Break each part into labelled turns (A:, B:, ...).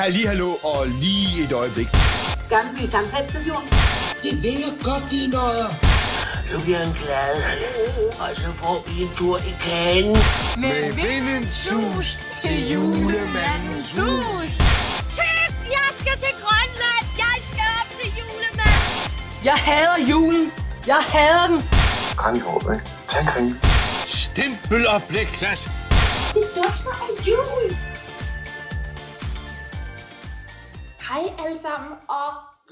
A: Halli, hallo og lige et øjeblik.
B: Gammelby Samtalsstation.
C: Det vil jeg godt, de nøjer.
D: Så bliver han glad, og så får vi en tur i kagen.
A: Med vindens sus til julemandens hus.
E: Tøft, jeg skal til Grønland. Jeg skal op til julemanden.
F: Jeg hader julen. Jeg hader den.
G: Kranjehåb, ikke? Tag en kranje.
A: Stempel og blikklat.
B: Det dufter af jul. Hej alle sammen, og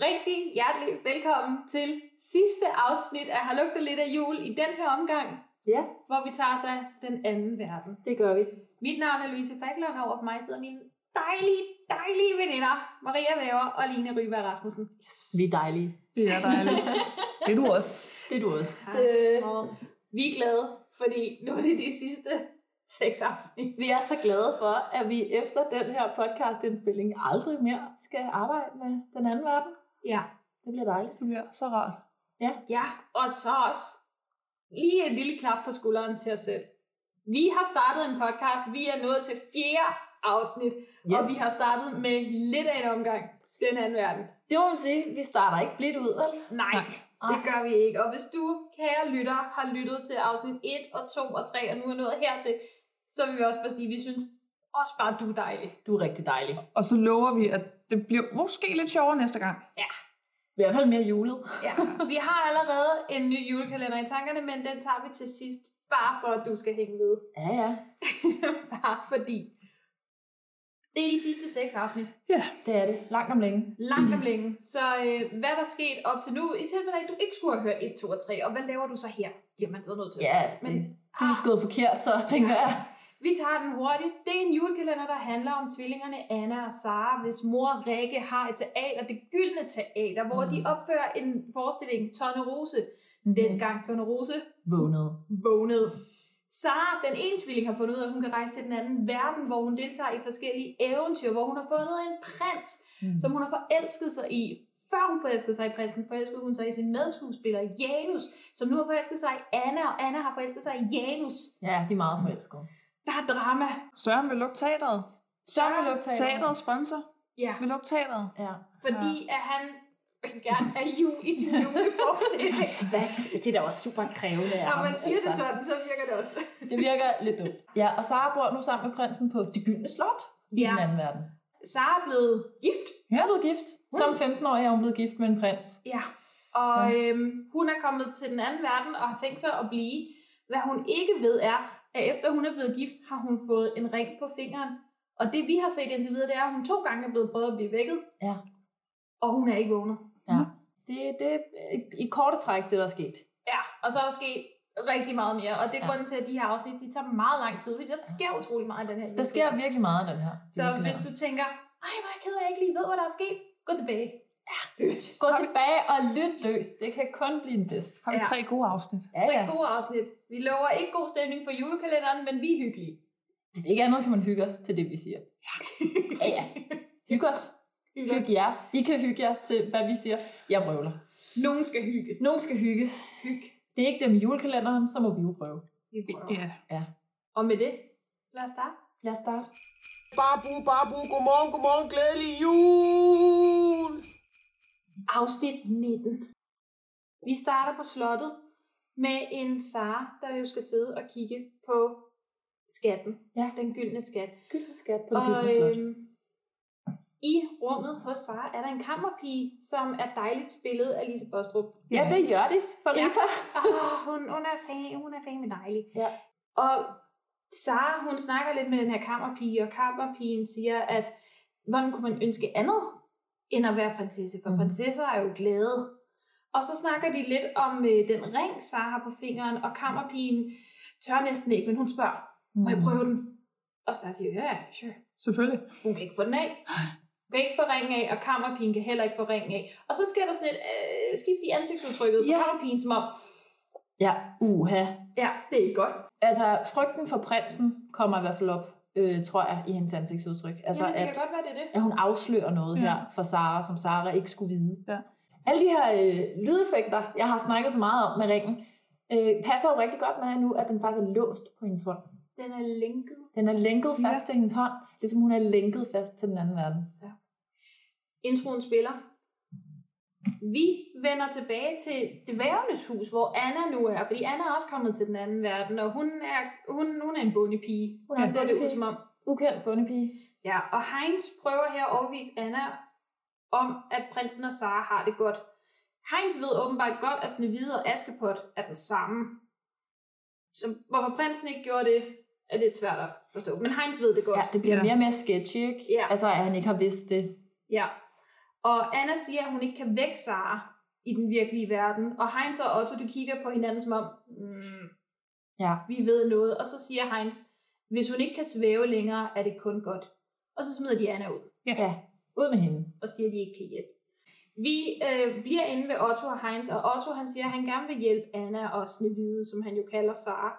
B: rigtig hjertelig velkommen til sidste afsnit af Har lugtet lidt af jul i den her omgang,
H: Ja,
B: hvor vi tager os af den anden verden.
H: det gør vi.
B: Mit navn er Louise Fackler, og over for mig sidder mine dejlige, dejlige veninder, Maria Væver og Line Ryberg Rasmussen.
H: Vi er dejlige.
I: Det er dejligt. Det er du også.
H: Det er du også. Øh,
B: Tak. Og vi er glade, fordi nu er det de sidste seks afsnit.
H: Vi er så glade for, at vi efter den her podcastindspilling aldrig mere skal arbejde med den anden verden.
B: Ja.
H: Det bliver dejligt.
I: Det bliver så rart.
B: Ja, og så også lige en lille klap på skulderen til os selv. Vi har startet en podcast. Vi er nået til fjerde afsnit, yes. og
H: Yes.
B: vi har startet med lidt af en omgang. Den anden verden.
H: Det må man sige. Vi starter ikke blidt ud, vel?
B: Nej, Nej, det gør vi ikke. Og hvis du, kære lytter, har lyttet til afsnit 1 og 2 og 3, og nu er nået hertil, så vil vi også bare sige, at vi synes også bare, du er dejlig.
H: Du er rigtig dejlig.
I: Og så lover vi, at det bliver måske lidt sjovere næste gang.
H: I hvert fald mere julet.
B: Ja, vi har allerede en ny julekalender i tankerne, men den tager vi til sidst, bare for at du skal hænge ved.
H: Ja, ja.
B: bare fordi. Det er de sidste seks afsnit.
H: Det er det. Langt om længe.
B: Langt om længe. Så øh, hvad der er sket op til nu, i tilfælde af, at du ikke skulle have hørt 1, 2 og 3, og hvad laver du så her? Bliver man så nødt til at
H: Ja,
B: Men-
H: det, det er skået forkert, så tænker jeg.
B: Vi tager den hurtigt. Det er en julekalender, der handler om tvillingerne Anna og Sara, hvis mor Rikke har et teater, det gyldne teater, hvor mm. de opfører en forestilling, Tonne Rose. Mm. Dengang Tonne Rose
H: Vågnet.
B: vågnede. Sara, den ene tvilling, har fundet ud af, at hun kan rejse til den anden verden, hvor hun deltager i forskellige eventyr, hvor hun har fundet en prins, mm. som hun har forelsket sig i. Før hun forelskede sig i prinsen, forelskede hun sig i sin medskuespiller Janus, som nu har forelsket sig i Anna, og Anna har forelsket sig i Janus.
H: Ja, de er meget forelskede.
B: Der er drama.
I: Søren vil lukke teateret.
H: Søren vil lukke teateret.
I: Teaterets sponsor
B: Ja.
I: vil lukke teateret.
H: Ja.
B: Fordi at han vil gerne have jul i sin juleforestilling.
H: Hvad? Det er da også super krævende af
B: Når
H: ham,
B: man siger det
H: altså.
B: sådan, så virker det også.
H: Det virker lidt dumt. Ja, og Sara bor nu sammen med prinsen på det gyldne slot i
B: Ja.
H: den anden verden.
B: Sara er blevet gift.
H: Hun er blevet gift. Som 15-årig er hun blevet gift med en prins.
B: Ja. Og øhm, hun er kommet til den anden verden og har tænkt sig at blive. Hvad hun ikke ved er, at efter hun er blevet gift, har hun fået en ring på fingeren. Og det vi har set indtil videre, det er, at hun to gange er blevet prøvet at blive vækket.
H: Ja.
B: Og hun er ikke vågnet.
H: Ja. Det, det er i korte træk, det der er sket.
B: Ja, og så er der sket rigtig meget mere. Og det er
H: Ja.
B: grunden til, at de her afsnit, de tager meget lang tid, fordi der sker utrolig meget i den her
H: Der sker
B: julekalender.
H: virkelig meget af den her.
B: Så hvis du tænker, ej, hvor er jeg ked af, at jeg ikke lige ved, hvad der er sket, gå tilbage. Ja, lyt.
H: Gå tilbage og lyt løs. Det kan kun blive en fest.
I: Har vi
B: Ja.
I: tre gode afsnit.
H: Ja,
B: Tre
H: ja.
B: gode afsnit. Vi lover ikke god stemning for julekalenderen, men vi er hyggelige.
H: Hvis ikke andet, kan man hygge os til det, vi siger. Ja, ja. Hygge os.
B: Hygge os.
H: Hygge jer. I kan hygge jer til, hvad vi siger. Jeg prøver.
B: Nogen skal hygge.
H: Nogen skal hygge.
B: Hygge.
H: Det er ikke dem i julekalenderen, så må vi jo prøve.
B: Vi prøver.
I: Ja.
B: Og med det, lad os starte.
H: Lad os starte.
A: Babu, babu, godmorgen, godmorgen, glædelig jul.
B: Afsnit 19. Vi starter på slottet med en Sara, der jo skal sidde og kigge på skatten.
H: Ja.
B: Den gyldne skat.
H: Gyldne skat på det
B: Og
H: gyldne slot.
B: øhm, i rummet hos Sara er der en kammerpige, som er dejligt spillet af Lise Bostrup.
H: Ja, det er Jørdis for
B: Ja.
H: Rita.
B: Åh, hun, hun er fan, hun er fandme dejlig.
H: Ja.
B: Og Sara, hun snakker lidt med den her kammerpige, og kammerpigen siger, at hvordan kunne man ønske andet, end at være prinsesse, for
H: Mhm.
B: prinsesser er jo glade. Og så snakker de lidt om øh, den ring, Sara har på fingeren, og kammerpigen tør næsten ikke, men hun spørger, må
H: Mhm.
B: jeg prøve den? Og Sara siger, ja, sure.
I: Selvfølgelig.
B: Hun kan ikke få den af. Hun kan ikke få ringen af, og kammerpigen kan heller ikke få ringen af. Og så sker der sådan et øh, skift i ansigtsudtrykket ja. på
H: Ja.
B: kammerpigen, som om,
H: Ja, uha.
B: ja, det er ikke godt.
H: Altså, frygten for prinsen kommer i hvert fald op, øh, tror jeg, i hendes ansigtsudtryk. Altså,
B: Altså, Jamen, det
H: at,
B: kan godt være, det er det.
H: at hun afslører noget
I: Ja.
H: ja. her for Sara, som Sara ikke skulle vide.
I: Ja.
H: Alle de her øh, lydeffekter, jeg har snakket så meget om med ringen, øh, passer jo rigtig godt med nu, at den faktisk er låst på hendes hånd.
B: Den er linket.
H: Den er lænket
I: Ja.
H: fast til hendes hånd, ligesom hun er lænket fast til den anden verden.
B: Ja. Introen spiller. Vi vender tilbage til dværgenes hus, hvor Anna nu er, fordi Anna er også kommet til den anden verden, og hun er, hun, hun er en bondepige.
H: Hun
B: Hun
H: er
B: ja,
H: en
B: ser det ud
H: bondepige.
B: som om.
H: Ukendt bondepige.
B: Ja, og Heinz prøver her at overbevise Anna om, at prinsen og Sara har det godt. Heinz ved åbenbart godt, at Snevide og Askepot er den samme. Så hvorfor prinsen ikke gjorde det, er lidt svært at forstå. Men Heinz ved det godt.
H: Ja, det bliver
I: Ja.
H: mere og mere sketchy, ikke?
B: Ja.
H: Altså, at han ikke har vidst det.
B: Ja. Og Anna siger, at hun ikke kan vække Sara i den virkelige verden. Og Heinz og Otto, de kigger på hinanden som om, mm,
H: Ja.
B: vi ved noget. Og så siger Heinz, hvis hun ikke kan svæve længere, er det kun godt. Og så smider de Anna ud
H: Ja. Ud med hende.
B: og siger, at de ikke kan hjælpe. Vi øh, bliver inde ved Otto og Heinz, og Otto han siger, at han gerne vil hjælpe Anna og Snevide, som han jo kalder Sara.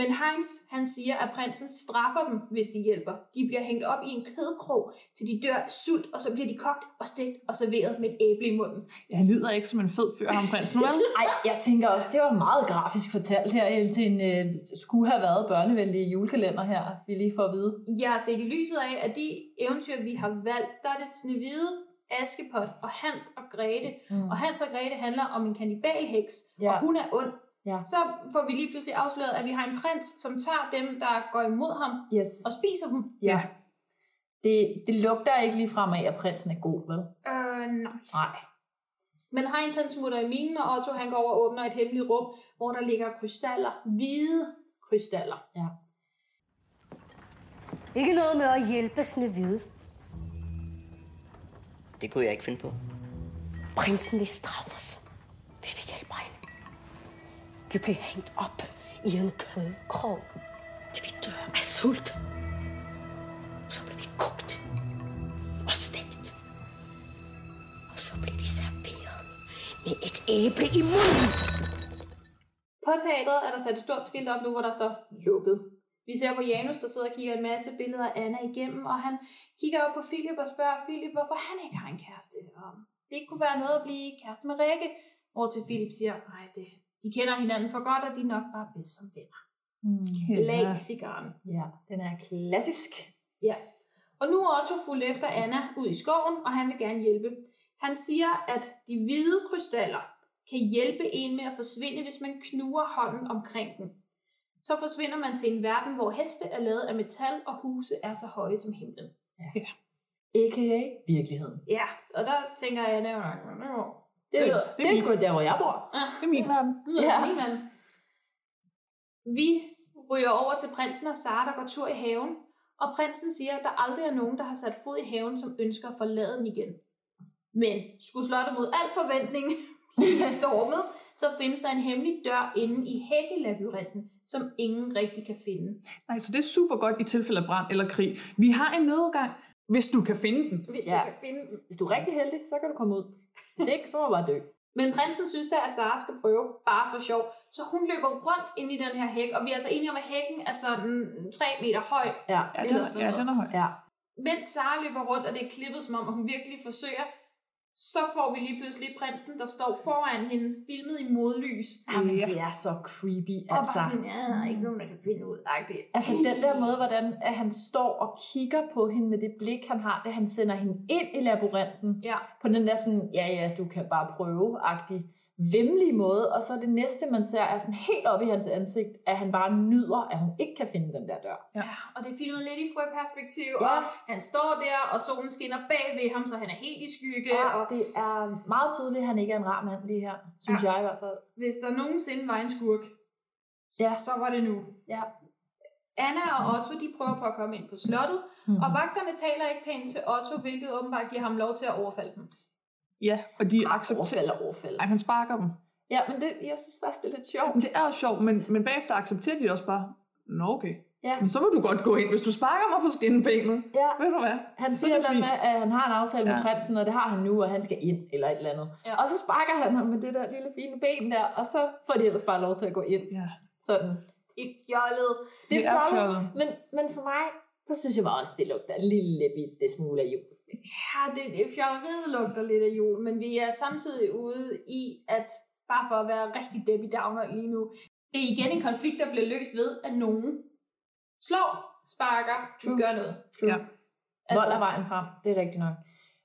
B: Men Heinz han siger, at prinsen straffer dem, hvis de hjælper. De bliver hængt op i en kødkrog, til de dør af sult, og så bliver de kogt og stegt og serveret med et æble i munden.
I: Ja, han lyder ikke som en fed fyr, ham prinsen, vel?
H: Ej, jeg tænker også, det var meget grafisk fortalt her, indtil en øh, skulle have været børnevenlig julekalender her, vi lige får at vide.
B: Jeg har set i lyset af, at de eventyr, vi har valgt, der er det Snevide, Askepot og Hans og Grete.
H: Mm.
B: Og Hans og Grete handler om en kanibalheks,
H: Ja.
B: ja. og hun er ond.
H: Ja.
B: Så får vi lige pludselig afsløret, at vi har en prins, som tager dem, der går imod ham,
H: Yes.
B: og spiser dem.
H: Ja. Det, det lugter ikke lige frem af, at prinsen er god, vel?
B: Øh, nej.
H: Nej.
B: Men Heinz han smutter i minen, og Otto han går over og åbner et hemmeligt rum, hvor der ligger krystaller, hvide krystaller.
H: Ja.
J: Ikke noget med at hjælpe Snevide.
D: Det kunne jeg ikke finde på.
J: Prinsen vil straffe os, hvis vi hjælper hende. Vi bliver hængt op i en kødkrog, til vi dør af sult. Så bliver vi kogt og stegt. Og så bliver vi serveret med et æble i munden.
B: På teatret er der sat et stort skilt op nu, hvor der står lukket. Vi ser på Janus, der sidder og kigger en masse billeder af Anna igennem, og han kigger op på Philip og spørger Philip, hvorfor han ikke har en kæreste, og om det ikke kunne være noget at blive kæreste med Rikke. Hvor til Philip siger, nej, det, de kender hinanden for godt, og de er nok bare bedst som venner.
H: Mm.
B: Lag cigaren.
H: Ja, den er klassisk.
B: Ja. Og nu er Otto fuldt efter Anna ud i skoven, og han vil gerne hjælpe. Han siger, at de hvide krystaller kan hjælpe en med at forsvinde, hvis man knuger hånden omkring den. Så forsvinder man til en verden, hvor heste er lavet af metal, og huse er så høje som himlen.
H: A.k.a. virkeligheden.
B: Ja, og der tænker Anna, "Nå,
H: Det,
B: Det
H: det,
B: lyder-
H: det, er sgu der, hvor jeg bor.
I: Det er min verden.
B: lyder
H: Ja.
B: ja. min mand. Vi ryger over til prinsen og Sara, der går tur i haven, og prinsen siger, at der aldrig er nogen, der har sat fod i haven, som ønsker at forlade den igen. Men skulle slottet mod al forventning blive stormet, så findes der en hemmelig dør inde i hækkelabyrinten, som ingen rigtig kan finde.
I: Nej, så det er super godt i tilfælde af brand eller krig. Vi har en nødgang, hvis du kan finde den.
B: Hvis
H: Ja.
B: du kan finde den.
H: Hvis du er rigtig heldig, så kan du komme ud. Hvis ikke, så må du bare dø.
B: Men prinsen synes da, at Sara skal prøve bare for sjov, så hun løber rundt ind i den her hæk, og vi er altså enige om, at hækken er sådan 3 meter høj.
H: Ja,
I: Ja, den,
B: Eller
I: er,
B: sådan
I: ja,
B: noget.
I: den er høj.
H: ja.
B: mens Sara løber rundt, og det er klippet som om, at hun virkelig forsøger, så får vi lige pludselig prinsen, der står foran hende, filmet i modlys.
H: Jamen, det er så creepy,
B: Og
H: altså.
B: bare sådan, ja, der er ikke nogen, der kan finde ud af det.
H: Altså den der måde, hvordan at han står og kigger på hende med det blik, han har, da han sender hende ind i labyrinten.
B: Ja,
H: På den der sådan, ja ja, du kan bare prøve-agtig, vemmelige måde. Og så det næste, man ser, er sådan helt op i hans ansigt, at han bare nyder, at hun ikke kan finde den der dør.
B: og det er filmet lidt i frøperspektiv,
H: Ja.
B: ja. og han står der, og solen skinner bag ved ham, så han er helt i skygge. Ja. Og
H: Ja, Ah, det er meget tydeligt, at han ikke er en rar mand lige her, synes ja. jeg i hvert fald.
B: hvis der nogensinde var en skurk,
H: Ja.
B: så var det nu.
H: Ja.
B: Anna og Otto, de prøver på at komme ind på slottet,
H: Mm.
B: og vagterne taler ikke pænt til Otto, hvilket åbenbart giver ham lov til at overfalde dem.
I: Ja, og de
H: Overfald
I: accepterer...
H: og overfald.
I: Ej, han sparker dem.
H: Ja, men det, jeg synes faktisk, det er lidt sjovt.
I: Men det er jo sjovt, men, men bagefter accepterer de det også bare, nå okay,
H: Ja.
I: men så må du godt gå ind, hvis du sparker mig på skinnebenet.
H: Ja.
I: Ved du hvad?
H: Han
I: Så
H: siger
I: er
H: et
I: det
H: eller andet
I: fint.
H: med, at han har en aftale med
I: Ja.
H: prinsen, og det har han nu, og han skal ind, eller et eller andet.
B: Ja.
H: Og så sparker han ham med det der lille fine ben der, og så får de ellers bare lov til at gå ind.
I: Ja.
H: Sådan.
B: I fjollet.
H: Det
I: Det
H: er
I: er
H: fjollet.
I: fjollet.
H: Men, men for mig, der synes jeg bare også, det lugter en lille bitte smule af jul.
B: Ja, Ah, det, fjolleriet lugter lidt af jul, men vi er samtidig ude i, at bare for at være rigtig Debbie Downer lige nu, det er igen en konflikt, der bliver løst ved, at nogen slår, sparker,
H: True.
B: True. gør noget. Altså,
I: Ja.
H: Altså, Vold er vejen frem, det er rigtigt nok.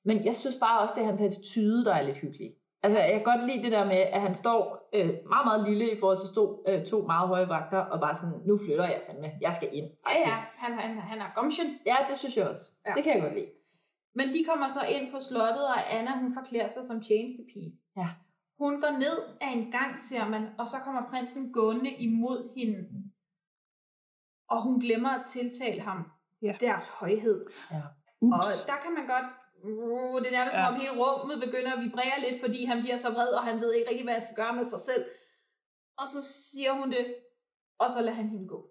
H: Men jeg synes bare også, det er hans attitude, der er lidt hyggelig. Altså, jeg kan godt lide det der med, at han står øh, meget, meget lille i forhold til to, øh, to meget høje vagter, og bare sådan, nu flytter jeg fandme, jeg skal ind.
B: Ja, ja, han, han, han er gumption.
H: Ja, det synes jeg også.
B: Ja.
H: Ja. Det kan jeg godt lide.
B: Men de kommer så ind på slottet, og Anna hun forklæder sig som tjenestepige.
H: Ja.
B: Hun går ned af en gang, ser man, og så kommer prinsen gående imod hende. Og hun glemmer at tiltale ham
I: Ja.
B: deres højhed. Og
I: Ups.
B: der kan man godt... Uh, det er nærmest, som
I: Ja.
B: om hele rummet begynder at vibrere lidt, fordi han bliver så vred, og han ved ikke rigtig, hvad han skal gøre med sig selv. Og så siger hun det, og så lader han hende gå.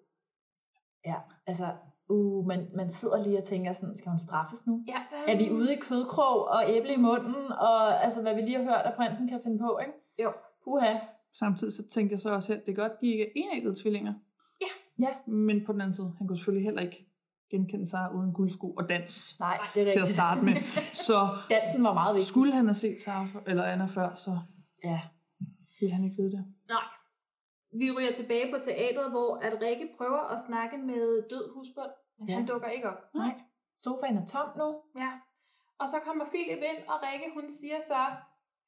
H: Ja, altså, uh, man, man sidder lige og tænker sådan, skal hun straffes nu?
B: Ja, hvad
H: Er vi ude i kødkrog og æble i munden, og altså, hvad vi lige har hørt, at printen kan finde på, ikke?
B: Jo.
H: Puha.
I: Samtidig så tænkte jeg så også, at det er godt, de ikke er enæggede tvillinger.
B: Ja.
H: Ja.
I: Men på den anden side, han kunne selvfølgelig heller ikke genkende sig uden guldsko og dans
H: Nej, det er
I: til at
H: rigtigt.
I: starte med. Så
H: Dansen var meget vigtig.
I: skulle han have set Sara f- eller Anna før, så
H: Ja.
I: ville han ikke vide det.
B: Nej. Vi ryger tilbage på teatret, hvor at Rikke prøver at snakke med død husbund, men ja.
H: Ja.
B: han dukker ikke op.
H: Nej. Sofaen er tom nu.
B: Ja. Og så kommer Philip ind, og Rikke hun siger så,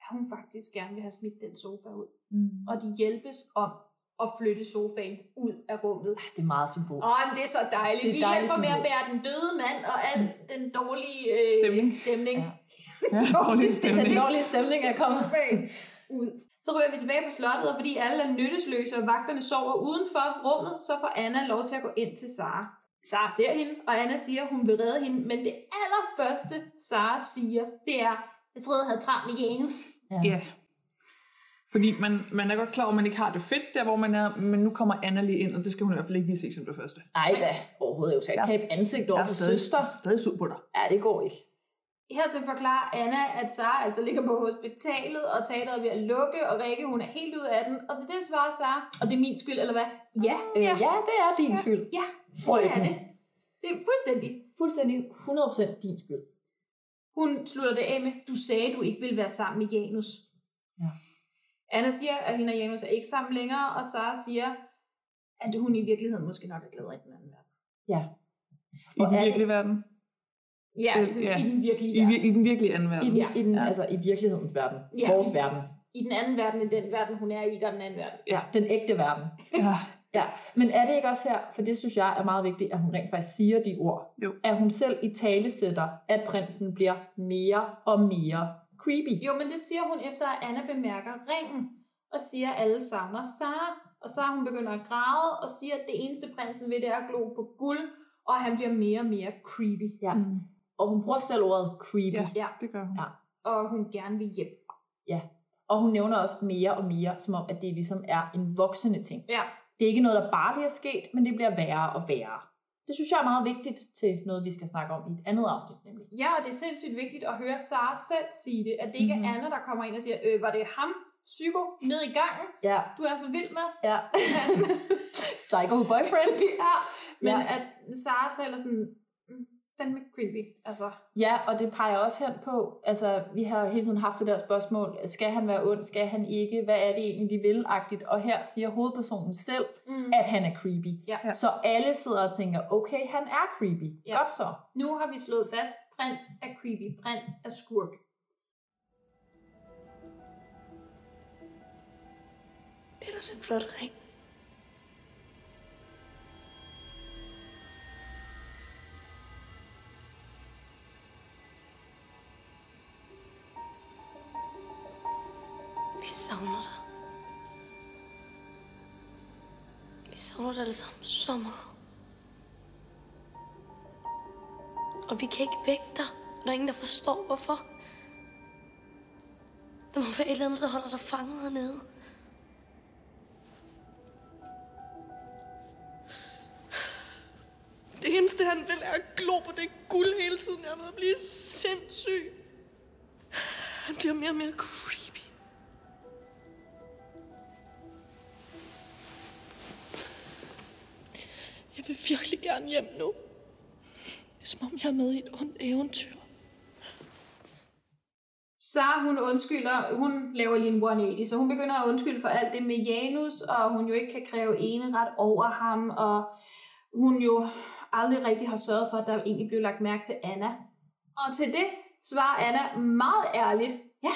B: at hun faktisk gerne vil have smidt den sofa ud.
H: Mm.
B: Og de hjælpes om at flytte sofaen ud af rummet.
H: Ah, Det er meget symbolisk.
B: Åh, men det er så dejligt.
H: Det er
B: Vi
H: dejligt
B: hjælper med at
H: symbol.
B: bære den døde mand og al den dårlige øh,
I: Stemning.
B: stemning.
H: Mm. Ja.
I: Ja, dårlig
H: Den
I: stemning.
H: dårlige stemning er kommet.
B: ud. Så ryger vi tilbage på slottet, og fordi alle er nyttesløse, og vagterne sover uden for rummet, så får Anna lov til at gå ind til Sara. Sara ser hende, og Anna siger, at hun vil redde hende, men det allerførste, Sara siger, det er, jeg troede, jeg havde travlt med Janus.
I: Ja. Fordi man, man er godt klar over, at man ikke har det fedt der, hvor man er, men nu kommer Anna lige ind, og det skal hun i hvert fald ikke lige se som det første.
H: Ej da, overhovedet. Jeg skal ikke
I: Jeg-
H: tabe ansigt over for søster.
I: stadig sur på dig.
H: Ja, det går ikke.
B: Hertil forklarer Anna, at Sara altså ligger på hospitalet, og teateret er ved at lukke, og Rikke, hun er helt ud af den. Og til det svarer Sara, og det er min skyld, eller hvad? Ja,
H: Øh, ja. det er din skyld.
B: ja, det er
H: Frøken.
B: det. Det er fuldstændig.
H: Fuldstændig 100% din skyld.
B: Hun slutter det af med, du sagde, du ikke ville være sammen med Janus.
H: Ja.
B: Anna siger, at hende og Janus er ikke sammen længere, og Sara siger, at hun i virkeligheden måske nok er glad af den anden verden.
I: I
H: Hvor er
I: den
H: det-
I: virkelige verden.
B: Ja,
I: Øh,
B: i-
I: ja.
B: i den virkelige
I: I,
B: verden.
I: vir- I den virkelige anden
H: I,
I: verden.
H: ja.
B: Ja.
H: i, den,
I: Ja.
H: altså, i virkelighedens verden.
B: Ja.
H: Vores verden.
B: I den anden verden end den verden, hun er i, der er den anden verden.
H: Den ægte verden.
I: Ja.
H: Ja, men er det ikke også her, for det synes jeg er meget vigtigt, at hun rent faktisk siger de ord.
I: Jo.
H: At hun selv i tale sætter, at prinsen bliver mere og mere creepy.
B: Jo, men det siger hun efter, at Anna bemærker ringen, og siger, at alle savner Sara. Og så hun begynder at græde, og siger, at det eneste prinsen vil, det er at glo på guld, og han bliver mere og mere creepy.
H: Ja.
I: Mm.
H: Og hun bruger selv ordet creepy.
I: Ja.
B: Ja,
I: Det gør hun.
H: Ja.
B: og hun gerne vil hjem.
H: Og hun nævner også mere og mere, som om, at det ligesom er en voksende ting.
B: Ja,
H: Det er ikke noget, der bare lige er sket, men det bliver værre og værre. Det synes jeg er meget vigtigt til noget, vi skal snakke om i et andet afsnit, nemlig.
B: Ja, og det er sindssygt vigtigt at høre Sara selv sige det, at det ikke mm-hmm. er
H: Mhm.
B: Anna, der kommer ind og siger, øh, var det ham, psyko, ned i gangen,
H: Ja,
B: du er så vild med.
H: ja. Psycho boyfriend.
B: Ja, men
H: Ja.
B: ja. at Sara selv er sådan, "Mm, fandme creepy, altså.
H: Ja, og det peger også hen på, altså vi har jo hele tiden haft det der spørgsmål, skal han være ond, skal han ikke, hvad er det egentlig, de vil, -agtigt. og her siger hovedpersonen selv,
B: Mm.
H: at han er creepy.
B: Ja.
I: Ja.
H: Så alle sidder og tænker, okay, han er creepy.
B: Ja.
H: Ja. Godt så.
B: Nu har vi slået fast, prins er creepy, prins er skurk.
J: Det er ellers en flot ring. Vi savner dig. Vi savner dig alle sammen så meget. Og vi kan ikke vække dig. og Der er ingen, der forstår, hvorfor. Der må være et eller andet, der holder dig fanget hernede. Det eneste, han vil, er at glo på det guld hele tiden. Jeg er ved at blive sindssyg. Han bliver mere og mere creepy. Jeg vil virkelig gerne hjem nu. Det er som om, jeg er med i et ondt eventyr.
B: Sara, hun undskylder, hun laver lige en 180, så hun begynder at undskylde for alt det med Janus, og hun jo ikke kan kræve ene ret over ham, og hun jo aldrig rigtig har sørget for, at der egentlig blev lagt mærke til Anna. Og til det, svarer Anna meget ærligt, ja,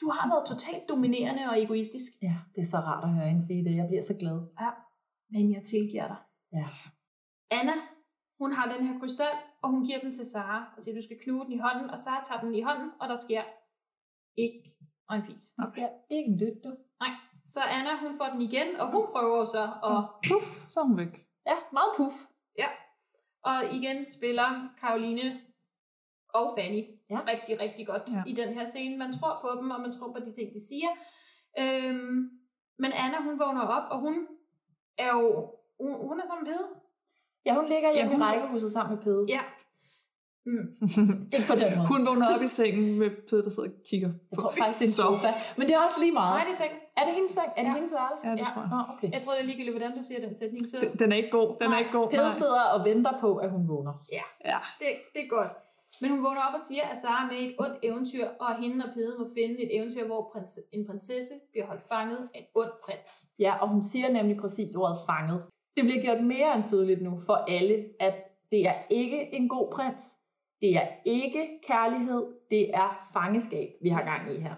B: du har været totalt dominerende og egoistisk,
H: Ja, det er så rart at høre hende sige det. Jeg bliver så glad.
B: men jeg tilgiver dig.
H: Ja.
B: Anna, hun har den her krystal, og hun giver den til Sara, og siger, du skal knuge den i hånden, og Sara tager den i hånden, og der sker ikke og en fis.
H: Der sker ikke en lyt, du.
B: Så Anna, hun får den igen, og hun prøver jo så at
H: Mm.
I: Puff, så er hun væk.
H: Ja, meget puff.
B: Ja. Og igen spiller Karoline og Fanny
H: Ja.
B: ja. rigtig, rigtig godt
I: Ja.
B: ja. i den her scene. Man tror på dem, og man tror på de ting, de siger. Øhm, men Anna, hun vågner op, og hun er jo... Hun, hun er sammen med Pede.
H: Ja, hun ligger hjemme ja, hun... i
I: hun-
H: rækkehuset sammen med Pede.
B: Ja. Mm.
H: Ikke på den måde.
I: Hun vågner op i sengen med Peder, der sidder og kigger.
H: Jeg tror faktisk, det er en
I: Så.
H: sofa. Men det er også lige meget.
B: Nej, det er seng.
H: Er det hendes seng? Er det
B: Ja.
H: hendes værelse?
I: Ja, det
B: Ja.
I: tror jeg.
H: Nå, okay.
B: Jeg tror, det er ligegyldigt, hvordan du siger den sætning. Så
I: Den, den er ikke god. Den er
B: Nej,
I: ikke god.
H: Pede
I: nej.
H: sidder og venter på, at hun vågner.
I: Ja.
B: det, det er godt. Men hun vågner op og siger, at Sara er med i et ondt eventyr, og hende og Pede må finde et eventyr, hvor prins, en prinsesse bliver holdt fanget af en ond prins.
H: Ja, og hun siger nemlig præcis ordet fanget. Det bliver gjort mere end tydeligt nu for alle, at det er ikke en god prins. Det er ikke kærlighed. Det er fangeskab, vi har gang i her.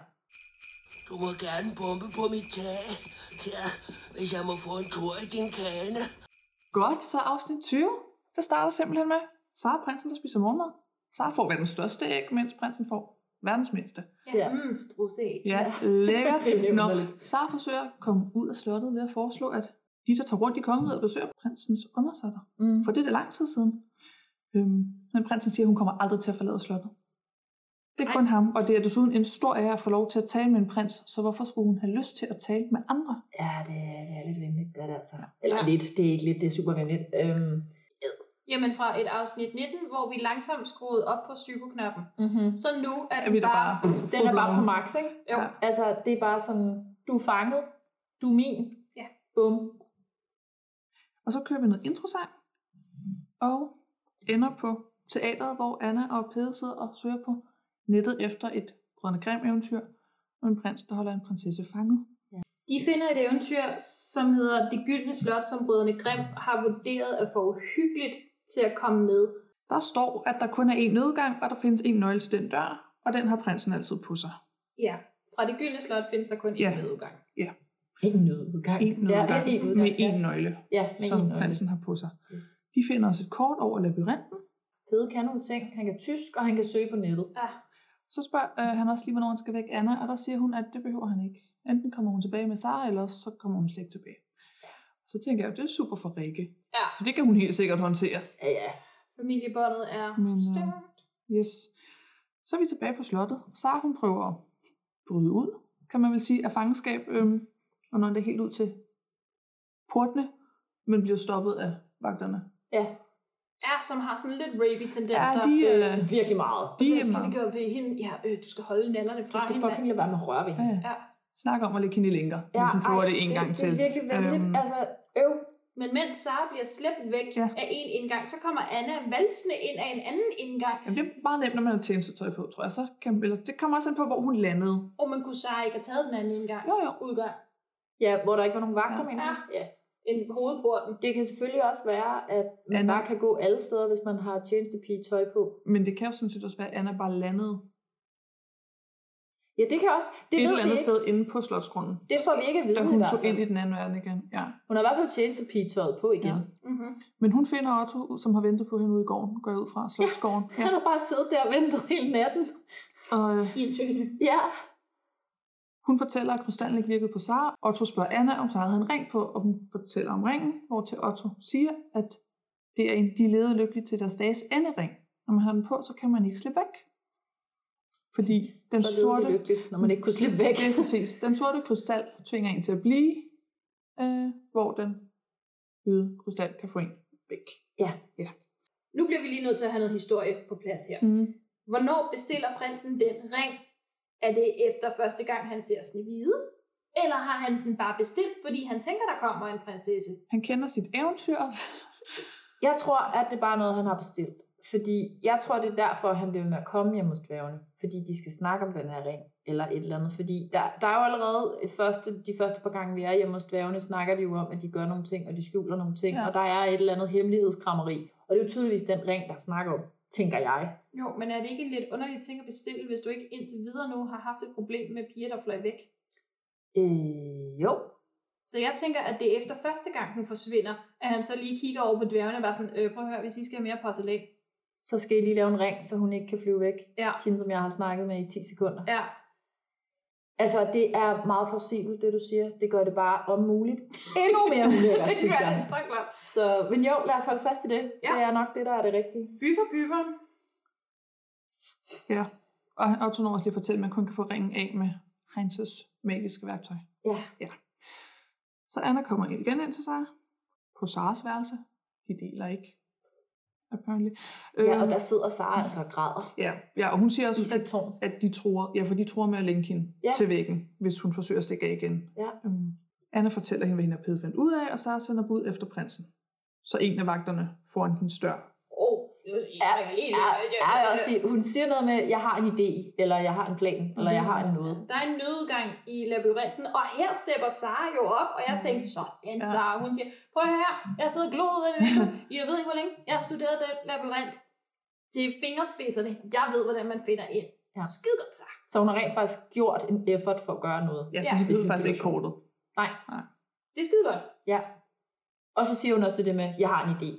D: Du må gerne bombe på mit tag. Ja, hvis jeg må få en tur i din kane.
I: Godt, så afsnit 20. Det starter simpelthen med Sara prinsen, der spiser morgenmad. Sara får verdens største æg, mens prinsen får verdens mindste.
H: Ja.
B: Ja, mm, strusseæg.
I: Ja,
H: Det er
I: lækkert. Nå,
H: underligt.
I: Sara forsøger at komme ud af slottet ved at foreslå, at de, der tager rundt i kongeriget, besøger prinsens undersøtter.
H: Mm.
I: For det er det lang tid siden. Øhm, men prinsen siger, at hun kommer aldrig til at forlade slottet. Det er kun ham, og det er desuden en stor ære at få lov til at tale med en prins, så hvorfor skulle hun have lyst til at tale med andre?
H: Ja, det, det er lidt vemmeligt. Det er det altså. Eller lidt. Det er ikke lidt. Det er super vemmeligt. Øhm,
B: Jamen fra et afsnit 19, hvor vi langsomt skruede op på psykoknappen.
H: mm-hmm.
B: Så nu er
I: Er vi
B: den
I: der bare...
B: bare...
H: Den er bare på max, ikke?
B: Jo,
I: Ja.
H: Altså, det er bare sådan, du er fanget. Du er min.
B: Ja.
H: Bum.
I: Og så kører vi noget introsang, og ender på teateret, hvor Anna og Pede sidder og søger på nettet efter et Grønne Grim eventyr, og en prins, der holder en prinsesse fanget.
B: de finder et eventyr, som hedder Det Gyldne Slot, som brødrene Grimm har vurderet at få uhyggeligt til at komme med.
I: Der står, at der kun er én nødgang, og der findes én nøgle til den dør, og den har prinsen altid på sig.
B: Ja, fra Det Gyldne Slot findes der kun én
I: Ja.
B: yeah. udgang.
H: Ikke en nødudgang.
I: Én nødgang
H: Ja, en udgang.
I: med én nøgle,
H: Ja, med
I: som
H: en nøgle.
I: prinsen har på sig.
H: Yes.
I: De finder også et kort over labyrinten.
H: Pede kan nogle ting. Han kan tysk, og han kan søge på nettet.
B: Ja.
I: Så spørger øh, han også lige, hvornår han skal væk Anna, og der siger hun, at det behøver han ikke. Enten kommer hun tilbage med Sara, eller også så kommer hun slet ikke tilbage. Så tænker jeg, det er super for Rikke.
B: Ja,
I: Så det kan hun helt sikkert håndtere.
H: Ja, ja.
B: familiebåndet er
I: Men, øh,
B: stærkt.
I: Yes. Så er vi tilbage på slottet. Sara hun prøver at bryde ud, kan man vel sige, af fangenskab. Øhm, og når det er helt ud til portene, men bliver stoppet af vagterne.
H: Ja,
B: Er, som har sådan lidt
I: Ja,
B: rapey-tendenser.
I: de,
H: det
I: øh,
H: er virkelig meget.
I: de
B: Hvad
I: er
B: skal vi
I: meget.
B: gøre ved hende? Ja, øh, du skal holde nallerne
H: Du
B: fra
H: skal
B: hende.
H: fucking lade være med at røre ved
I: Ja,
H: hende.
I: ja.
B: Ja.
I: Snak om at lægge hende i lænker, ja, hvis hun prøver ej, det en gang
H: det,
I: til.
H: Det er virkelig vemmeligt.
I: Øhm,
H: Altså, øv.
B: Men mens Sara bliver slæbt væk
I: Ja.
B: ja. af en indgang, så kommer Anna valsende ind af en anden indgang.
I: Jamen, det er meget nemt, når man har tjenestetøj på, tror jeg. Så kan, eller, det kommer også an på, hvor hun landede.
B: Og man kunne Sara ikke have taget den anden indgang.
I: Jo, jo.
B: Udgang.
H: Ja, hvor der ikke var nogen vagter, ja.
I: Ja.
H: mener du? Ja.
B: En hovedporten.
H: Det kan selvfølgelig også være, at man
I: Anna.
H: bare kan gå alle steder, hvis man har tjenestepige tøj på.
I: Men det kan jo sådan set også være, at Anna bare landede
H: Ja, det kan også. Det
I: et
H: ved
I: eller
H: vi
I: andet
H: ikke.
I: sted inde på Slotsgrunden,
H: Det får vi ikke at vide
I: da
H: i
I: hun
H: hvert
I: tog
H: fald.
I: ind i den anden verden igen. Ja.
H: Hun har i hvert fald tjenestepigetøjet på igen. Ja.
B: Mm-hmm.
I: Men hun finder Otto, som har ventet på hende ude i gården, går jeg ud fra Slotsgården. Ja.
H: Han har bare siddet der og ventet hele natten.
I: Og øh,
B: I en tøne.
H: Ja.
I: hun fortæller, at krystallen ikke virkede på Sara. Otto spørger Anna, om så havde han ring på, og hun fortæller om ringen, hvor til Otto siger, at det er en, de levede lykkeligt til deres dages endering. Når man har den på, så kan man ikke slippe væk. Fordi den
H: så levede
I: sorte...
H: det lykkeligt, når man ikke kunne slippe væk.
I: Det er præcis. Den sorte krystal tvinger en til at blive, øh, hvor den hvide krystal kan få en væk.
B: Nu bliver vi lige nødt til at have noget historie på plads her.
I: Mm.
B: Hvornår bestiller prinsen den ring? Er det efter første gang, han ser Snevide? Eller har han den bare bestilt, fordi han tænker, der kommer en prinsesse?
I: Han kender sit eventyr.
H: Jeg tror, at det er bare noget, han har bestilt. Fordi jeg tror, det er derfor, han bliver ved med at komme hjem hos dværgene. Fordi de skal snakke om den her ring, eller et eller andet. Fordi der, der er jo allerede øh, første, de første par gange, vi er hjemme hos dværgene, snakker de jo om, at de gør nogle ting, og de skjuler nogle ting.
I: Ja.
H: Ja. Og der er et eller andet hemmelighedskrammeri. Og det er jo tydeligvis den ring, der snakker om. tænker jeg.
B: Jo, men er det ikke en lidt underlig ting at bestille, hvis du ikke indtil videre nu har haft et problem med piger, der fløj væk?
H: Øh, jo.
B: Så jeg tænker, at det er efter første gang, hun forsvinder, at han så lige kigger over på dværgene og bare sådan, øh, prøv at høre, hvis I skal have mere porcelæn.
H: Så skal I lige lave en ring, så hun ikke kan flyve væk.
B: Ja.
H: Hende, som jeg har snakket med i 10 sekunder.
B: Ja,
H: Altså, det er meget plausibelt, det du siger. Det gør det bare om muligt. Endnu mere ulækkert,
B: det
H: synes
B: gør
H: jeg.
B: det så klart.
H: Så, men jo, lad os holde fast i det.
B: Ja.
H: Det er nok det, der er det rigtige.
B: Fy for byferen.
I: Ja. Og han- Otto når også lige at fortælle, at man kun kan få ringen af med Heinz's magiske værktøj.
H: Ja.
I: Så Anna kommer ind igen ind til Sara. På Saras værelse. De deler ikke. Apparently.
H: ja, og
I: Øhm,
H: der sidder Sara altså og græder
I: ja, ja, og hun siger
H: i
I: også,
H: sit
I: at,
H: tårn.
I: at de tror, ja, for de tror med at lænke hende
H: Ja.
I: ja. til væggen, hvis hun forsøger at stikke af igen.
H: Ja.
I: Øhm, Anna fortæller hende, hvad hende er blevet fandt ud af, og Sara sender bud efter prinsen. Så en af vagterne foran hendes dør.
B: Åh, oh,
H: Ja, ja, ja, jeg vil også sige, hun siger noget med, jeg har en idé, eller jeg har en plan, eller jeg har en noget.
B: Der er en nødgang i labyrinten, og her stepper Sara jo op, og jeg
H: Mm.
B: tænkte, sådan
I: Ja.
B: Sara, hun siger, prøv at høre her, jeg sidder og glor ud af det vindue, jeg ved ikke, hvor længe, jeg har studeret den labyrint. Det er fingerspidserne, jeg ved, hvordan man finder ind.
H: Ja.
B: Ja. Skide godt, Sara.
H: Så hun har rent faktisk gjort en effort for at gøre noget.
I: Ja,
B: Ja.
I: så ja, de
H: I sin
I: ved faktisk ikke
H: situation.
I: kortet.
H: Nej.
B: Det er skide godt.
H: Ja. Og så siger hun også det der med, jeg har en idé.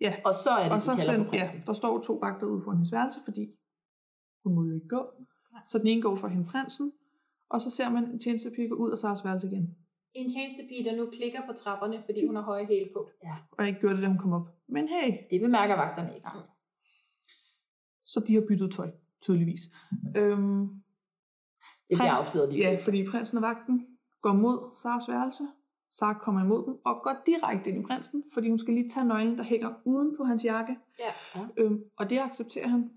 I: Ja.
H: Og så er det,
I: Og så
H: de kalder
I: send,
H: på
I: ja,
H: prinsen.
I: der står to vagter ude foran hendes værelse, fordi hun må jo ikke gå. Så den ene går for hende prinsen, og så ser man en tjenestepige gå ud af Saras værelse igen.
B: En tjenestepige, der nu klikker på trapperne, fordi hun har høje hæle på.
I: Og jeg ikke gjorde det, da hun kom op. Men hey,
H: Det bemærker vagterne ikke.
I: så de har byttet tøj, tydeligvis. Øhm,
H: Det bliver
I: prins-
H: afsløret lige.
I: Ja, fordi prinsen og vagten går mod Saras værelse. Sara kommer imod dem og går direkte ind i prinsen, fordi hun skal lige tage nøglen, der hænger uden på hans jakke.
B: Ja.
H: Ja.
I: Øhm, og det accepterer han,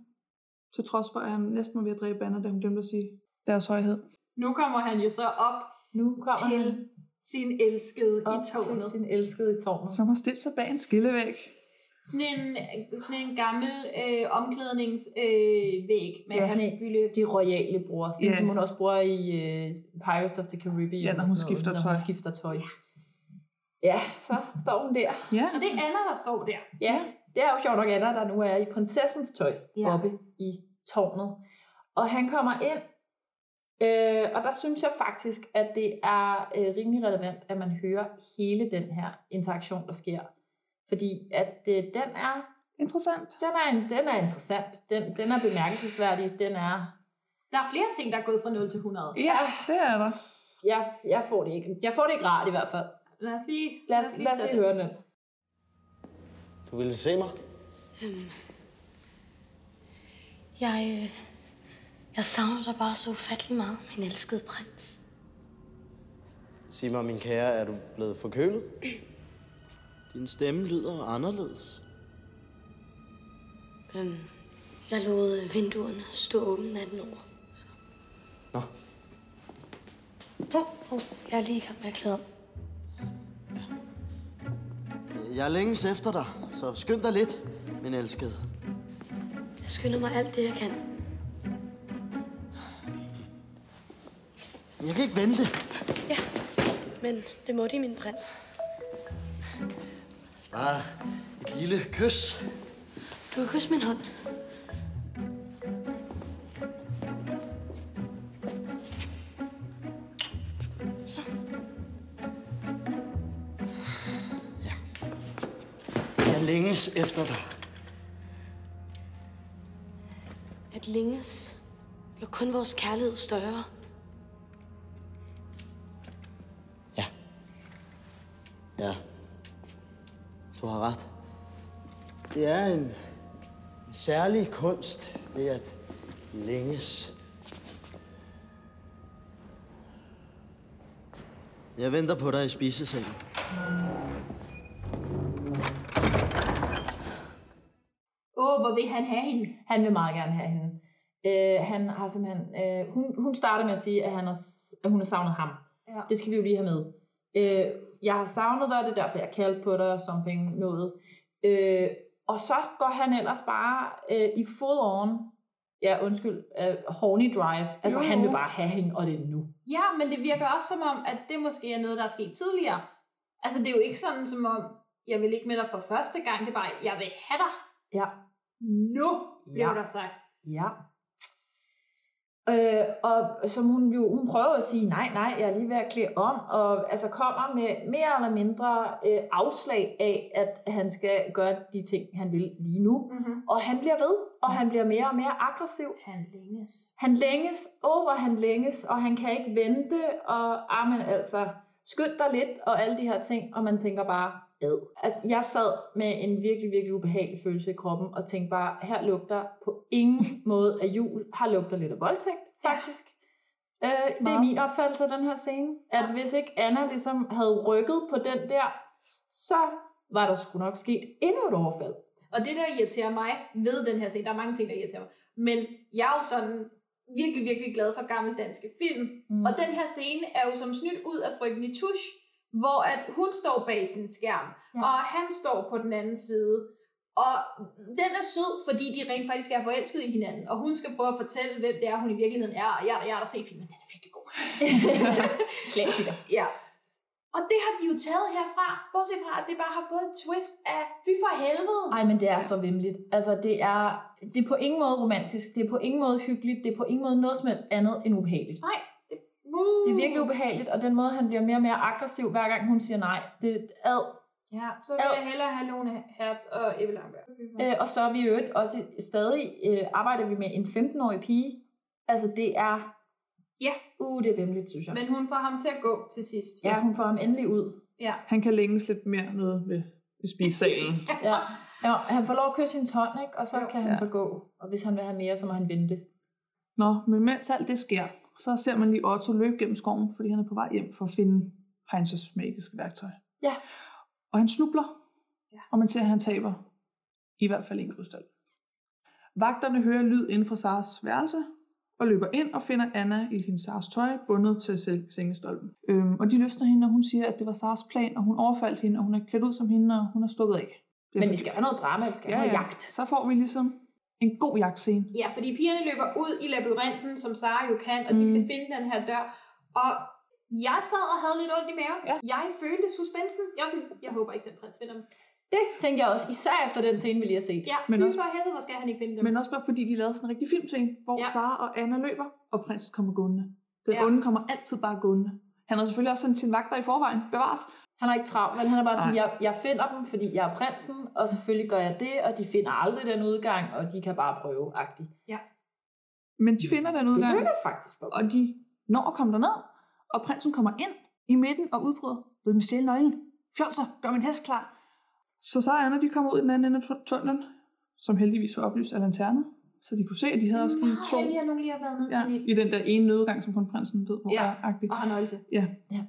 I: til trods for, at han næsten var ved at dræbe Anna, da hun glemte at sige deres højhed.
B: Nu kommer han jo så op
H: Nu kommer
B: til
H: han
B: sin elskede i
H: op
B: tårnet.
H: til sin elskede i tårnet.
I: som har stillet sig bag en skillevæg.
B: Sådan en, sådan en gammel øh, omklædningsvæg, øh, væg, man
I: Ja.
B: kan
H: Sådan en-
B: fylde
H: de royale bruger, sådan
I: Ja.
H: som hun også bruger i uh, Pirates of the Caribbean.
I: Ja, når
H: og
I: hun
H: sådan
I: skifter
H: noget, når
I: tøj.
H: Hun skifter tøj. Ja, så står hun der.
I: Ja,
B: Og det er Anna, der står der.
H: Ja, det er jo sjovt nok Anna, der nu er i prinsessens tøj ja.
B: Ja.
H: oppe i tårnet. Og han kommer ind, øh, og der synes jeg faktisk, at det er øh, rimelig relevant, at man hører hele den her interaktion, der sker. Fordi at øh, den er
I: interessant.
H: den er, en, den er interessant, den, den er bemærkelsesværdig, den er
B: Der er flere ting, der er gået fra 0 til 100.
I: Ja, det er der.
H: jeg, jeg får det ikke. Jeg får det ikke rart i hvert fald.
B: Lad os lige,
H: Lad os, lad os
B: tage
H: lige høre den.
A: Du ville se mig?
E: Jeg, øh, jeg savner dig bare så ufattelig meget, min elskede prins.
A: Sig mig, min kære, er du blevet forkølet? Din stemme lyder anderledes.
E: Øhm, jeg lod øh, vinduerne stå åbne natten over.
A: Nå,
E: Hov, hov, jeg er lige i gang med at klæde om.
A: jeg længes efter dig, så skynd dig lidt, min elskede.
E: Jeg skynder mig alt det, jeg kan.
A: Jeg kan ikke vente.
E: Ja, men det må de, min prins.
A: Bare et lille kys.
E: Du kan kysse min hånd. Så.
A: Jeg længes efter dig.
E: At længes gør kun vores kærlighed større.
A: Ja. Ja. Du har ret. Det er en, en særlig kunst, det at længes. Jeg venter på dig i spisesalen.
B: Åh, oh, hvor vil han have hende?
H: Han vil meget gerne have hende. Øh, han har simpelthen, øh, hun, hun starter med at sige, at, han har, s- at hun har savnet ham.
B: Ja.
H: Det skal vi jo lige have med. Øh, jeg har savnet dig, det er derfor, jeg kaldte på dig, something, noget. Øh, og så går han ellers bare øh, i full on, ja undskyld, øh, horny drive. Altså
I: Jo,
H: jo.
I: jo.
H: han vil bare have hende, og det er nu.
B: Ja, men det virker også som om, at det måske er noget, der er sket tidligere. Altså, det er jo ikke sådan som om, jeg vil ikke med dig for første gang, det er bare, jeg vil have dig.
H: Ja.
B: Nu blev
H: Ja.
B: der sagt.
H: Ja. Øh, og som hun jo, hun prøver at sige, nej, nej, jeg er lige ved at klæde om, og altså kommer med mere eller mindre øh, afslag af, at han skal gøre de ting, han vil lige nu.
B: Mm-hmm.
H: Og han bliver ved, og han bliver mere og mere aggressiv.
B: Han længes.
H: Han længes, over han længes, og han kan ikke vente, og ah, men altså, skynd dig lidt, og alle de her ting, og man tænker bare, ad. Altså, jeg sad med en virkelig, virkelig ubehagelig følelse i kroppen, og tænkte bare, her lugter på ingen måde af jul. Her lugter lidt af voldtægt, faktisk. Øh, det er
I: Meget.
H: min opfattelse af den her scene, at hvis ikke Anna ligesom havde rykket på den der, så var der sgu nok sket endnu et overfald.
B: Og det, der irriterer mig ved den her scene, der er mange ting, der irriterer mig, men jeg er jo sådan virkelig, virkelig glad for gamle danske film.
H: Mm.
B: Mm. Og den her scene er jo som snydt ud af frygten i tusch, hvor at hun står bag sin skærm,
H: Ja.
B: ja. og han står på den anden side. Og den er sød, fordi de rent faktisk er forelskede i hinanden, og hun skal prøve at fortælle, hvem det er, hun i virkeligheden er, og jeg, jeg har da set filmen, den er virkelig god.
H: Klassiker.
B: Ja. Og det har de jo taget herfra, bortset fra, at det bare har fået et twist af, fy for helvede.
H: Ej, men det er så vimligt. Altså, det er, det er på ingen måde romantisk, det er på ingen måde hyggeligt, det er på ingen måde noget som helst andet end ubehageligt.
B: Nej.
H: Det er virkelig ubehageligt, og den måde, han bliver mere og mere aggressiv, hver gang hun siger nej, det er ad.
B: Ja, så vil
H: Ad.
B: jeg hellere have Lone Hertz og Ebbe Langberg.
H: Øh, og så er vi i øvrigt også stadig, øh, arbejder vi med en 15-årig pige. Altså, det er...
B: Ja.
H: Uh, det er vimligt, synes jeg.
B: Men hun får ham til at gå til sidst.
H: Ja, hun får ham endelig ud.
B: ja.
I: Han kan længes lidt mere nede ved, ved spisesalen.
H: Ja. ja. Han får lov at kysse hendes hånd, ikke? og så
B: Jo.
H: kan han
I: Ja.
H: så gå. Og hvis han vil have mere, så må han vente.
I: Nå, men mens alt det sker, så ser man lige Otto løbe gennem skoven, fordi han er på vej hjem for at finde Heinz's magiske værktøj.
H: Ja.
I: Og han snubler, ja. og man ser, at han taber i hvert fald en krystal. Vagterne hører lyd inden fra Saras værelse, og løber ind og finder Anna i hendes Saras tøj, bundet til sel- sengestolpen. Øhm, og de løsner hende, og hun siger, at det var Saras plan, og hun overfaldt hende, og hun er klædt ud som hende, og hun er stukket af.
H: Men vi skal have noget drama, vi skal have noget jagt.
I: Så får vi ligesom en god jagtscene.
B: ja, fordi pigerne løber ud i labyrinten, som Sara jo kan, og mm. de skal finde den her dør. Og jeg sad og havde lidt ondt i maven. Ja. Jeg følte suspensen. Jeg var sådan, jeg håber ikke, den prins finder dem.
H: Det tænker jeg også, især efter den scene, vi lige har set.
B: Ja,
I: Men
B: men fy
I: også-
B: for helvede, hvor skal han ikke finde dem.
I: Men også bare fordi de lavede sådan en rigtig filmscene, hvor
B: Ja.
I: ja. Sara og Anna løber, og prinsen kommer gående.
B: Ja.
I: Den ja. onde kommer altid bare gående. Han har selvfølgelig også sendt sine vagter i forvejen. Bevares.
H: Han er ikke travlt, men han er bare sådan,
I: Nej.
H: jeg, jeg finder dem, fordi jeg er prinsen, og selvfølgelig gør jeg det, og de finder aldrig den udgang, og de kan bare prøve agtigt.
I: Men de finder den
H: Det
I: udgang,
H: lykkes faktisk for dem.
I: og de når at komme derned. Og prinsen kommer ind i midten og udbryder. Lad mig stjæle nøglen. Fjolser, gør min hest klar. Så Sara og Anna, de kommer ud i den anden ende af tu- tunnelen, som heldigvis var oplyst af lanterner. Så de kunne se, at de havde også lige
B: Meget
I: to
B: heldig, at nogen lige har været med
I: ja,
B: til Niel.
I: i den der ene nødgang, som kun prinsen ved, hvor
B: Ja.
I: ja. er agtigt.
B: Og har nøgle til.
I: Ja.
H: Ja.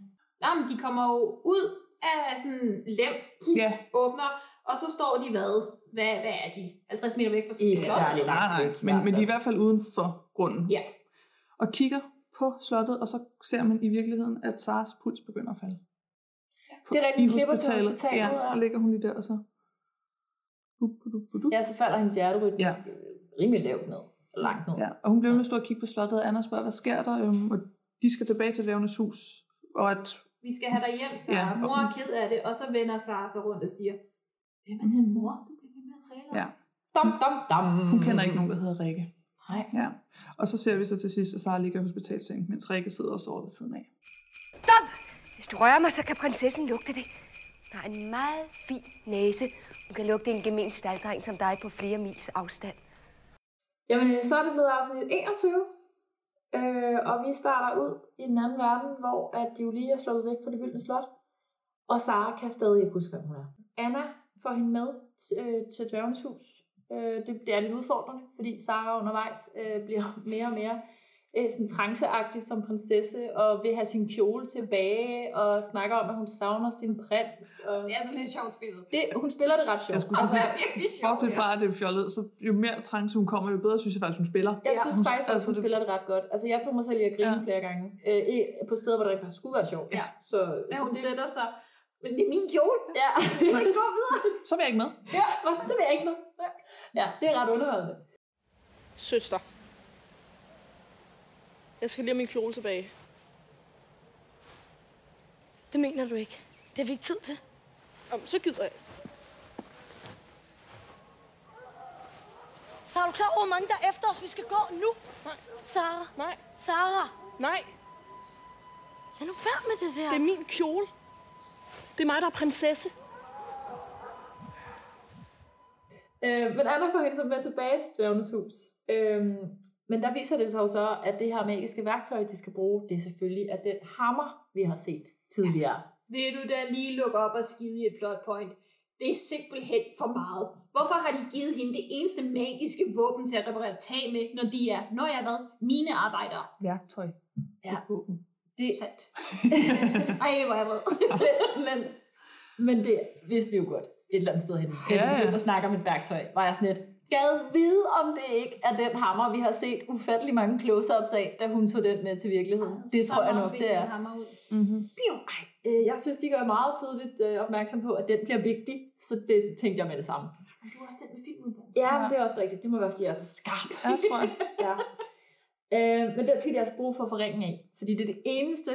B: Nå, men de kommer jo ud af sådan lem,
I: Ja,
B: åbner, og så står de hvad? Hvad, hvad er de? 50 meter væk fra
H: Ikke
B: slottet?
H: særlig
I: Nej,
H: langt
I: nej,
H: væk, i
I: men,
H: hvert
I: men de er i
H: fald.
I: hvert fald uden for grunden.
B: Ja.
I: Og kigger på slottet, og så ser man i virkeligheden, at Saras puls begynder at falde. På,
H: Det er rigtigt,
I: i
H: hun klipper til hospitalet,
I: Ja,
H: ja.
I: og ligger hun lige der, og så... Bup, bup, bup, bup.
H: Ja, så falder hendes hjerterytme ja.
I: Ja.
H: rimelig lavt ned. Langt ned. Ja.
I: ja. Og hun bliver med at stå og kigge på slottet, og Anna spørger, hvad sker der? Øhm, og de skal tilbage til dværgenes hus, og at
B: vi skal have dig hjem, Sara.
I: Ja,
B: Ja,
I: og-
B: mor er ked af det, og så vender Sara sig rundt og siger, hvem er den mor, du bliver ved med at tale om?
I: Ja.
H: Dam, dam, dam.
I: hun mm. kender ikke nogen, der hedder Rikke.
H: Mhm. Nej.
I: Ja. Og så ser vi så til sidst, at Sara ligger i hospitalsengen, mens Rikke sidder og sover ved siden af.
J: Stop! Hvis du rører mig, så kan prinsessen lugte det. Der er en meget fin næse. Hun kan lugte en gemen staldreng som dig på flere mils afstand.
H: Jamen, øh, så er det blevet afsnit 21. Øh, og vi starter ud i den anden verden, hvor at de jo lige er sluppet væk fra det gyldne slot. Og Sara kan stadig ikke huske, hvem hun er. Anna får hende med t- øh, til dværgens hus. Øh, det, det er lidt udfordrende, fordi Sara undervejs øh, bliver mere og mere øh, sådan tranceagtig som prinsesse, og vil have sin kjole tilbage, og snakker om, at hun savner sin prins. Og
B: Det er altså lidt sjovt spillet.
H: det, hun spiller det ret sjovt.
I: Jeg skulle
B: Altså,
I: Altså,
B: virkelig sjovt.
I: Bortset
B: ja.
I: fra, at det er fjollet, så jo mere trance hun kommer, jo bedre synes jeg faktisk, hun spiller.
H: Jeg
B: Ja,
H: synes
I: hun-
H: faktisk, at
I: altså,
H: hun
I: det-
H: spiller det ret godt. Altså, jeg tog mig selv i at grine ja.
I: Ja.
H: flere gange. Øh, i- på steder, hvor det rent faktisk skulle være sjovt.
I: Ja.
H: Så,
B: Ja,
H: så
B: hun
H: det,
B: sætter sig. Men det er min kjole.
H: ja.
B: Vi går videre.
I: Så vil jeg ikke med.
H: Hvor sådan, så vil jeg ikke med. Ja, det er ret underholdende.
K: Søster. Jeg skal lige have min kjole tilbage.
E: Det mener du ikke. Det har vi ikke tid til.
K: Om, så gider jeg.
E: Så er du klar over, hvor mange der er efter os, vi skal gå nu? Nej. Sara.
K: Nej.
E: Sara.
K: Nej.
E: Lad nu være med det der.
K: Det er min kjole. Det er mig, der er prinsesse.
H: Øh, men Anna får hende så med tilbage til dværgenes hus. Øh, men der viser det sig jo så, at det her magiske værktøj, de skal bruge, det er selvfølgelig at den hammer, vi har set tidligere.
B: Vil du da lige lukke op og skide i et plot point? Det er simpelthen for meget. Hvorfor har de givet hende det eneste magiske våben til at reparere tag med, når de er, når jeg hvad, mine arbejdere?
I: Værktøj.
B: Ja.
I: Våben.
B: Det er sandt. Ej, hvor er jeg vred.
H: men, men det vidste vi jo godt et eller andet sted hen. Da
I: Ja,
H: ja,
I: ja.
H: vi begyndte at snakke om et værktøj, var jeg sådan lidt, gad vide, om det ikke er den hammer, vi har set ufattelig mange close-ups af, da hun tog den med til virkeligheden.
I: Ah,
H: Det tror jeg nok, det er.
I: Mm-hmm.
H: Øh, Jeg synes, de gør meget tydeligt øh, opmærksom på, at den bliver vigtig, så det tænkte jeg med det samme.
B: Du er også den med filmuddannelse.
H: Ja, men det er også rigtigt. Det må være, fordi jeg er så skarp.
I: Ja, tror jeg.
H: ja. Øh, men den skal de altså bruge for forringen af, fordi det er det eneste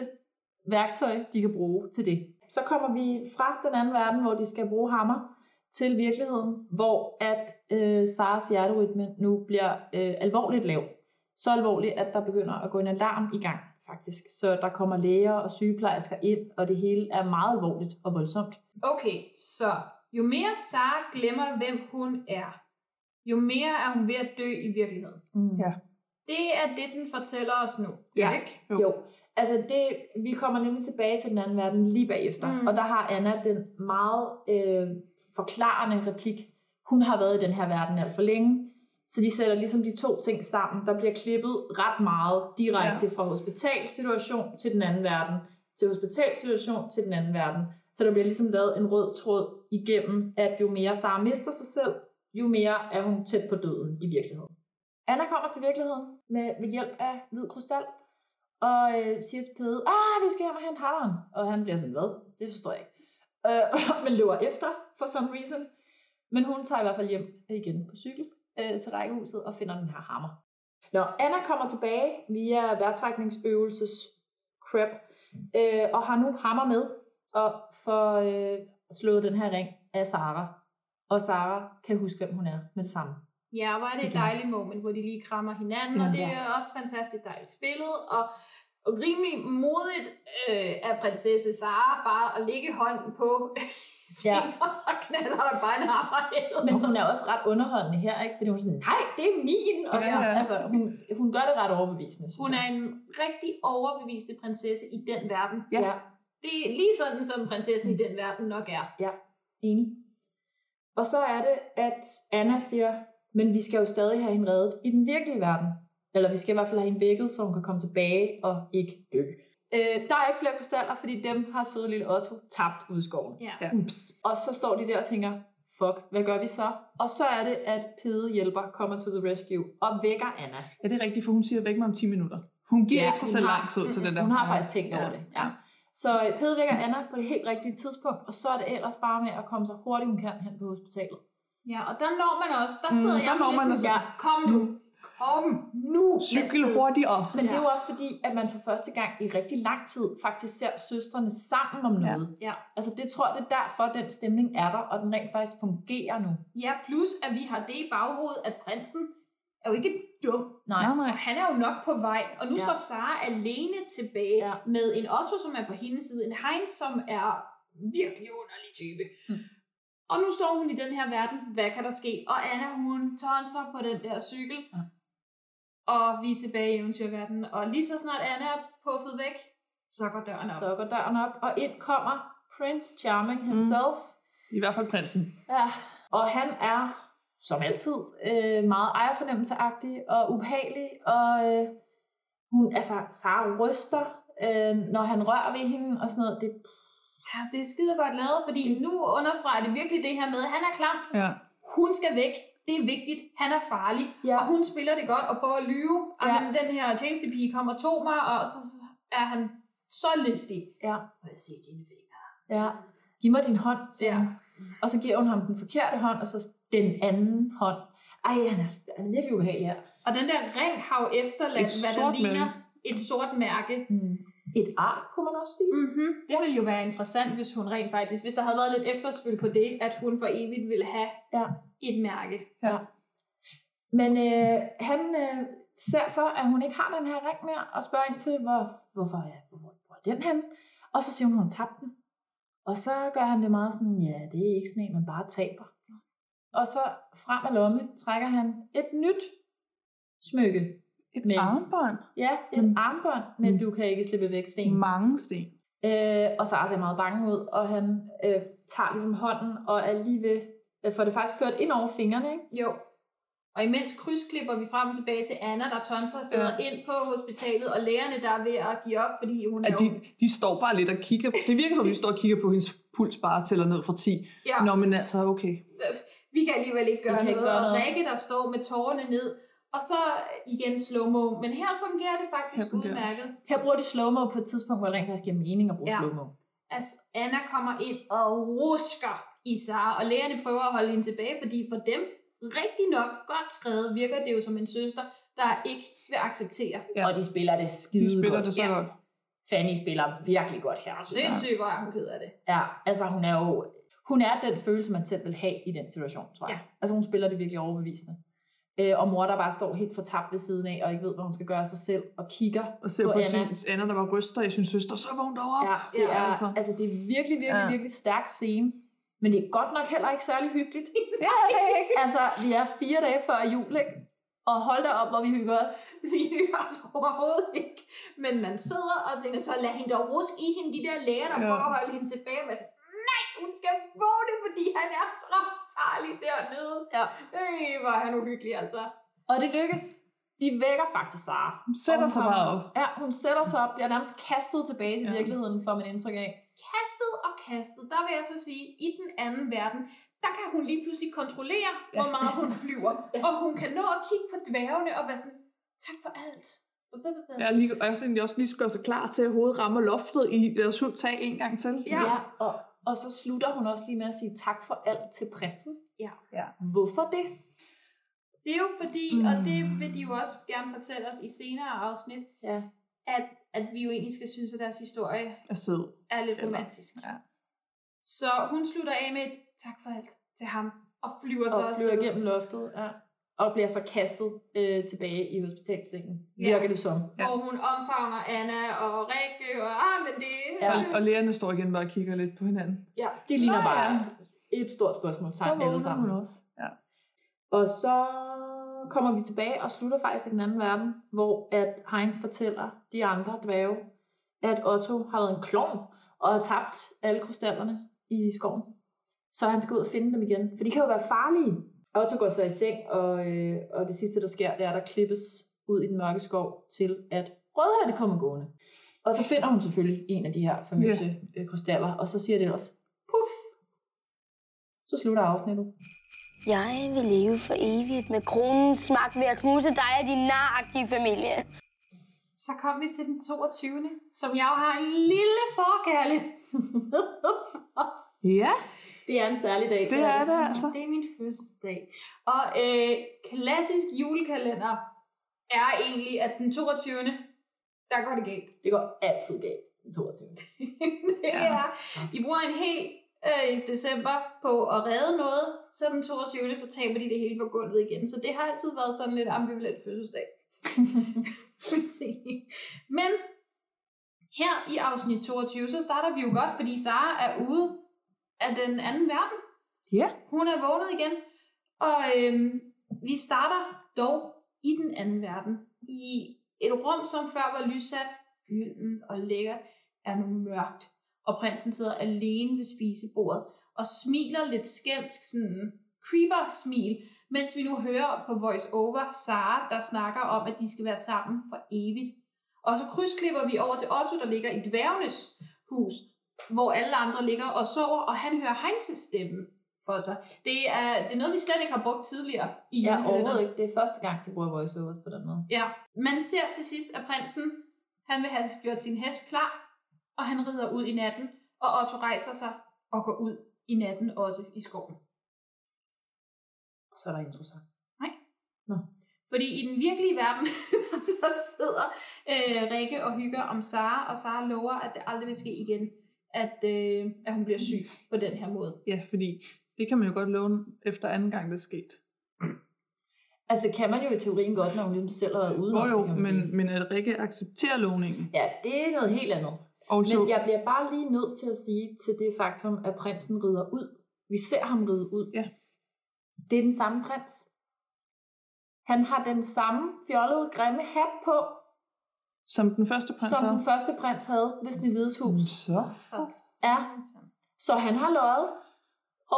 H: værktøj, de kan bruge til det. Så kommer vi fra den anden verden, hvor de skal bruge hammer, til virkeligheden, hvor at øh, Saras hjerterytme nu bliver øh, alvorligt lav. Så alvorligt, at der begynder at gå en alarm i gang, faktisk. Så der kommer læger og sygeplejersker ind, og det hele er meget alvorligt og voldsomt.
B: Okay, så jo mere Sara glemmer, hvem hun er, jo mere er hun ved at dø i virkeligheden.
H: Mm.
I: Ja.
B: Det er det, den fortæller os nu.
H: Ja.
B: Ikke?
I: Jo.
H: Jo. jo. Altså det, vi kommer nemlig tilbage til den anden verden lige bagefter.
B: Mm.
H: Mm. Og der har Anna den meget øh, forklarende replik. Hun har været i den her verden alt for længe. Så de sætter ligesom de to ting sammen. Der bliver klippet ret meget direkte ja. fra hospitalsituation til den anden verden. Til hospitalsituation til den anden verden. Så der bliver ligesom lavet en rød tråd igennem, at jo mere Sara mister sig selv, jo mere er hun tæt på døden i virkeligheden. Anna kommer til virkeligheden med, ved hjælp af hvid krystal, og øh, siger til Pede, ah, vi skal hjem og hente hammeren. Og han bliver sådan, hvad? Det forstår jeg ikke. Øh, men løber efter, for some reason. Men hun tager i hvert fald hjem igen på cykel øh, til rækkehuset og finder den her hammer. Nå, Anna kommer tilbage via værtrækningsøvelses crap, øh, og har nu hammer med og får øh, slået den her ring af Sara. Og Sara kan huske, hvem hun er med det samme.
B: Ja, hvor er det et
H: Igen.
B: dejligt moment, hvor de lige krammer hinanden,
H: Ja.
B: og det er også fantastisk dejligt spillet, og, og rimelig modigt øh, af prinsesse Sara bare at lægge hånden på ting,
H: Ja.
B: og så knaller der bare en hammer ned.
H: Men hun er også ret underholdende her, ikke? Fordi hun er sådan, nej, det er min. Og så,
I: Ja, ja.
H: altså, hun, hun gør det ret overbevisende, synes
B: Hun
H: jeg.
B: er en rigtig overbeviste prinsesse i den verden.
I: Ja.
H: Ja,
B: Det er lige sådan, som prinsessen i den verden nok er.
H: enig. Og så er det, at Anna siger, men vi skal jo stadig have hende reddet i den virkelige verden. Eller vi skal i hvert fald have hende vækket, så hun kan komme tilbage og ikke dø. Øh, der er ikke flere krystaller, fordi dem har søde lille Otto tabt ud i skoven.
B: Ja.
I: Ja.
H: Ups. Og så står de der og tænker, fuck, hvad gør vi så? Og så er det, at Pede hjælper kommer to the rescue og vækker Anna.
I: ja, det er rigtigt, for hun siger væk mig om 10 minutter. Hun giver
H: Ja,
I: ikke sig
H: hun
I: selv
H: har-
I: lang tid til den der.
H: Hun har
I: Ja.
H: faktisk tænkt over det, ja. Så øh, Pede vækker Anna på det helt rigtige tidspunkt, og så er det ellers bare med at komme så hurtigt hun kan hen på hospitalet.
B: Ja, og der når man også. Der
I: Mm,
B: sidder
I: der
B: jeg
I: når man
B: sådan,
I: også.
B: ja, kom nu. Kom nu.
I: Cykel hurtigere.
H: Men ja. det er jo også fordi, at man for første gang i rigtig lang tid faktisk ser søstrene sammen om noget.
B: Ja.
H: Altså det tror jeg, det er derfor, den stemning er der, og den rent faktisk fungerer nu.
B: Ja, plus at vi har det i baghovedet, at prinsen er jo ikke dum.
H: Nej.
I: Nej, nej.
B: Og han er jo nok på vej, og nu ja.
H: Ja.
B: står Sara alene tilbage ja.
H: Ja.
B: med en Otto, som er på hendes side, en Heinz, som er virkelig underlig type. Mm.
H: Mm.
B: Og nu står hun i den her verden, hvad kan der ske? Og Anna, hun tonser på den der cykel,
H: Ja.
B: og vi er tilbage i eventyrverdenen. Og lige så snart Anna er puffet væk, så går døren op.
H: Så går døren op, og ind kommer Prince Charming himself. Mm.
I: I hvert fald prinsen.
H: Ja, og han er, som altid, øh, meget ejerfornemmelseagtig og ubehagelig, og øh, hun, altså, Sara ryster, øh, når han rører ved hende og sådan noget. Det,
B: Ja, det er skide godt lavet, fordi nu understreger det virkelig det her med, at han er klam,
I: Ja.
B: hun skal væk, det er vigtigt, han er farlig, ja.
H: Ja.
B: og hun spiller det godt og prøver at lyve.
H: Ja.
B: Ja. den her tjenestepige kommer og tog mig, og så er han så listig.
H: ja,
B: Må jeg se dine fingre?
H: ja, giv mig din hånd, siger
B: Ja.
H: ja. Og så giver hun ham den forkerte hånd, og så den anden hånd. Ej, han er, han er virkelig ubehagelig her.
B: Og den der ring har jo efterladt,
I: Et
B: hvad der
I: sort
B: ligner et sort mærke.
H: Mm. Et ar, kunne man også sige.
B: Mm-hmm. Det ville jo være interessant, hvis hun rent faktisk, hvis der havde været lidt efterspil på det, at hun for evigt ville have
H: Ja.
B: et mærke.
H: Men øh, han øh, ser så, at hun ikke har den her ring mere, og spørger ind til, hvor, hvorfor er, hvor, hvor er den henne? Og så siger hun, at hun tabte den. Og så gør han det meget sådan, ja, det er ikke sådan en, man bare taber. Og så frem af lomme trækker han et nyt smykke.
I: Et med, armbånd?
H: Ja, et mm. armbånd, men mm. du kan ikke slippe væk sten.
I: Mange sten.
H: Øh, og så er jeg meget bange ud, og han øh, tager ligesom hånden og er lige ved, øh, får det faktisk ført ind over fingrene, ikke?
B: Jo. Og imens krydsklipper vi frem og tilbage til Anna, der tonser afsted ja. ind på hospitalet, og lægerne, der er ved at give op, fordi hun
I: At
B: er
I: de,
B: jo-
I: de står bare lidt og kigger. Det virker som, de står og kigger på hendes puls bare tæller ned fra 10.
B: Ja.
I: Nå, men altså, okay.
B: Øh, vi kan alligevel ikke gøre
H: Vi kan
B: noget.
H: ikke gøre
B: Og
H: noget.
B: Rikke, der står med tårerne ned, og så igen slow-mo. Men her fungerer det faktisk
H: Her fungerer det.
B: udmærket.
H: Her bruger de slow-mo på et tidspunkt, hvor det rent faktisk giver mening at bruge
B: Ja.
H: ja. slow-mo.
B: Altså, Anna kommer ind og rusker i Sara, og lægerne prøver at holde hende tilbage, fordi for dem, rigtig nok godt skrevet, virker det jo som en søster, der ikke vil acceptere.
H: Ja. Og de spiller det skide
I: De spiller
H: godt.
I: det så
H: Ja.
I: godt.
H: Fanny spiller virkelig godt her. synes jeg.
B: Sindssygt, hvor er hun ked af det.
H: Ja, altså hun er jo... Hun er den følelse, man selv vil have i den situation, tror jeg. Ja. Altså hun spiller det virkelig overbevisende. Øh, og mor, der bare står helt fortabt ved siden af, og ikke ved, hvad hun skal gøre af sig selv, og kigger
I: Og ser på, på sin Anna, der bare ryster i sin søster, så vågn dog op.
H: Ja, det er, altså. altså det er virkelig, virkelig,
I: Ja.
H: ja. virkelig stærk scene. Men det er godt nok heller ikke særlig hyggeligt. altså, vi er fire dage før jul, ikke? Og hold da op, hvor vi hygger os.
B: Vi hygger os overhovedet ikke. Men man sidder og tænker, så lad hende dog ruske i hende, de der læger, der
H: Ja.
B: ja. prøver at holde hende tilbage. Men sådan, nej, hun skal vågne, fordi han er så farlig dernede.
H: Ja.
B: Øh, hvor er han uhyggelig, altså.
H: Og det lykkes. De vækker faktisk Sara.
I: Hun sætter
H: Og
I: sig
H: kommer-
I: bare op.
H: Ja, hun sætter sig op. Bliver nærmest kastet tilbage til ja. virkeligheden, får man indtryk af.
B: Kastet og kastet, der vil jeg så sige, i den anden verden, der kan hun lige pludselig kontrollere, hvor meget hun flyver. Og hun kan nå at kigge på dværgene og være sådan, tak for alt.
I: Ja, lige, og jeg synes, de også lige skal gøre sig klar til, at hovedet rammer loftet i deres hul tag en gang til.
H: Ja. ja og, og så slutter hun også lige med at sige tak for alt til prinsen.
B: Ja.
I: ja.
H: Hvorfor det?
B: Det er jo fordi, mm. og det vil de jo også gerne fortælle os i senere afsnit,
H: ja.
B: at, at vi jo egentlig skal synes, at deres historie
I: Er sød.
B: er lidt
I: Eller-
B: romantisk.
I: Ja.
B: Så hun slutter af med et tak for alt til ham, og flyver
H: Og
B: så
H: så
B: også
H: flyver igennem loftet. Ja. Og bliver så kastet øh, tilbage i hospitalsengen.
B: Ja.
H: Virker det som.
B: Ja. Og hun omfavner Anna og Rikke, og ah, men det...
I: Ja. Og, og lærerne står igen bare og kigger lidt på hinanden.
B: ja.
H: De ligner
I: Nå ja.
H: bare et stort spørgsmål.
I: Så vågner hun også. Ja.
H: Og så kommer vi tilbage og slutter faktisk i den anden verden, hvor at Heinz fortæller de andre dvæve, at Otto har været en klovn og har tabt alle krystallerne i skoven. Så han skal ud og finde dem igen, for de kan jo være farlige. Otto går så i seng, og, øh, og det sidste, der sker, det er, at der klippes ud i den mørke skov til, at Rødhætte kommer gående. Og så finder hun selvfølgelig en af de her famøse yeah. krystaller, og så siger det ellers, puff, så slutter afsnittet.
L: Jeg vil leve for evigt med kronens magt ved at knuse dig og din naragtige familie.
B: Så kom vi til den 22. som jeg jo har en lille forkærlighed
I: Ja.
H: Det er en særlig dag.
B: Det er det altså. Det er min fødselsdag. Og øh, klassisk julekalender er egentlig, at den 22. der går det galt.
H: Det går altid galt den 22.
B: det ja. er, de bruger en hel øh, december på at redde noget, så den 22. så taber de det hele på gulvet igen. Så det har altid været sådan lidt ambivalent fødselsdag. Kan man sige. Men her i afsnit 22, så starter vi jo godt, fordi Sara er ude af den anden verden.
I: Ja.
B: Hun er vågnet igen, og øhm, vi starter dog i den anden verden. I et rum, som før var lyssat, gylden og lækkert, er nu mørkt. Og prinsen sidder alene ved spisebordet og smiler lidt skæmt, sådan en creeper-smil, mens vi nu hører på voice over Sara, der snakker om, at de skal være sammen for evigt. Og så krydsklipper vi over til Otto, der ligger i dværgenes hus, hvor alle andre ligger og sover, og han hører Heinzes stemme for sig. Det er, det er noget, vi slet ikke har brugt tidligere i
H: Ja,
B: julekalenderen.
H: overhovedet ikke. Det er første gang, de bruger voiceovers på den måde.
B: Ja, man ser til sidst, at prinsen, han vil have gjort sin hest klar, og han rider ud i natten, og Otto rejser sig og går ud i natten også i skoven.
H: Så er der intro sang.
B: Nej. Nå. Fordi i den virkelige verden, så sidder øh, Rikke og hygger om Sara, og Sara lover, at det aldrig vil ske igen, at, øh, at hun bliver syg på den her måde.
I: Ja, fordi det kan man jo godt låne efter anden gang, det er sket.
H: Altså, det kan man jo i teorien godt, når hun ligesom selv har været ude.
I: Jo jo, men, men at Rikke accepterer lovningen.
H: Ja, det er noget helt andet.
I: Og så-
H: Men jeg bliver bare lige nødt til at sige til det faktum, at prinsen rider ud. Vi ser ham ride ud.
I: Ja.
H: Det er den samme prins. Han har den samme fjollede, grimme hat på,
I: Som den første prins
H: som
I: havde.
H: den første prins havde ved sin hvides hus.
I: Så
H: Ja. Så han har løjet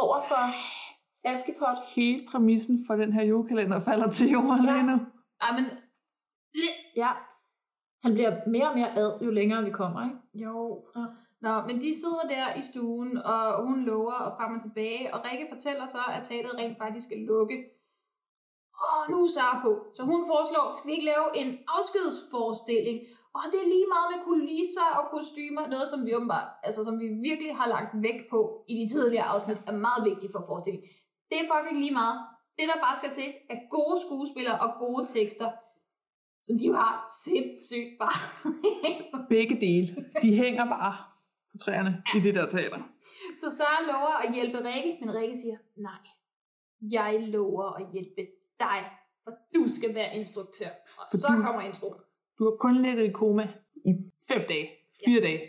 H: over for Askepot.
I: hele præmissen for den her julekalender falder til jorden lige nu.
B: Ej, men...
H: Ja. Han bliver mere og mere ad, jo længere vi kommer, ikke?
B: Jo. Nå, men de sidder der i stuen, og hun lover og frem og tilbage, og Rikke fortæller så, at teateret rent faktisk skal lukke. Og nu er Sara på. Så hun foreslår, skal vi ikke lave en afskedsforestilling? Og det er lige meget med kulisser og kostymer, noget som vi åbenbart, altså som vi virkelig har lagt vægt på i de tidligere afsnit, er meget vigtigt for forestillingen. Det er fucking lige meget. Det, der bare skal til, er gode skuespillere og gode tekster, som de jo har sindssygt bare.
I: Begge dele. De hænger bare på træerne i det der teater.
B: Så Sara lover at hjælpe Rikke, men Rikke siger, nej, jeg lover at hjælpe dig, for du skal være instruktør. Og
I: For
B: så
I: du-
B: kommer introen.
I: Du har kun ligget i koma i fem dage. Fire ja. dage.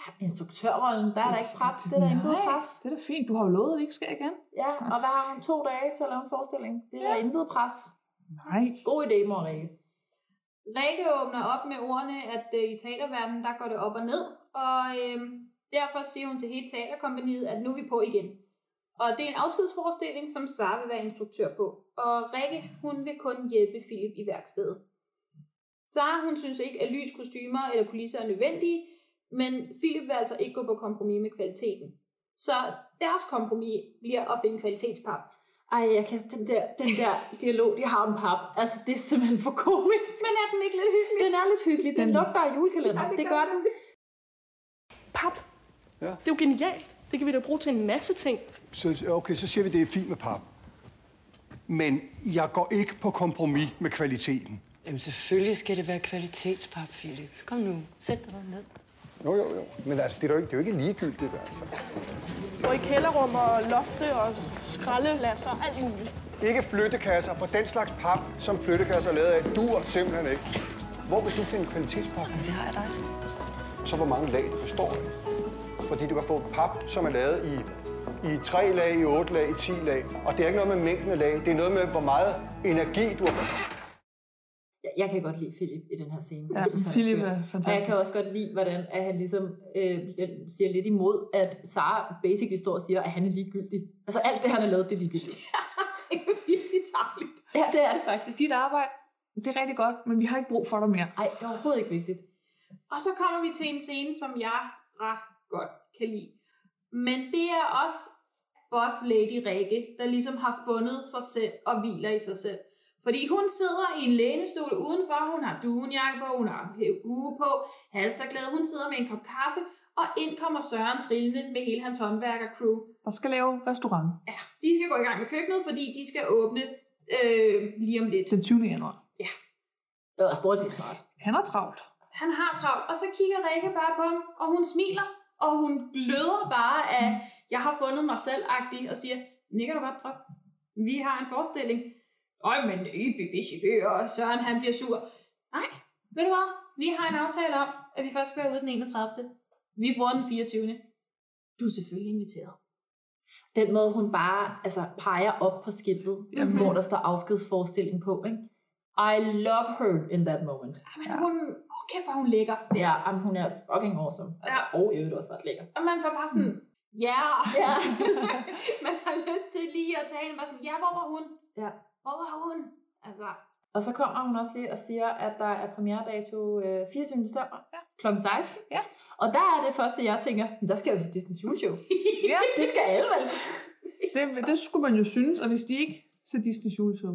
H: Ja, instruktørrollen, der er der ikke pres. Det er der intet pres.
I: det er da fint. Du har jo lovet, at det ikke sker igen.
H: Ja, og hvad har hun? To dage til at lave en forestilling. Det er ja. der intet pres.
I: Nej.
H: God idé, mor Rikke.
B: Rikke åbner op med ordene, at øh, i teaterverdenen, der går det op og ned, og øh, derfor siger hun til hele teaterkompaniet, at nu er vi på igen. Og det er en afskedsforestilling, som Sara vil være instruktør på. Og Rikke, hun vil kun hjælpe Philip i værkstedet. Sara, hun synes ikke, at lys, kostymer eller kulisser er nødvendige, men Philip vil altså ikke gå på kompromis med kvaliteten. Så deres kompromis bliver at finde kvalitetspap.
H: Ej, jeg kan, den der, den der dialog, de har om pap, altså det er simpelthen for komisk.
B: Men er den ikke lidt hyggelig?
H: Den er lidt hyggelig. Den, den lugter af julekalender. det, gør den.
K: Pap. Ja. Det er jo genialt. Det kan vi da bruge til en masse ting.
M: Så, okay, så siger vi, det er fint med pap. Men jeg går ikke på kompromis med kvaliteten.
N: Jamen selvfølgelig skal det være kvalitetspap, Philip. Kom nu, sæt dig ned.
G: Jo, jo, jo. Men altså, det er jo ikke, det er jo ikke ligegyldigt, altså.
K: Og i kælderrum og lofte og skraldelasser og alt muligt.
M: Ikke flyttekasser, for den slags pap, som flyttekasser er lavet af, duer simpelthen ikke. Hvor vil du finde kvalitetspap? Det har jeg altså. dig til. Så hvor mange lag det består af? Fordi du kan få pap, som er lavet i, i tre lag, i otte lag, i ti lag. Og det er ikke noget med mængden af lag, det er noget med, hvor meget energi du har
H: Jeg, jeg kan godt lide Philip i den her scene.
I: Ja,
H: Jeg han
I: Philip
H: skør.
I: er
H: Og jeg
I: fantastisk.
H: kan også godt lide, hvordan at han ligesom øh, siger lidt imod, at Sara basically står og siger, at han er ligegyldig. Altså alt det, han har lavet, det er ligegyldigt.
B: virkelig tarveligt.
H: Ja, det er det faktisk.
I: Dit arbejde, det er rigtig godt, men vi har ikke brug for dig mere.
H: Nej, det er overhovedet ikke vigtigt.
B: Og så kommer vi til en scene, som jeg ret godt kan lide. Men det er også Boss Lady Rikke, der ligesom har fundet sig selv og hviler i sig selv. Fordi hun sidder i en lænestol udenfor, hun har duenjakke på, hun har hue på, halsterklæde, hun sidder med en kop kaffe, og ind kommer Søren trillende med hele hans håndværker-crew.
I: Der skal lave restaurant
B: De skal gå i gang med køkkenet, fordi de skal åbne øh, lige om lidt.
I: den 20. januar.
B: Ja.
H: Det var sportsvis snart.
I: Han er travlt.
B: han har travlt, og så kigger Rikke bare på ham, og hun smiler, og hun gløder bare af, jeg har fundet mig selv-agtig, og siger, nikker du godt, drop. Vi har en forestilling. Øj, men Ibi, Bishi, og Søren, han bliver sur. Nej, ved du hvad? Vi har en aftale om, at vi først skal være ude den 31. Vi bruger den 24. Du er selvfølgelig inviteret.
H: Den måde, hun bare altså, peger op på skiltet, mm-hmm. hvor der står afskedsforestilling på, ikke? I love her in that moment.
B: "Ah, Men ja. hun, åh, kæft, hvor er hun lækker.
H: Ja, jamen, hun er fucking awesome. Altså, ja. Og i øvrigt også ret lækker.
B: Og man får bare sådan, ja.
H: Ja.
B: man har lyst til lige at tale, bare sådan, ja, hvor var hun?
H: Ja.
B: Hvor var hun? Altså,
H: Og så kommer hun også lige og siger, at der er premieredato øh, 24. december ja. kl. 16.
I: Ja.
H: Og der er det første, jeg tænker, "Men der skal jeg jo til Disney's juleshow.
I: Ja.
H: Det skal alle vel.
I: Det, det skulle man jo synes, og hvis de ikke ser Disney's juleshow,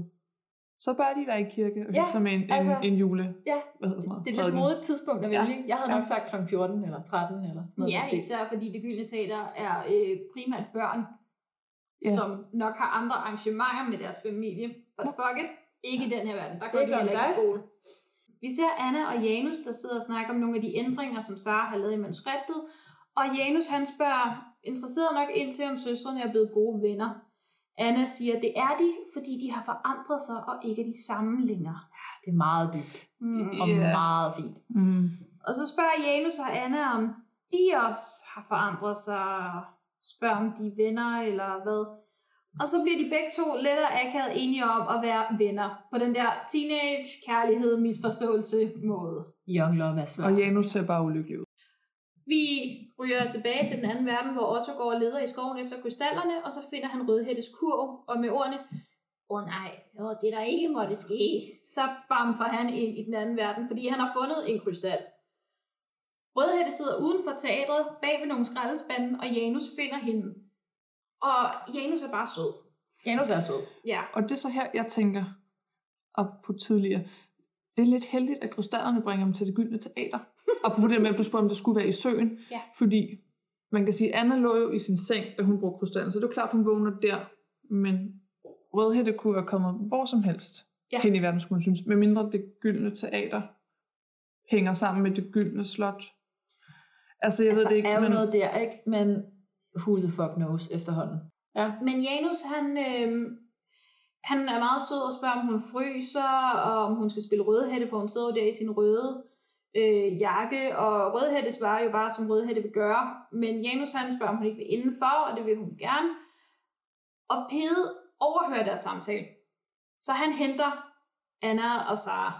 I: så bør de være i kirke og
H: Ja,
I: hygge sig med en, en,
H: altså-
I: en jule.
H: Ja,
I: Hvad hedder sådan noget?
H: det er et lidt
I: Prædiken.
H: modigt tidspunkt at vælge.
I: Ja.
H: Jeg havde nok
I: Ja.
H: sagt kl. 14 eller 13 eller sådan noget.
B: Ja,
H: måske.
B: især fordi det gyldne teater er øh, primært børn,
H: Ja.
B: ja. som nok har andre arrangementer med deres familie. But fuck it, ikke i den her verden. Der går
H: Det er
B: de heller ikke i skole.
H: klokken
B: Vi ser Anna og Janus, der sidder og snakker om nogle af de ændringer, som Sara har lavet i manuskriptet. Og Janus han spørger interesseret nok ind til, om søstrene er blevet gode venner. Anna siger, at det er de, fordi de har forandret sig og ikke er de samme længere.
H: Det er meget dybt
B: Mm.
H: og
B: Ja.
H: meget fint.
I: Mm.
B: Og så spørger Janus og Anna, om de også har forandret sig, og spørger om de er venner eller hvad. Og så bliver de begge to lidt og akavet enige om at være venner på den der teenage kærlighed misforståelse måde.
H: Young Love er svært.
I: Og Janus ser bare ulykkelig ud.
B: Vi ryger tilbage til den anden verden, hvor Otto går og leder i skoven efter krystallerne, og så finder han Rødhættes kurv, og med ordene, åh oh, nej, oh, det der ikke måtte ske, så bamfer han ind i den anden verden, fordi han har fundet en krystal. Rødhætte sidder uden for teatret, bag ved nogle skraldespanden, og Janus finder hende. Og Janus er bare sød.
H: Janus er sød.
B: Ja.
I: Og det er så her, jeg tænker op på tidligere. Det er lidt heldigt, at krystallerne bringer dem til det gyldne teater. Og på det med, at du spurgte, om det skulle være i søen.
B: Ja.
I: Fordi man kan sige, at Anna lå jo i sin seng, da hun brugte krystallen. Så det er jo klart, hun vågner der. Men Rødhætte kunne være kommet hvor som helst
B: Ja.
I: hen i verden, skulle man synes. Medmindre det gyldne teater hænger sammen med det gyldne slot. Altså, jeg altså, ved det ikke,
H: Der er jo
I: men...
H: noget der, ikke? Men who the fuck knows efterhånden.
B: Ja. Men Janus, han, øh, han er meget sød og spørger, om hun fryser, og om hun skal spille rødhætte, for hun sidder jo der i sin røde øh, jakke, og rødhætte svarer jo bare, som rødhætte vil gøre. Men Janus, han spørger, om hun ikke vil indenfor, og det vil hun gerne. Og Pede overhører deres samtale. Så han henter Anna og Sara.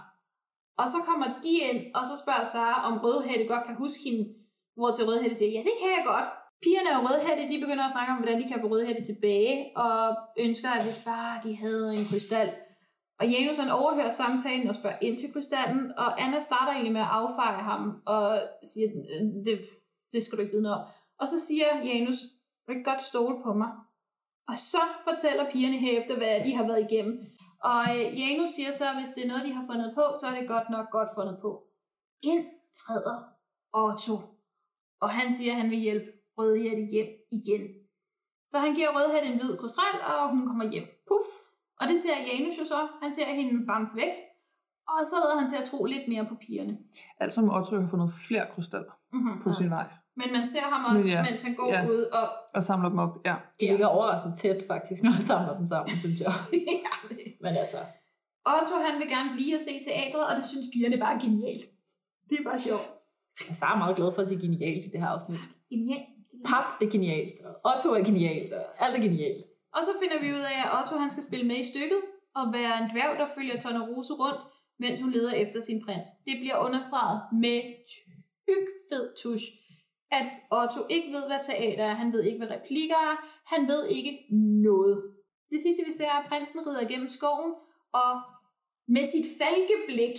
B: Og så kommer de ind, og så spørger Sara, om Rødhætte godt kan huske hende. Hvor til Rødhætte siger, ja, det kan jeg godt. Pigerne og Rødhætte, de begynder at snakke om, hvordan de kan få Rødhætte tilbage, og ønsker, at hvis bare de havde en krystal. Og Janus han overhører samtalen og spørger ind til krystallen, og Anna starter egentlig med at affeje ham, og siger, "Øh, det, det skal du ikke vide noget om. Og så siger Janus, du kan godt stole på mig. Og så fortæller pigerne herefter, hvad de har været igennem. Og øh, Janus siger så, at hvis det er noget, de har fundet på, så er det godt nok godt fundet på. Ind træder Otto. Og han siger, at han vil hjælpe Rødhætte hjem igen. Så han giver Rødhætte en hvid kostrel, og hun kommer hjem. Puff. Og det ser Janus jo så. Han ser hende bamf væk. Og så lader han til at tro lidt mere på pigerne.
I: Altså må Otto have fundet flere krystaller
B: Mhm.
I: mm-hmm. på sin vej.
B: Men man ser ham også,
I: Men ja,
B: mens han går
I: ja.
B: ud og...
I: Og samler dem op, ja.
H: De ligger overraskende tæt, faktisk, når man samler dem sammen, synes jeg.
B: ja, det
H: Men altså,
B: Otto han vil gerne blive og se teatret, og det synes pigerne bare er genialt. Det er bare sjovt.
H: jeg er så meget glad for at sige genialt i det her afsnit.
B: Genialt.
H: Pap, det er genialt. og Otto er genialt. og Alt er genialt.
B: Og så finder vi ud af, at Otto han skal spille med i stykket og være en dværg, der følger Tone Rose rundt, mens hun leder efter sin prins. Det bliver understreget med tyk fed tusch, at Otto ikke ved, hvad teater er, han ved ikke, hvad replikker er, han ved ikke noget. Det sidste vi ser er, at prinsen rider gennem skoven, og med sit falkeblik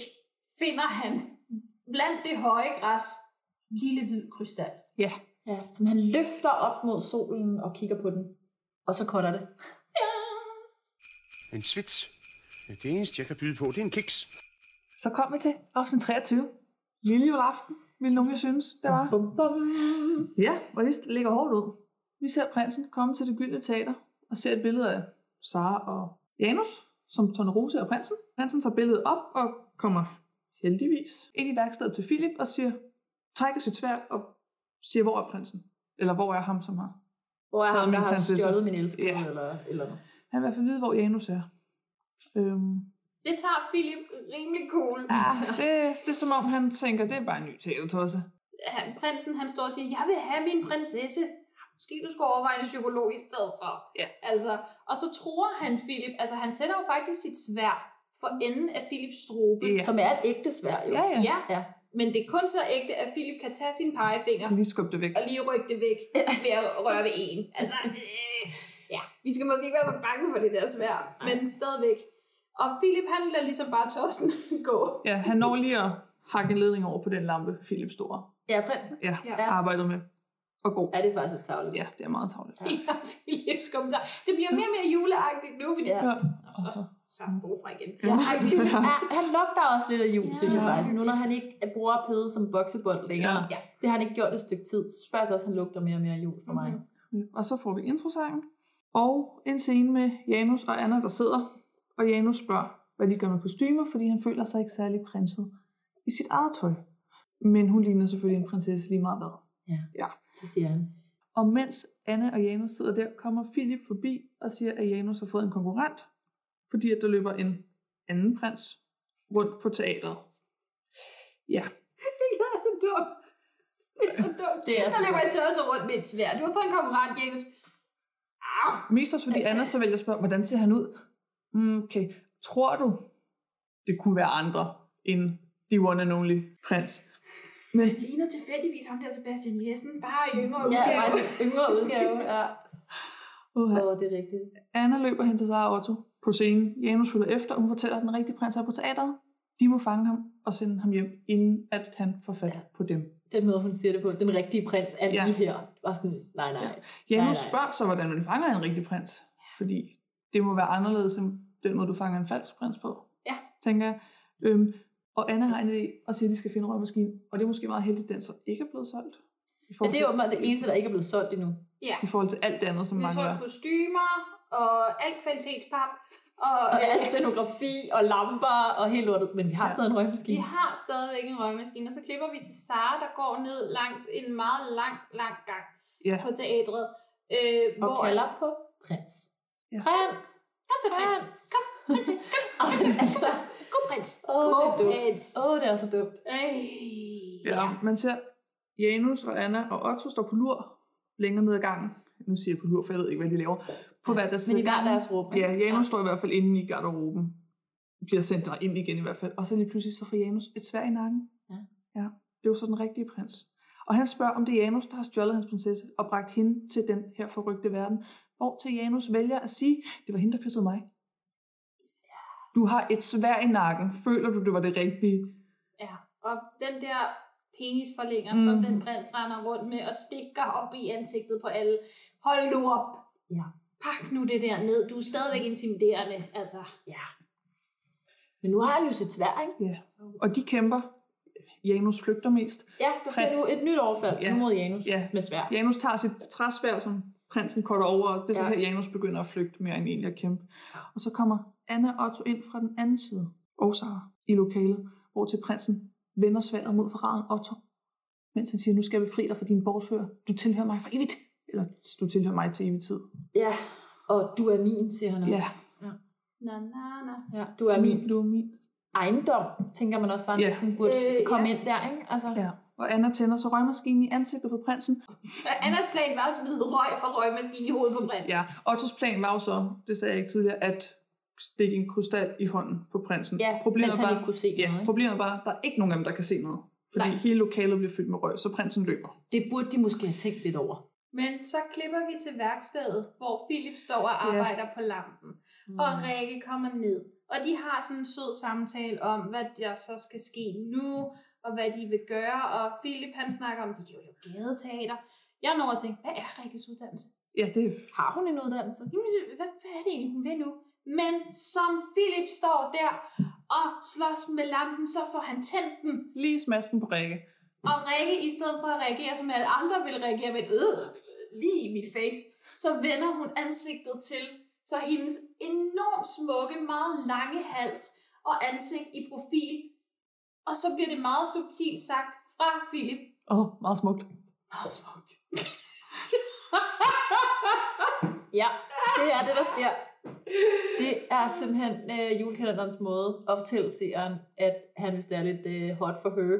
B: finder han blandt det høje græs en lille hvid krystal.
I: Ja.
H: ja. Som han løfter op mod solen og kigger på den. Og så cutter det.
O: En svits. Det eneste, jeg kan byde på, det er en kiks.
I: Så kom vi til afsnit 23. Lille juleaften, ville nogen jo synes, det var.
H: Bum, bum.
I: Ja, og det ligger hårdt ud. Vi ser prinsen komme til det gyldne teater og ser et billede af Sara og Janus, som Tone Rose og prinsen. Prinsen tager billedet op og kommer heldigvis ind i værkstedet til Philip og siger, trækker sit sværd og siger, hvor er prinsen? Eller hvor er ham, som har?
H: Hvor er
I: Så er
H: ham, der
I: min
H: har
I: prinsesse.
H: stjålet min elskede, yeah. eller, eller noget.
I: Han vil i hvert fald vide, hvor Janus er. Øhm,
B: Det tager Philip rimelig cool.
I: ah, det, det er som om, han tænker, det er bare en ny teatertosse.
B: han, prinsen han står og siger, jeg vil have min prinsesse. Måske du skulle overveje en psykolog i stedet for.
I: Ja.
B: Altså, og så tror han Philip, altså han sætter jo faktisk sit svær for enden af Philips strobe.
I: Ja. Som er et
H: ægte svær,
I: jo. Ja, ja.
B: ja. ja. Men det er kun så ægte, at Philip kan tage sin pegefinger
I: Lige skub det væk.
B: og lige rykke det væk ved at røre ved en. Altså, øh, ja, vi skal måske ikke være så bange for det der svær, men stadigvæk. Og Philip han lader ligesom bare tossen gå.
I: Ja, han når lige at hakke en ledning over på den lampe, Philip Store
H: Ja, prinsen.
I: ja, ja. arbejdet med. Og god.
H: Ja, det er faktisk et tavligt.
I: Ja, det er meget tavligt.
B: Ja, Philips kommentar. Det bliver mere og mere juleagtigt nu, fordi
H: Ja.
B: ja. så, så er han forfra igen.
H: Ja,
B: Ej,
H: han,
B: Philip
H: ja,
B: er-
H: han lugter også lidt af jul, ja. synes jeg
B: Ja.
H: faktisk. Nu når han ikke bruger pede som boksebold længere.
I: Ja.
H: Det har han ikke gjort et stykke tid. Så faktisk også, han lugter mere og mere af jul for mig. Mm-hmm.
I: Og så får vi introsangen. Og en scene med Janus og Anna, der sidder. Og Janus spørger, hvad de gør med kostymer, fordi han føler sig ikke særlig prinset i sit eget tøj. Men hun ligner selvfølgelig en prinsesse lige meget hvad.
H: Ja,
I: ja.
H: det siger han.
I: Og mens Anne og Janus sidder der, kommer Philip forbi og siger, at Janus har fået en konkurrent, fordi at der løber en anden prins rundt på teateret. Ja.
B: Det er så dumt. Det er så dumt.
I: Det er så
B: der løber
I: dumt.
B: en tørre rundt med et svær. Du har fået en konkurrent, Janus.
I: Mest også fordi Anna så vælger at spørge, hvordan ser han ud? Mm, okay, tror du, det kunne være andre end the one and only prins? Men
B: Han ligner tilfældigvis ham der Sebastian Jessen, bare i yngre
H: Ja,
B: udgave.
H: bare en yngre udgave, ja.
I: Uha.
H: Åh, det er rigtigt.
I: Anna løber hen til Sara og Otto på scenen. Janus følger efter, og hun fortæller, at den rigtige prins er på teateret. De må fange ham og sende ham hjem, inden at han får fat ja. på dem.
H: Den måde, hun siger det på, den rigtige prins er lige ja. her. Og sådan, nej, nej.
I: Janus
H: nej, nej.
I: spørger så, hvordan man fanger en rigtig prins. Fordi det må være anderledes end den måde, du fanger en falsk prins på.
B: Ja.
I: Tænker jeg. Øhm, og Anna har en idé og siger, at de skal finde røgmaskinen. Og det er måske meget heldigt, at den så ikke er blevet solgt. I
H: Men det er
I: til-
H: åbenbart det eneste, der ikke er blevet solgt endnu.
B: Ja.
I: I forhold til alt det andet, som
B: Vi
I: mangler.
B: får kostymer og alt kvalitetspap. Og,
H: Og al scenografi og lamper og helt lortet. Men vi har ja. stadig en røgmaskine.
B: Vi har stadigvæk en røgmaskine, og så klipper vi til Sara, der går ned langs en meget lang, lang gang
I: Ja.
B: på teatret. Øh,
H: Og kalder på prins. Prins!
B: Kom så, prins! Kom, prins! Kom,
H: altså,
B: god prins!
H: Åh, oh,
B: God
H: det er dumt. Åh, oh, det er så dumt.
B: Ej.
I: Ja. Man ser Janus og Anna og Otto står på lur længere ned ad gangen. Nu siger jeg på lur, for jeg ved ikke, hvad de laver. På hver deres
H: Men
I: side
H: i hver
I: af gangen.
H: deres rum, ikke?
I: Ja, Janus ja. står i hvert fald inde i garderoben. Bliver sendt derind igen i hvert fald. Og så lige pludselig så får Janus et svær i nakken.
H: Ja.
I: ja. Det er jo så den rigtige prins. Og han spørger, om det er Janus, der har stjålet hans prinsesse og bragt hende til den her forrygte verden. Hvor til Janus vælger at sige, det var hende, der kyssede mig. Du har et svær i nakken. Føler du, det var det rigtige?
B: Ja, og den der penisforlænger, mm. som
I: Mhm.
B: den prins render rundt med og stikker op i ansigtet på alle. Hold nu op!
H: Ja.
B: Pak nu det der ned. Du er stadigvæk intimiderende, altså.
H: Ja. Men nu har han jo sit svær, ikke?
I: Ja. Og de kæmper. Janus flygter mest.
H: Ja, der sker nu et nyt overfald ja. mod Janus
I: ja.
H: med svær.
I: Janus tager sit træsvær, som prinsen korter over, og det er så
H: Ja.
I: her, Janus begynder at flygte mere end egentlig at kæmpe. Og så kommer Anna og Otto ind fra den anden side, og Sara, i lokalet, hvor til prinsen vender sværet mod forræderen Otto, mens han siger, nu skal jeg befri dig fra din bortfører. Du tilhører mig for evigt. Eller du tilhører mig til evig tid.
H: Ja, og du er min, siger han også.
I: Ja.
H: ja. Mm.
B: Na, na, na.
H: Ja, du er min,
I: du er min.
H: ejendom, tænker man også bare
I: Ja.
H: næsten burde
B: Øh,
H: komme
B: ja.
H: ind der, ikke? Altså,
I: ja. Og Anna tænder så røgmaskinen i ansigtet på prinsen.
B: Anders plan var at smide røg fra røgmaskinen i hovedet på prins.
I: Ja, Ottos plan var jo så, det sagde jeg ikke tidligere, at stikke en krystal i hånden på prinsen.
H: Ja, mens han ikke kunne se
I: ja,
H: noget, ikke?
I: Problemet er bare, at der er ikke nogen af dem, der kan se noget. Fordi
H: Nej.
I: Nej. hele lokalet bliver fyldt med røg, så prinsen løber.
H: Det burde de måske have tænkt lidt over.
B: Men så klipper vi til værkstedet, hvor Philip står og
I: Ja.
B: arbejder på lampen. Mm. Og Rikke kommer ned. Og de har sådan en sød samtale om, hvad der så skal ske nu, og hvad de vil gøre. Og Philip han snakker om, de kan jo lave gadeteater. Jeg når at tænke, hvad er Rikkes uddannelse?
I: Ja, det er...
H: Har hun en uddannelse?
B: Jamen, Hvad, hvad er det egentlig, hun vil nu? Men som Philip står der og slås med lampen, så får han tændt den.
I: Lige smasken på Rikke.
B: Og Rikke, i stedet for at reagere, som alle andre vil reagere med et øh, lige i mit face, så vender hun ansigtet til, så hendes enormt smukke, meget lange hals og ansigt i profil, og så bliver det meget subtilt sagt fra Philip.
I: Åh, oh, meget smukt.
B: Meget smukt.
H: Ja, det er det, der sker. Det er simpelthen øh, julekalenderens måde at fortælle seeren, at han hvis det er lidt øh, hot for her.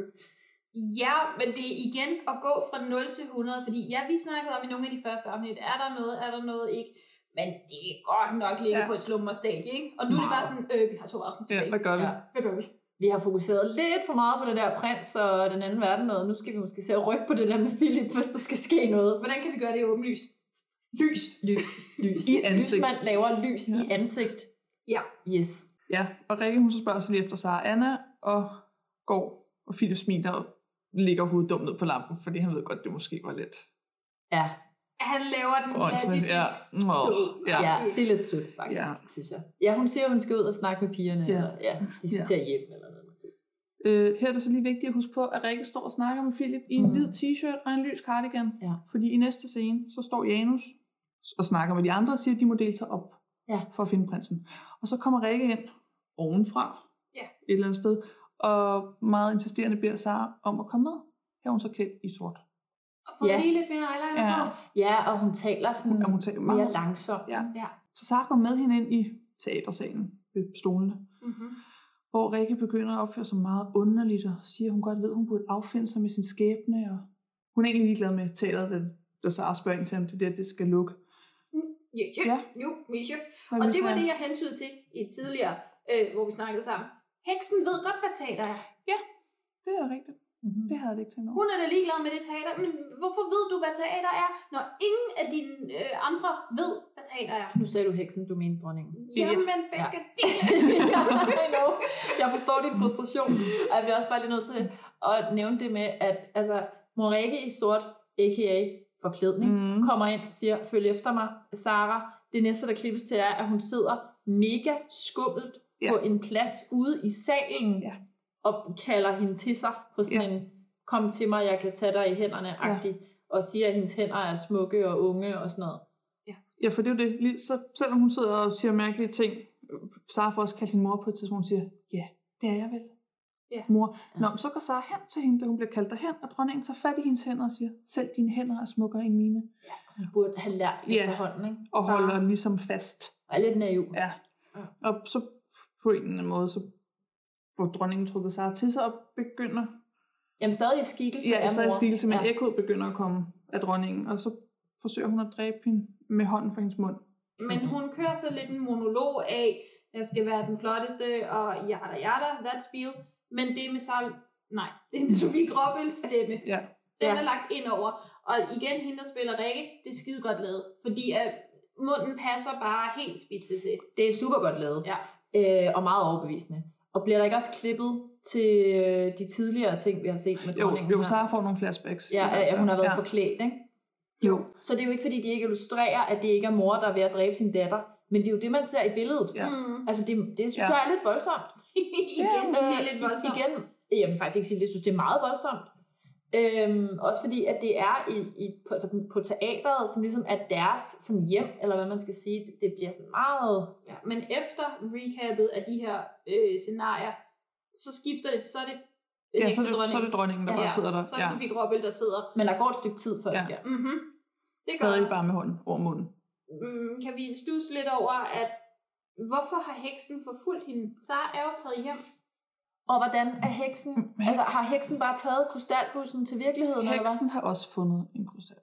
B: Ja, men det er igen at gå fra 0 til 100, fordi ja, vi snakkede om i nogle af de første afsnit, er der noget, er der noget ikke, men det er godt nok ligge ja.
H: Ja.
B: på et slummerstadie, ikke? Og nu er det bare sådan, øh, vi har to afsnit tilbage. Hvad gør vi?
H: Vi har fokuseret lidt for meget på den der prins og den anden verden, og nu skal vi måske se at rykke på det der med Philip, hvis der skal ske noget.
B: Hvordan kan vi gøre det åbenlyst? Lys.
H: Lys. Lys.
I: I ansigt.
H: Lysmand laver lys ja. i ansigt.
B: Ja.
H: Yes.
I: Ja, og Rikke hun så spørger sig lige efter Sara og Anna, og går, og Philip smiler og ligger hovedet dumt ned på lampen, fordi han ved godt, det måske var lidt.
H: Ja.
B: Han laver den
I: Åh,
B: klassiske.
I: ja. Nå,
H: ja.
I: ja.
H: ja, det er lidt sødt faktisk, ja.
I: Ja.
H: synes jeg. Ja, hun siger, at hun skal ud og snakke med pigerne, ja.
I: Ja.
H: eller ja, de skal ja.
I: Ja.
H: til at hjem eller noget.
I: Øh, her er det så lige vigtigt at huske på, at Rikke står og snakker med Philip i en mm. hvid t-shirt og en lys cardigan.
H: Ja.
I: Fordi i næste scene, så står Janus og snakker med de andre og siger, at de må dele sig op
H: ja.
I: for at finde prinsen. Og så kommer Rikke ind ovenfra
B: Ja.
I: et eller andet sted, og meget insisterende beder Sara om at komme med. Her er hun så klædt i sort.
B: Og få
H: Ja.
B: lige lidt mere eyeliner
I: Ja.
B: på.
H: Ja, og hun taler sådan
I: ja, hun taler meget.
H: Mm. mere langsomt.
I: Ja.
B: ja.
I: Så Sara går med hende ind i teatersalen ved stolene,
B: Mm-hmm.
I: hvor Rikke begynder at opføre sig meget underligt og siger, at hun godt ved, at hun burde affinde sig med sin skæbne. Og hun er egentlig ligeglad med teateret, da, da Sara spørger ind til, om det der det skal lukke.
B: Ja, ja.
I: Ja.
B: Jo, Misha.
I: Hvad
B: Og
I: vil
B: det
I: du
B: var
I: sige?
B: det, jeg hentydede til i et tidligere, øh, hvor vi snakkede sammen. Heksen ved godt, hvad teater er.
I: Det er rigtigt.
H: Mhm.
I: Mm-hmm. Det havde jeg ikke tænkt over.
B: Hun er da ligeglad med det teater, men hvorfor ved du, hvad teater er, når ingen af dine øh, andre ved, hvad teater er?
H: Nu sagde du heksen, du mente dronningen.
B: Jamen, begge dele.
H: I know. Jeg forstår din frustration. Og jeg bliver også bare lige nødt til at nævne det med, at altså, Morike i sort, a.k.a. forklædning, mm. kommer ind og siger, følg efter mig, Sara. Det næste, der klippes til, er, at hun sidder mega skummelt
I: Ja.
H: ja. på en plads ude i salen,
I: ja.
H: og kalder hende til sig på sådan ja. en, kom til mig, jeg kan tage dig i hænderne-agtig, ja. og siger, at hendes hænder er smukke og unge og sådan noget.
I: Ja, for det er jo det. Lige, så, selvom hun sidder og siger mærkelige ting, øh, Sara får også kaldt sin mor på et tidspunkt, hun siger, ja, det er jeg vel.
B: Ja.
I: Mor. Nå, men så går Sara hen til hende, da hun bliver kaldt derhen, og dronningen tager fat i hendes hænder og siger, selv dine hænder er smukkere end mine.
H: Hun burde have lært
I: Ja.
H: efterhånden, ikke?
I: Og
H: Sara.
I: holder ligesom fast.
H: Og er lidt naiv.
I: Ja. Og så på en eller anden måde, så får dronningen trukket Sara til sig og begynder
H: Jamen stadig i skikkelse
I: Ja,
H: af
I: så er
H: mor.
I: skikkelse, men
H: Ja.
I: ja. ekkoet begynder at komme af dronningen, og så forsøger hun at dræbe hende med hånden fra hendes mund.
B: Men hun kører så lidt en monolog af, jeg skal være den flotteste, og yada yada, that's Bill. Men det er med Sal... Nej, det er med Sofie Gråbøls stemme.
I: Ja.
B: Den er lagt ind over. Og igen, hende der spiller Rikke, det er skide godt lavet. Fordi at munden passer bare helt spidse til.
H: Det er super godt lavet.
B: Ja.
H: Øh, og meget overbevisende. Og bliver der ikke også klippet til øh, de tidligere ting, vi har set med
I: Jo,
H: dronningen
I: jo
H: her?
I: Sara får nogle flashbacks. i
H: Ja,
I: hvert
H: at- at
I: fald.
H: hun har været
I: ja.
H: ja. forklædt, ikke?
I: Jo.
H: Så det er jo ikke, fordi de ikke illustrerer, at det ikke er mor, der er ved at dræbe sin datter. Men det er jo det, man ser i billedet.
I: Ja.
B: Mm.
H: Altså, det, det synes
I: Ja.
H: ja. jeg er lidt voldsomt. Øh,
B: igen, men det er lidt voldsomt.
H: Igen, jeg vil faktisk ikke sige, at jeg synes, det er meget voldsomt. Øhm, også fordi, at det er i, i, på, altså på teateret, som ligesom er deres sådan hjem, eller hvad man skal sige, det, det bliver sådan meget...
B: Ja, men efter recappet af de her øh, scenarier, så skifter det, så er det
I: Ja, så er det- så er det dronningen, der bare sidder der.
B: Så er det
I: Ja.
B: Sofie Gråbøl, der sidder.
H: Men der går et stykke tid, før
I: det
H: sker.
B: Mm-hmm. Det gør
I: Stadig bare med hånden over munden.
B: mm, kan vi stusse lidt over, at hvorfor har heksen forfulgt hende? Sara er jo taget hjem.
H: Og hvordan er heksen...
I: Mm,
H: Altså, har heksen bare taget krystalbussen til virkeligheden, eller
I: Heksen
H: hvad?
I: har også fundet en krystal.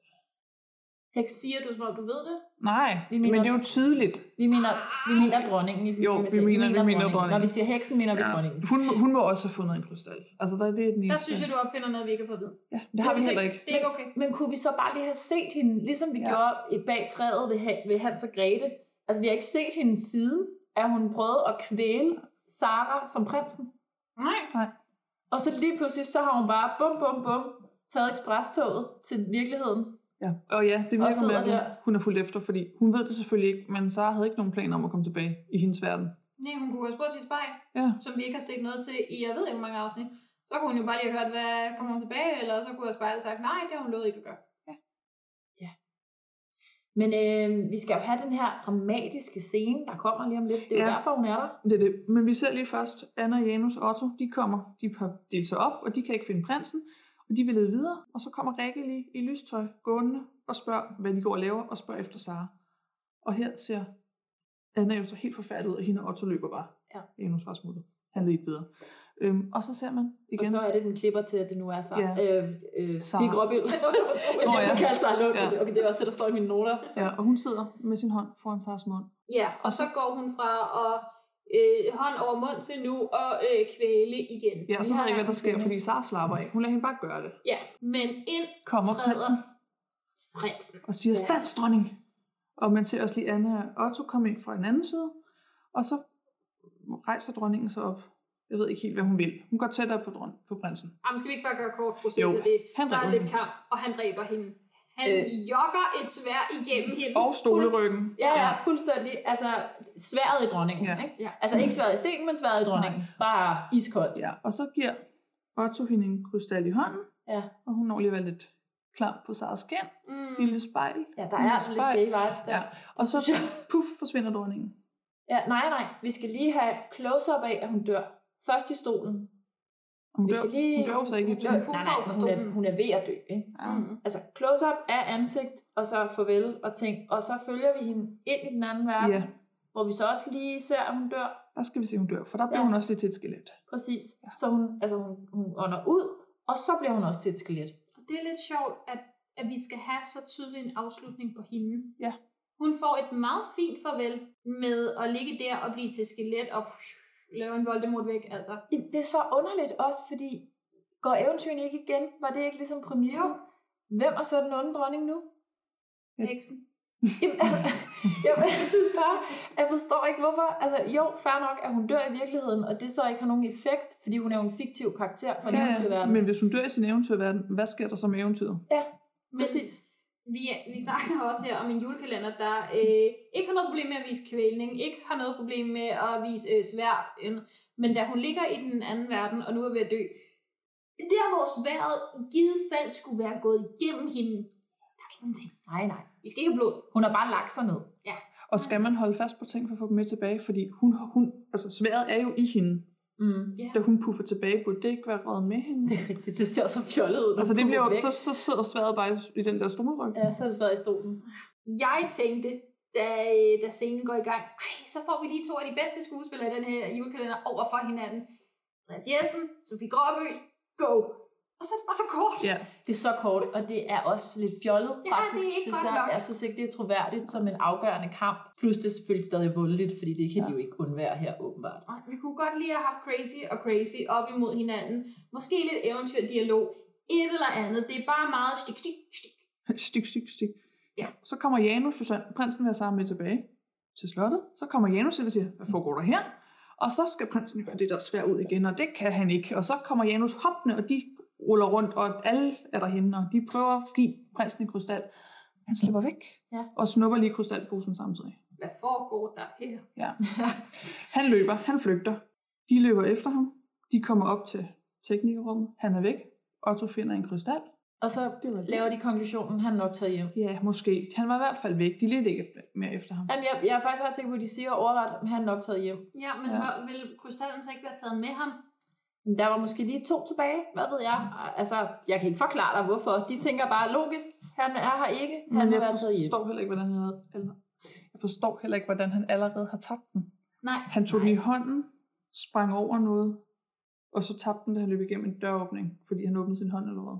B: Heksen siger du, som om du ved det.
I: Nej,
H: Vi
I: men
H: mener-
I: det er jo tydeligt.
H: Vi mener, vi mener dronningen. I,
I: Jo, vi mener, vi mener dronningen.
H: Når vi siger heksen, mener vi dronningen.
I: Hun, hun må også have fundet en krystal. Altså, der, det er den
B: Der
I: eneste.
B: synes jeg, du opfinder noget, vi ikke har fået at vide.
I: Ja, det har vi heller ikke.
B: Det er ikke okay.
H: Men kunne vi så bare lige have set hende, ligesom vi
I: Ja.
H: ja. gjorde i- bag træet ved, Ha- ved Hans og Grete? Altså, vi har ikke set hende siden, at hun prøvede at kvæle Sara som prinsen.
B: Nej.
I: Nej.
H: Og så lige pludselig, så har hun bare bum, bum, bum, taget ekspresstoget til virkeligheden.
I: Ja. Og ja, det
H: Og
I: virker
H: sidder
I: med, at hun,
H: der.
I: hun er fuldt efter, fordi hun ved det selvfølgelig ikke, men Sara havde ikke nogen planer om at komme tilbage i hendes verden.
B: Nej, hun kunne have spurgt sit spejl,
I: Ja.
B: som vi ikke har set noget til i, jeg ved ikke, hvor mange afsnit. Så kunne hun jo bare lige have hørt, hvad kommer hun tilbage, eller så kunne jeg spejlet sagt, nej, det har hun lovet ikke at gøre.
H: Men øh, vi skal jo have den her dramatiske scene, der kommer lige om lidt. Det er ja. jo derfor, hun er der.
I: Det er det. Men vi ser lige først, Anna, Janus og Otto, de kommer, de har delt sig op, og de kan ikke finde prinsen, og de vil lede videre, og så kommer Rikke lige i lystøj gående og spørger, hvad de går og laver, og spørger efter Sara. Og her ser Anna jo så helt forfærdet ud, og hende og Otto løber bare.
H: Ja.
I: Janus var smuttet. Han ved ikke videre. Øhm, og så ser man igen.
H: Og så er det, den klipper til, at det nu er Sara.
I: Ja.
H: Ja. Øh, øh,
I: Sara.
H: Sara. Gråbild.
I: Nå,
H: Nå,
I: ja.
H: ja. Jeg kalder Sara Lund.
I: Ja.
H: Ja. Okay, det er også det, der står i mine noter.
I: Ja, og hun sidder med sin hånd foran Saras mund.
B: Ja, og så går hun fra at øh, hånd over mund til nu og øh, kvæle igen.
I: Ja, og så ved jeg ikke, hvad der sker, fordi Sara slapper af. Hun lader hende bare gøre det.
B: Ja, men ind
I: Kommer
B: træder
I: prinsen.
B: prinsen.
I: og siger, stands dronning! Og man ser også lige Anna og Otto komme ind fra en anden side, og så rejser dronningen sig op. Jeg ved ikke helt, hvad hun vil. Hun går tættere på, dron- på prinsen.
B: Jamen, skal vi ikke bare gøre kort proces
I: Jo,
B: af det?
I: han
B: der er
I: dræber
B: lidt
I: hende.
B: kamp, og han dræber hende. Han øh.
H: Øh.
B: jogger et svær igennem hende.
I: Og stoleryggen.
H: Ja, ja, fuldstændig. Altså, sværet i dronningen.
I: Ja.
H: Ja. Ikke? Altså, ikke sværet i stenen, men sværet i dronningen. Bare iskoldt.
I: Ja, og så giver Otto hende en krystal i hånden,
H: Ja.
I: og hun når lige at være lidt klam på Saras skin.
B: Mm.
I: Lille spejl.
H: Ja, der er
I: Lille
H: altså lidt
I: spejl.
H: gay vibes der.
I: Ja. Og så puff, forsvinder dronningen.
H: ja. nej, nej. Vi skal lige have close-up af, at hun dør. Først i stolen.
I: Hun dør- hun dør jo så ikke i
H: hun
I: to.
H: dør-
I: Hun
H: Nej,
I: får
H: nej, hun er,
I: forstået.
H: hun er ved at dø. Ikke?
I: Ja.
B: Mm.
I: Mhm.
H: Altså, close-up af ansigt, og så farvel og ting. Og så følger vi hende ind i den anden verden,
I: Ja.
H: hvor vi så også lige ser, at hun dør.
I: Der skal vi se, hun dør, for der bliver
H: Ja.
I: hun også lidt til et skelet.
H: Præcis. Så hun, altså, hun, hun ånder ud, og så bliver hun også til et skelet.
B: Og det er lidt sjovt, at, at vi skal have så tydelig en afslutning på hende.
I: Ja.
B: Hun får et meget fint farvel med at ligge der og blive til skelet og lave en Voldemort væk, altså.
H: Jamen, det er så underligt også, fordi går eventyrene ikke igen? Var det ikke ligesom præmissen? Jo. Hvem er så den onde dronning nu?
B: Heksen.
H: Jamen, altså, jamen, jeg synes bare, jeg forstår ikke hvorfor. Altså, jo, fair nok, at hun dør i virkeligheden, og det så ikke har nogen effekt, fordi hun er jo en fiktiv karakter fra ja, eventyrverden.
I: Men hvis hun dør i sin eventyrverden, hvad sker der så med eventyret?
H: Ja, præcis.
B: Vi, er- vi snakker også her om en julekalender, der øh, ikke har noget problem med at vise kvælning, ikke har noget problem med at vise øh, svær, men da hun ligger i den anden verden, og nu er ved at dø, der hvor sværet i givet fald skulle være gået igennem hende, der er ingenting.
H: Nej, nej.
B: Vi skal ikke have blod.
H: Hun har bare lagt sig ned.
B: Ja.
I: Og skal man holde fast på ting for at få dem med tilbage? Fordi hun, hun, altså sværet er jo i hende.
H: Mm.
I: Da hun puffer tilbage, burde det ikke være reddet med hende?
H: Det er rigtigt, det ser så fjollet ud. når
I: Altså
H: hun
I: det bliver jo,
H: puffer
I: så,
H: væk.
I: så sidder sværet bare i- i den der stoleryg.
H: Ja, så er det sværet i stolen.
B: Jeg tænkte, da, øh, da scenen går i gang, ej, så får vi lige to af de bedste skuespillere i den her julekalender over for hinanden. Andreas Jessen, Sofie Gråbø, go! Og så er det bare så kort.
I: Ja.
H: Det er så kort, og det er også lidt fjollet,
B: Ja,
H: faktisk,
B: det er ikke
H: synes
B: godt
H: jeg.
B: nok.
H: Jeg synes ikke, det er troværdigt som en afgørende kamp. Plus det er selvfølgelig stadig voldeligt, fordi det kan ja. de jo ikke undvære her, åbenbart.
B: Og vi kunne godt lige have haft crazy og crazy op imod hinanden. Måske lidt eventyrdialog. Et eller andet. Det er bare meget stik, stik, stik.
I: stik, stik, stik.
B: Ja.
I: Så kommer Janus, Susanne, prinsen vil have sammen med tilbage til slottet. Så kommer Janus ind og siger, hvad foregår der her? Og så skal prinsen jo have det der svær ud igen, og det kan han ikke. Og så kommer Janus hoppende, og de ruller rundt, og alle er derhenne, og de prøver at give prinsen en krystal. Han slipper væk,
H: Ja.
I: og snupper lige krystalposen samtidig.
B: Hvad foregår der her?
I: Ja. Han løber, han flygter. De løber efter ham. De kommer op til teknikerummet. Han er væk. Otto finder en krystal.
H: Og så laver de konklusionen, han er nok taget hjem.
I: Ja, måske. Han var i hvert fald væk. De lidt ikke mere efter ham.
H: Jamen, jeg, jeg er faktisk ret sikker på, at de siger overret, at han er nok taget hjem.
B: Ja, men
I: Ja.
B: ja. vil krystallen så ikke være taget med ham?
H: Men Der var måske lige to tilbage, hvad ved jeg. Altså, jeg kan ikke forklare dig, hvorfor. De tænker bare logisk, han er her ikke, han
I: Men
H: må
I: jeg
H: være taget hjem.
I: forstår heller ikke, hvordan han havde, eller, jeg forstår heller ikke, hvordan han allerede har tabt den.
B: Nej.
I: Han tog den i hånden, sprang over noget, og så tabte den, da han løb igennem en døråbning, fordi han åbnede sin hånd eller hvad.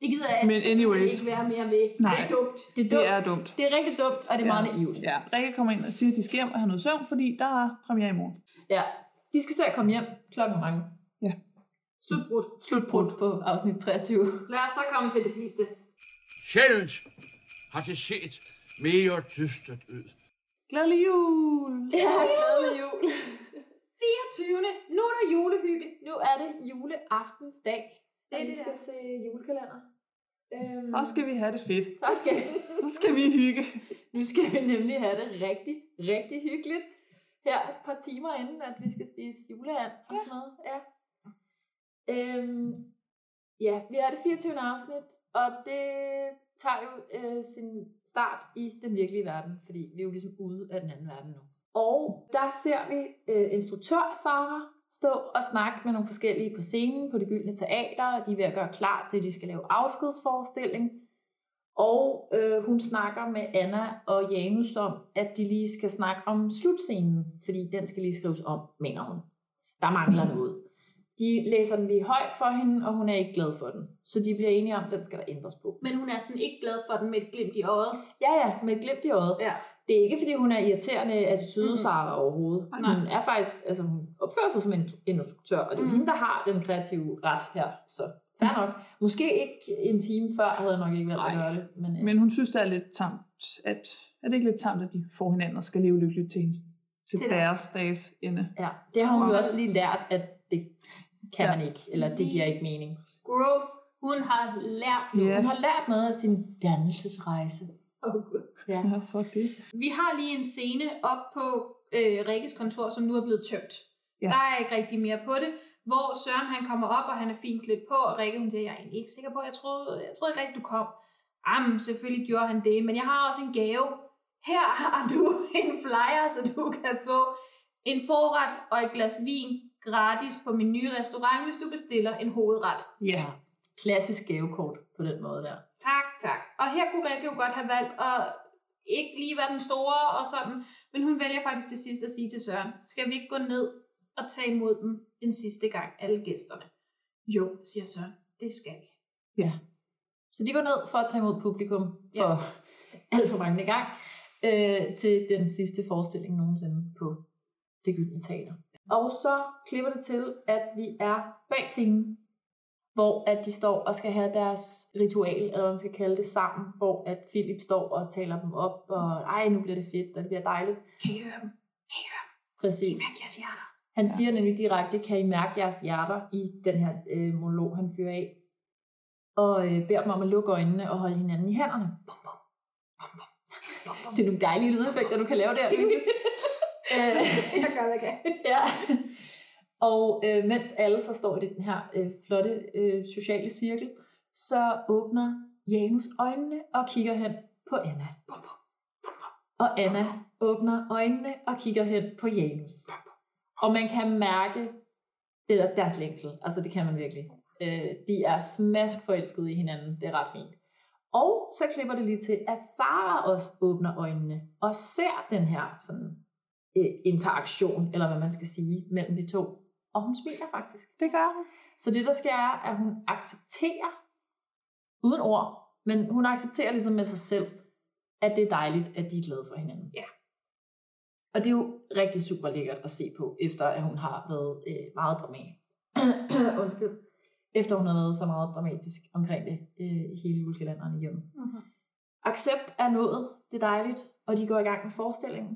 B: Det gider jeg
I: Men
B: simpelthen
I: anyways.
B: ikke være mere ved.
I: Nej.
B: Det er dumt.
H: Det er
I: Det er dumt.
H: Det er rigtig dumt, og det er ja. meget naivt.
I: Ja, Rikke kommer ind og siger, at de skal hjem og have noget søvn, fordi der er premiere i morgen.
H: Ja, de skal se at komme hjem klokken mange.
I: Ja.
B: Slutbrudt.
I: Slutbrudt
H: på afsnit 23.
B: Lad os så komme til det sidste.
P: Sjældent har det set mere dystert ud.
I: Glædelig jul!
H: Ja, glædelig jul!
B: 24. Nu er der julehygge.
H: Nu er det juleaftensdag.
B: Det er
H: og vi
B: det,
H: skal se julekalender. Øhm,
I: Så skal vi have det fedt.
H: så skal,
I: Nu skal vi hygge.
H: nu skal vi nemlig have det rigtig, rigtig hyggeligt. Her et par timer inden, at vi skal spise juleand og sådan noget. Ja. Øhm, ja, vi har det 24. afsnit, og det tager jo øh, sin start i den virkelige verden, fordi vi er jo ligesom ude af den anden verden nu. Og der ser vi øh, instruktør Sara stå og snakke med nogle forskellige på scenen på det gyldne teater, og de er ved at gøre klar til, at de skal lave afskedsforestilling. Og øh, hun snakker med Anna og Janus om, at de lige skal snakke om slutscenen, fordi den skal lige skrives om, mener hun. Der mangler noget. De læser den lige højt for hende, og hun er ikke glad for den. Så de bliver enige om, at den skal der ændres på.
B: Men hun er sådan ikke glad for den med et glimt i øjet.
H: Ja, ja, med et glimt i øjet.
B: Ja.
H: Det er ikke, fordi hun er irriterende attitude, Sarah, overhovedet.
B: Nej.
H: Hun er faktisk, altså hun opfører sig som en en instruktør, og det er jo
B: Mhm.
H: hende, der har den kreative ret her. Så fair nok. Måske ikke en time før, havde jeg nok ikke valgt at gøre det. Men, øh,
I: Men hun synes, det er lidt tamt, at, er det ikke lidt tamt, at de får hinanden og skal leve lykkeligt til, hendes,
H: Til
I: til, til
H: deres.
I: deres dages ende?
H: Ja, det har hun jo
I: Og-
H: også lige lært, at det kan
I: Ja.
H: man ikke, eller det giver ikke mening.
B: Growth. Hun har lært noget.
H: Hun har lært noget af sin dannelsesrejse. Ja.
I: ja, så er det.
B: Vi har lige en scene op på øh, Rikkes kontor, som nu er blevet tømt.
I: Ja.
B: Ja. Der er ikke rigtig mere på det. Hvor Søren han kommer op, og han er fint klædt på, og Rikke hun siger, jeg er egentlig ikke sikker på, jeg troede, jeg troede ikke rigtigt, du kom. Jamen, selvfølgelig gjorde han det, men jeg har også en gave. Her har du en flyer, så du kan få en forret og et glas vin gratis på min nye restaurant, hvis du bestiller en hovedret.
H: Ja. Klassisk gavekort på den måde der.
B: Tak, tak. Og her kunne Rikke jo godt have valgt at ikke lige være den store og sådan, men hun vælger faktisk til sidst at sige til Søren, skal vi ikke gå ned og tage imod dem en sidste gang, alle gæsterne? Jo, siger Søren, det skal vi.
H: Ja. Så de går ned for at tage imod publikum for ja. alt for mange gang øh, til den sidste forestilling nogensinde på det gyldne teater. Og så klipper det til, at vi er bag scenen, hvor at de står og skal have deres ritual, eller hvad man skal kalde det, sammen, hvor at Philip står og taler dem op, og ej, nu bliver det fedt, og det bliver dejligt.
B: Kan I høre dem? Kan I høre dem?
H: Præcis.
B: Mærk jeres hjerter.
H: Han siger nemlig direkte, kan I mærke jeres hjerter i den her øh, monolog, han fyrer af, og øh, beder dem om at lukke øjnene og holde hinanden i hænderne. Bum, bum, bum, bum, bum, bum. Det er nogle dejlige lydeffekter, du kan lave der, Louise. Øh,
B: Jeg gør, hvad jeg kan.
H: ja. Og øh, mens alle så står i den her øh, flotte øh, sociale cirkel, så åbner Janus øjnene og kigger hen på Anna. Og Anna åbner øjnene og kigger hen på Janus. Og man kan mærke det der, deres længsel. Altså det kan man virkelig. Øh, de er smask forelskede i hinanden. Det er ret fint. Og så klipper det lige til, at Sara også åbner øjnene og ser den her sådan, øh, interaktion, eller hvad man skal sige, mellem de to. Og hun smiler faktisk.
I: Det gør hun.
H: Så det, der sker, er, at hun accepterer, uden ord, men hun accepterer ligesom med sig selv, at det er dejligt, at de er glade for hinanden.
B: Ja.
H: Og det er jo rigtig super lækkert at se på, efter at hun har været øh, meget dramatisk. Undskyld. Efter hun har været så meget dramatisk omkring det øh, i hele julekalenderen igennem.
B: Mhm.
H: Accept er nået, det er dejligt, og de går i gang med forestillingen.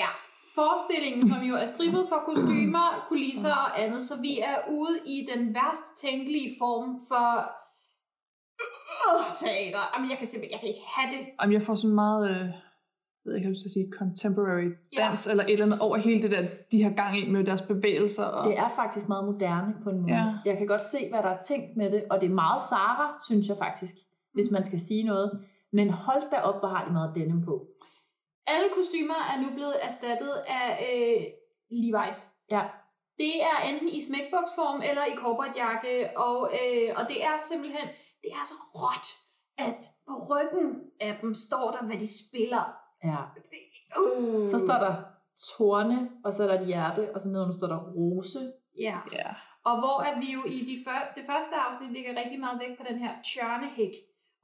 B: Ja, forestillingen, som jo er strippet for kostymer, kulisser og andet, så vi er ude i den værst tænkelige form for øh, teater. Jamen, jeg kan simpelthen jeg kan ikke have det.
I: Jamen, jeg får sådan meget, øh, ved ikke, jeg skal sige, contemporary dans, eller et eller andet over hele det der, de har gang i med deres bevægelser. Og...
H: Det er faktisk meget moderne på en måde.
I: Ja.
H: Jeg kan godt se, hvad der er tænkt med det, og det er meget Sara, synes jeg faktisk, hvis man skal sige noget. Men hold da op, hvor har de meget denim på.
B: Alle kostymer er nu blevet erstattet af øh, Levi's.
H: Ja.
B: Det er enten i smækboksform eller i korporatjakke, og, øh, og det er simpelthen, det er så råt, at på ryggen af dem står der, hvad de spiller.
H: Ja.
B: Uh.
H: Så står der torne, og så er der et hjerte, og så nedenunder står der rose.
B: Ja.
I: ja.
B: Og hvor at vi jo i de før, det første afsnit ligger rigtig meget væk på den her tjørnehæk,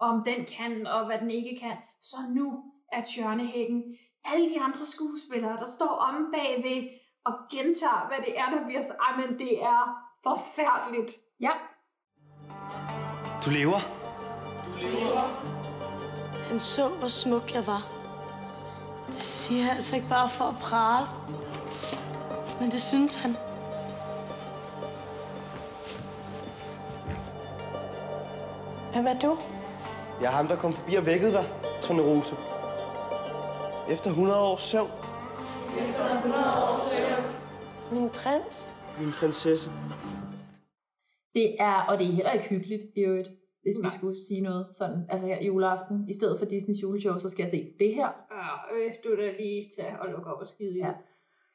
B: om den kan, og hvad den ikke kan. Så nu er tjørnehækken alle de andre skuespillere, der står om bagved og gentager, hvad det er, der bliver sagt. Ej, men det er forfærdeligt.
H: Ja.
Q: Du lever.
E: Han så, hvor smuk jeg var. Det siger jeg altså ikke bare for at prale. Men det synes han.
Q: Hvem er du? Jeg er ham, der kom forbi og vækkede dig, Trine Rose. Efter 100 års søvn.
E: Min prins.
Q: Min prinsesse.
H: Det er, og det er heller ikke hyggeligt i øvrigt, hvis Nej. vi skulle sige noget sådan, altså her juleaften. I stedet for Disneys juleshow, så skal jeg se det her.
B: Øh, du da lige tage og lukke op og skide ja.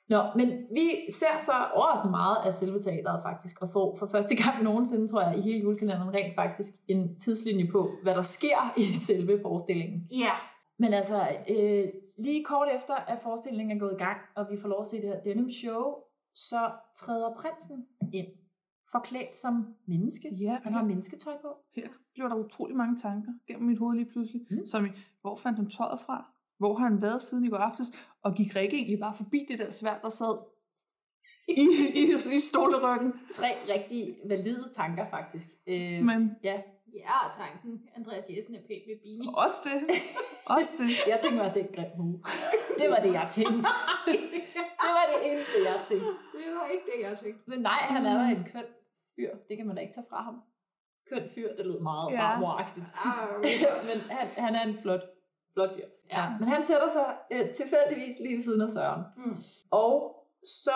H: Nå, men vi ser så overraskende meget af selve teateret faktisk, og får for første gang nogensinde, tror jeg, i hele julekalenderen rent faktisk en tidslinje på, hvad der sker i selve forestillingen.
B: Ja.
H: Men altså, øh, lige kort efter, at forestillingen er gået i gang, og vi får lov at se det her denim show, så træder prinsen ind, forklædt som menneske.
I: Ja,
H: han har mennesketøj på.
I: Her blev der utrolig mange tanker gennem mit hoved lige pludselig. Mm. Som i, hvor fandt han tøjet fra? Hvor har han været siden i går aftes? Og gik Rikke egentlig bare forbi det der svært, der sad i, i, i stoleryggen?
H: Tre rigtig valide tanker, faktisk. Øh,
I: Men-
H: Ja.
B: Ja, tanken. Andreas Jessen er pænt med bini.
I: Også det. Også det.
H: Jeg tænkte mig, at det er en grim hue. Det var det, jeg tænkte. det var det eneste, jeg tænkte.
B: Det var ikke det, jeg tænkte.
H: Men nej, han er
B: Mm.
H: da en køn fyr. Det kan man da ikke tage fra ham. Køn fyr, det lød meget
B: Ja.
H: ja. farmoragtigt.
B: Ah,
H: men han, han er en flot, flot fyr. Ja. Men han sætter sig øh, tilfældigvis lige ved siden af Søren.
B: Mm.
H: Og så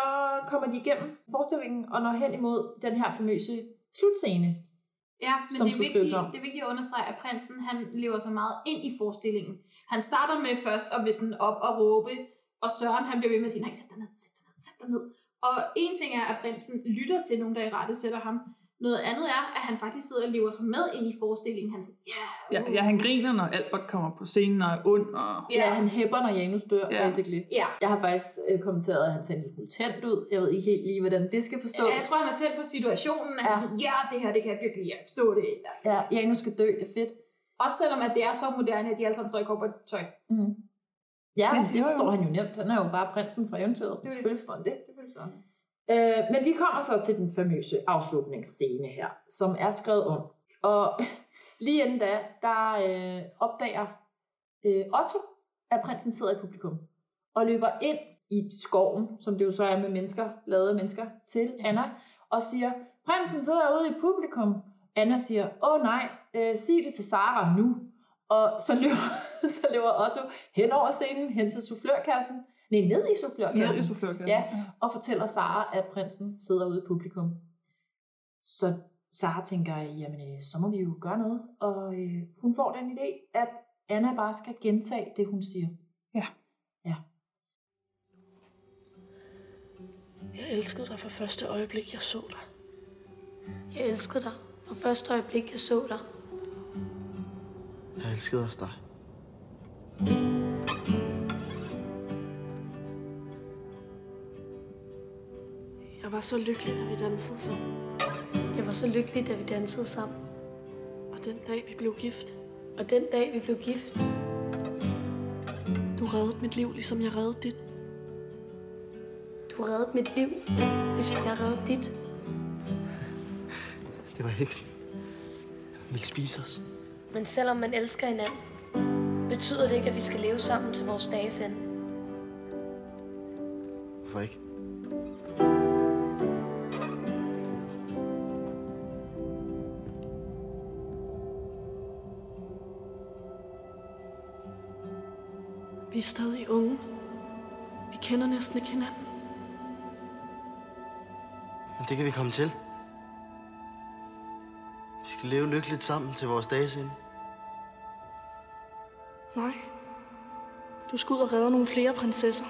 H: kommer de igennem forestillingen og når hen imod den her famøse slutscene.
B: Ja, men
H: som
B: det er,
H: skulle
B: vigtigt,
H: skrives om.
B: det er vigtigt at understrege, at prinsen han lever så meget ind i forestillingen. Han starter med først at vil sådan op og råbe, og Søren han bliver ved med at sige, nej, sæt dig ned, sæt dig ned, sæt dig ned. Og en ting er, at prinsen lytter til nogen, der i rette sætter ham. Noget andet er, at han faktisk sidder og lever sig med ind i forestillingen. Han siger, ja,
I: Ja, ja, han griner, når Albert kommer på scenen og er ond. Og...
H: Ja, yeah. han hæpper, når Janus dør,
I: Ja.
H: yeah. basically.
B: Yeah.
H: Jeg har faktisk øh, kommenteret, at han ser en lille smule tændt ud. Jeg ved ikke helt lige, hvordan det skal forstås.
B: Ja, jeg tror, han er tændt på situationen. og Han
H: Ja.
B: ja. Siger, ja, det her, det kan jeg virkelig jeg forstå det. Ja.
H: Ja, Janus skal dø, det er fedt.
B: Også selvom at det er så moderne, at de alle sammen står i tøj.
H: Mm. Ja,
B: Ja,
H: ja det
B: jo,
H: forstår
B: jo.
H: han jo nemt. Han er jo bare prinsen fra eventyret.
B: det.
H: Selvfølgelig forstår han det. Øh, men vi kommer så til den famøse afslutningsscene her, som er skrevet om. Og lige inden da, der øh, opdager øh, Otto, at prinsen sidder i publikum. Og løber ind i skoven, som det jo så er med mennesker, lavede af mennesker, til Anna. Og siger, prinsen sidder ude i publikum. Anna siger, åh nej, øh, sig det til Sara nu. Og så løber, så løber Otto hen over scenen, hen til soufflørkassen. Nej, ned i soufflørkassen.
I: Ned i soufflørkassen,
H: Ja, og fortæller Sara, at prinsen sidder ude i publikum. Så Sara tænker, jamen øh, så må vi jo gøre noget. Og øh, hun får den idé, at Anna bare skal gentage det, hun siger.
I: Ja.
E: Jeg elskede dig fra første øjeblik, jeg så dig. Jeg elskede dig fra første øjeblik, jeg så dig.
A: Jeg elskede også dig.
E: Jeg var så lykkelig, da vi dansede sammen. Jeg var så lykkelig, da vi dansede sammen. Og den dag, vi blev gift. Og den dag, vi blev gift. Du reddede mit liv, ligesom jeg reddede dit. Du reddede mit liv, ligesom jeg reddede dit.
Q: Det var heksen. Hun ville spise os.
E: Men selvom man elsker hinanden, betyder det ikke, at vi skal leve sammen til vores dages ende.
Q: Hvorfor ikke?
E: Vi er stadig unge. Vi kender næsten ikke hinanden.
A: Men det kan vi komme til. Vi skal leve lykkeligt sammen til vores dages ende.
E: Nej. Du skal ud og redde nogle flere prinsesser.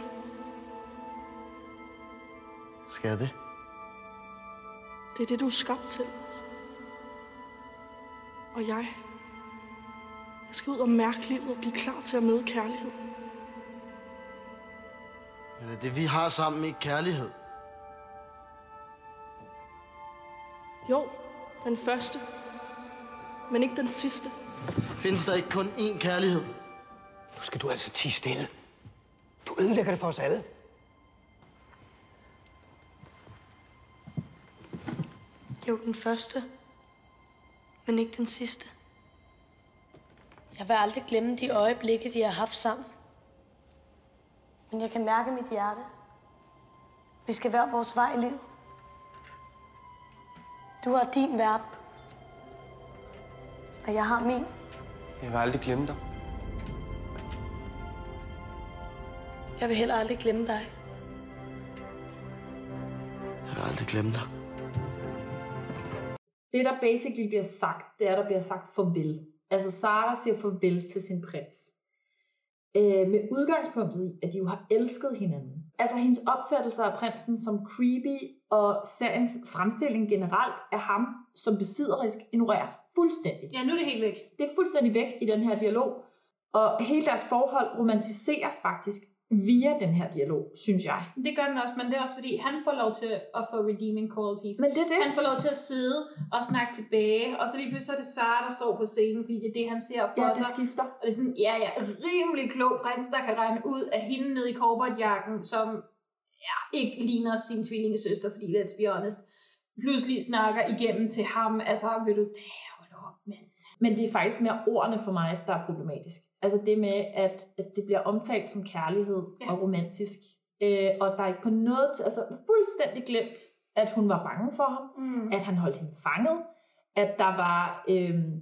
A: Skal jeg det?
E: Det er det, du er skabt til. Og jeg... Jeg skal ud og mærke livet og blive klar til at møde kærlighed.
A: Men er det, vi har sammen, ikke kærlighed?
E: Jo, den første. Men ikke den sidste.
A: Findes der ikke kun én kærlighed?
C: Nu skal du altså tige stille. Du ødelægger det for os alle.
E: Jo, den første. Men ikke den sidste. Jeg vil aldrig glemme de øjeblikke, vi har haft sammen.
L: Men jeg kan mærke mit hjerte. Vi skal være vores vej i livet.
E: Du har din verden.
L: Og jeg har min.
Q: Jeg vil aldrig glemme dig.
E: Jeg vil heller aldrig glemme dig.
A: Jeg vil aldrig glemme dig.
H: Det, der basically bliver sagt, det er, der bliver sagt farvel. Altså, Sara siger farvel til sin prins. Øh, med udgangspunktet i, at de jo har elsket hinanden. Altså, hendes opfattelse af prinsen som creepy og seriens fremstilling generelt af ham som besidderisk ignoreres fuldstændig.
B: Ja, nu er det helt væk.
H: Det er fuldstændig væk i den her dialog. Og hele deres forhold romantiseres faktisk via den her dialog, synes jeg.
B: Det gør den også, men det er også fordi, han får lov til at få redeeming qualities.
H: Men det er det.
B: Han får lov til at sidde og snakke tilbage, og så lige pludselig så er det Sara, der står på scenen, fordi det er det, han ser for
H: Ja, det
B: sig.
H: skifter.
B: Og det er sådan, ja, ja, rimelig klog prins, der kan regne ud af hende nede i korportjakken, som ja, ikke ligner sin tvillingesøster, fordi let's be honest, pludselig snakker igennem til ham, altså vil du,
H: Men det er faktisk mere ordene for mig, der er problematisk. Altså det med, at, at det bliver omtalt som kærlighed ja. og romantisk. Øh, og der er ikke på noget, t- altså fuldstændig glemt, at hun var bange for ham,
B: Mm.
H: at han holdt hende fanget, at der var øhm,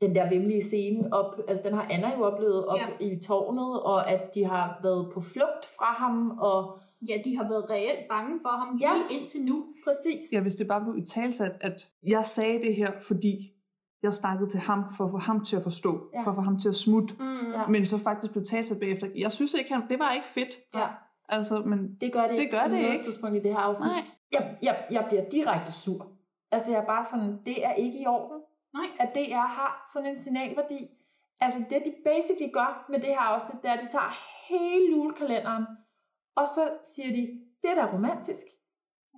H: den der vimlige scene op, altså den har Anna jo oplevet op ja. i tårnet, og at de har været på flugt fra ham, og
B: ja, de har været reelt bange for ham
H: ja,
B: lige indtil nu.
H: Præcis.
I: Ja, hvis det bare blev i talsat, at jeg sagde det her, fordi jeg snakkede til ham, for at få ham til at forstå,
H: Ja.
I: ja. for at få ham til at smutte,
B: Mm.
H: Ja.
I: men så faktisk blev talsat bagefter. Jeg synes ikke, han, det var ikke fedt.
H: Ja.
I: Altså, men
H: det gør det,
I: det, gør
H: på
I: det
H: noget
I: ikke.
H: tidspunkt i det her afsnit.
I: Nej.
H: Jeg, jeg, jeg bliver direkte sur. Altså, jeg er bare sådan, det er ikke i orden,
B: Nej.
H: at DR har sådan en signalværdi. Altså, det de basically gør med det her afsnit, det er, at de tager hele julekalenderen, og så siger de, det er da romantisk.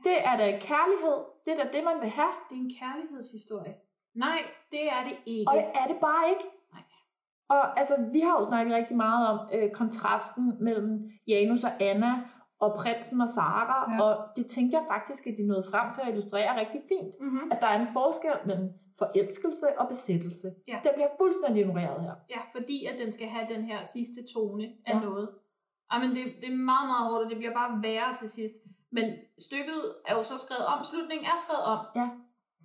H: Det er da kærlighed. Det er da det, man vil have.
B: Det er en kærlighedshistorie. Nej, det er det ikke.
H: Og det er det bare ikke. Og altså, vi har jo snakket rigtig meget om øh, kontrasten mellem Janus og Anna, og prinsen og Sara, ja. og det tænker jeg faktisk, at de nåede frem til at illustrere rigtig fint,
B: Mhm.
H: at der er en forskel mellem forelskelse og besættelse.
B: Ja.
H: Det bliver fuldstændig ignoreret her.
B: Ja, fordi at den skal have den her sidste tone af
H: Ja.
B: ja. noget. Ej, men det, det er meget, meget hårdt, og det bliver bare værre til sidst. Men stykket er jo så skrevet om, slutningen er skrevet om.
H: Ja.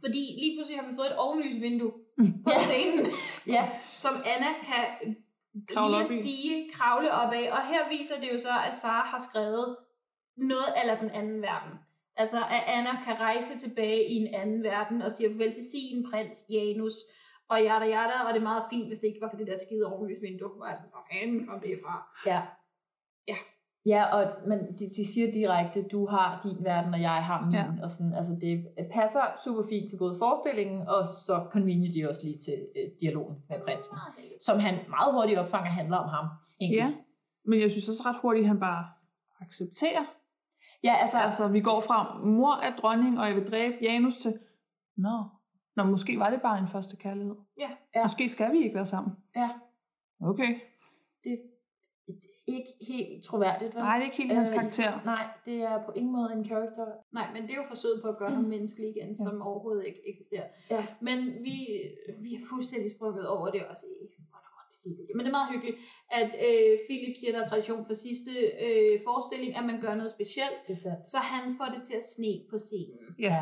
B: Fordi lige pludselig har vi fået et ovenlysvindue på scenen,
H: ja.
B: som Anna kan
I: Kravle
B: lige
I: op
B: at
I: i.
B: stige, kravle op af. Og her viser det jo så, at Sara har skrevet noget eller den anden verden. Altså, at Anna kan rejse tilbage i en anden verden og siger, vel til sin prins Janus, og jada jada, og det er meget fint, hvis det ikke var for det der skide ovenlysvindue. Hvor jeg sådan, hvor fanden kom det fra?
H: Ja.
B: Ja.
H: Ja, og, men de, de siger direkte, du har din verden, og jeg har min. Ja. Og sådan, altså det passer super fint til både forestillingen, og så convenient de også lige til øh, dialogen med prinsen. Som han meget hurtigt opfanger handler om ham. Egentlig.
I: Ah, Ja, men jeg synes også ret hurtigt, at han bare accepterer.
H: Ja, altså,
I: altså, vi går fra, mor er dronning, og jeg vil dræbe Janus til, nå, nå måske var det bare en første kærlighed.
B: Ja.
I: Ja. Måske skal vi ikke være sammen.
H: ja.
I: Okay.
H: Det det er ikke helt troværdigt. Vel?
I: Nej, det er ikke helt hans
H: Øh,
I: karakter.
H: Nej, det er på ingen måde en karakter.
B: Nej, men det er jo forsøget på at gøre ham menneskelig igen, ja. som overhovedet ikke eksisterer.
H: Ja.
B: Men vi, vi er fuldstændig sprunget over det også. i- hvor er det hyggeligt. Men det er meget hyggeligt, at øh, Philip siger, at der er tradition for sidste øh, forestilling, at man gør noget specielt.
H: Det er sandt.
B: Så han får det til at sne på scenen.
I: Ja.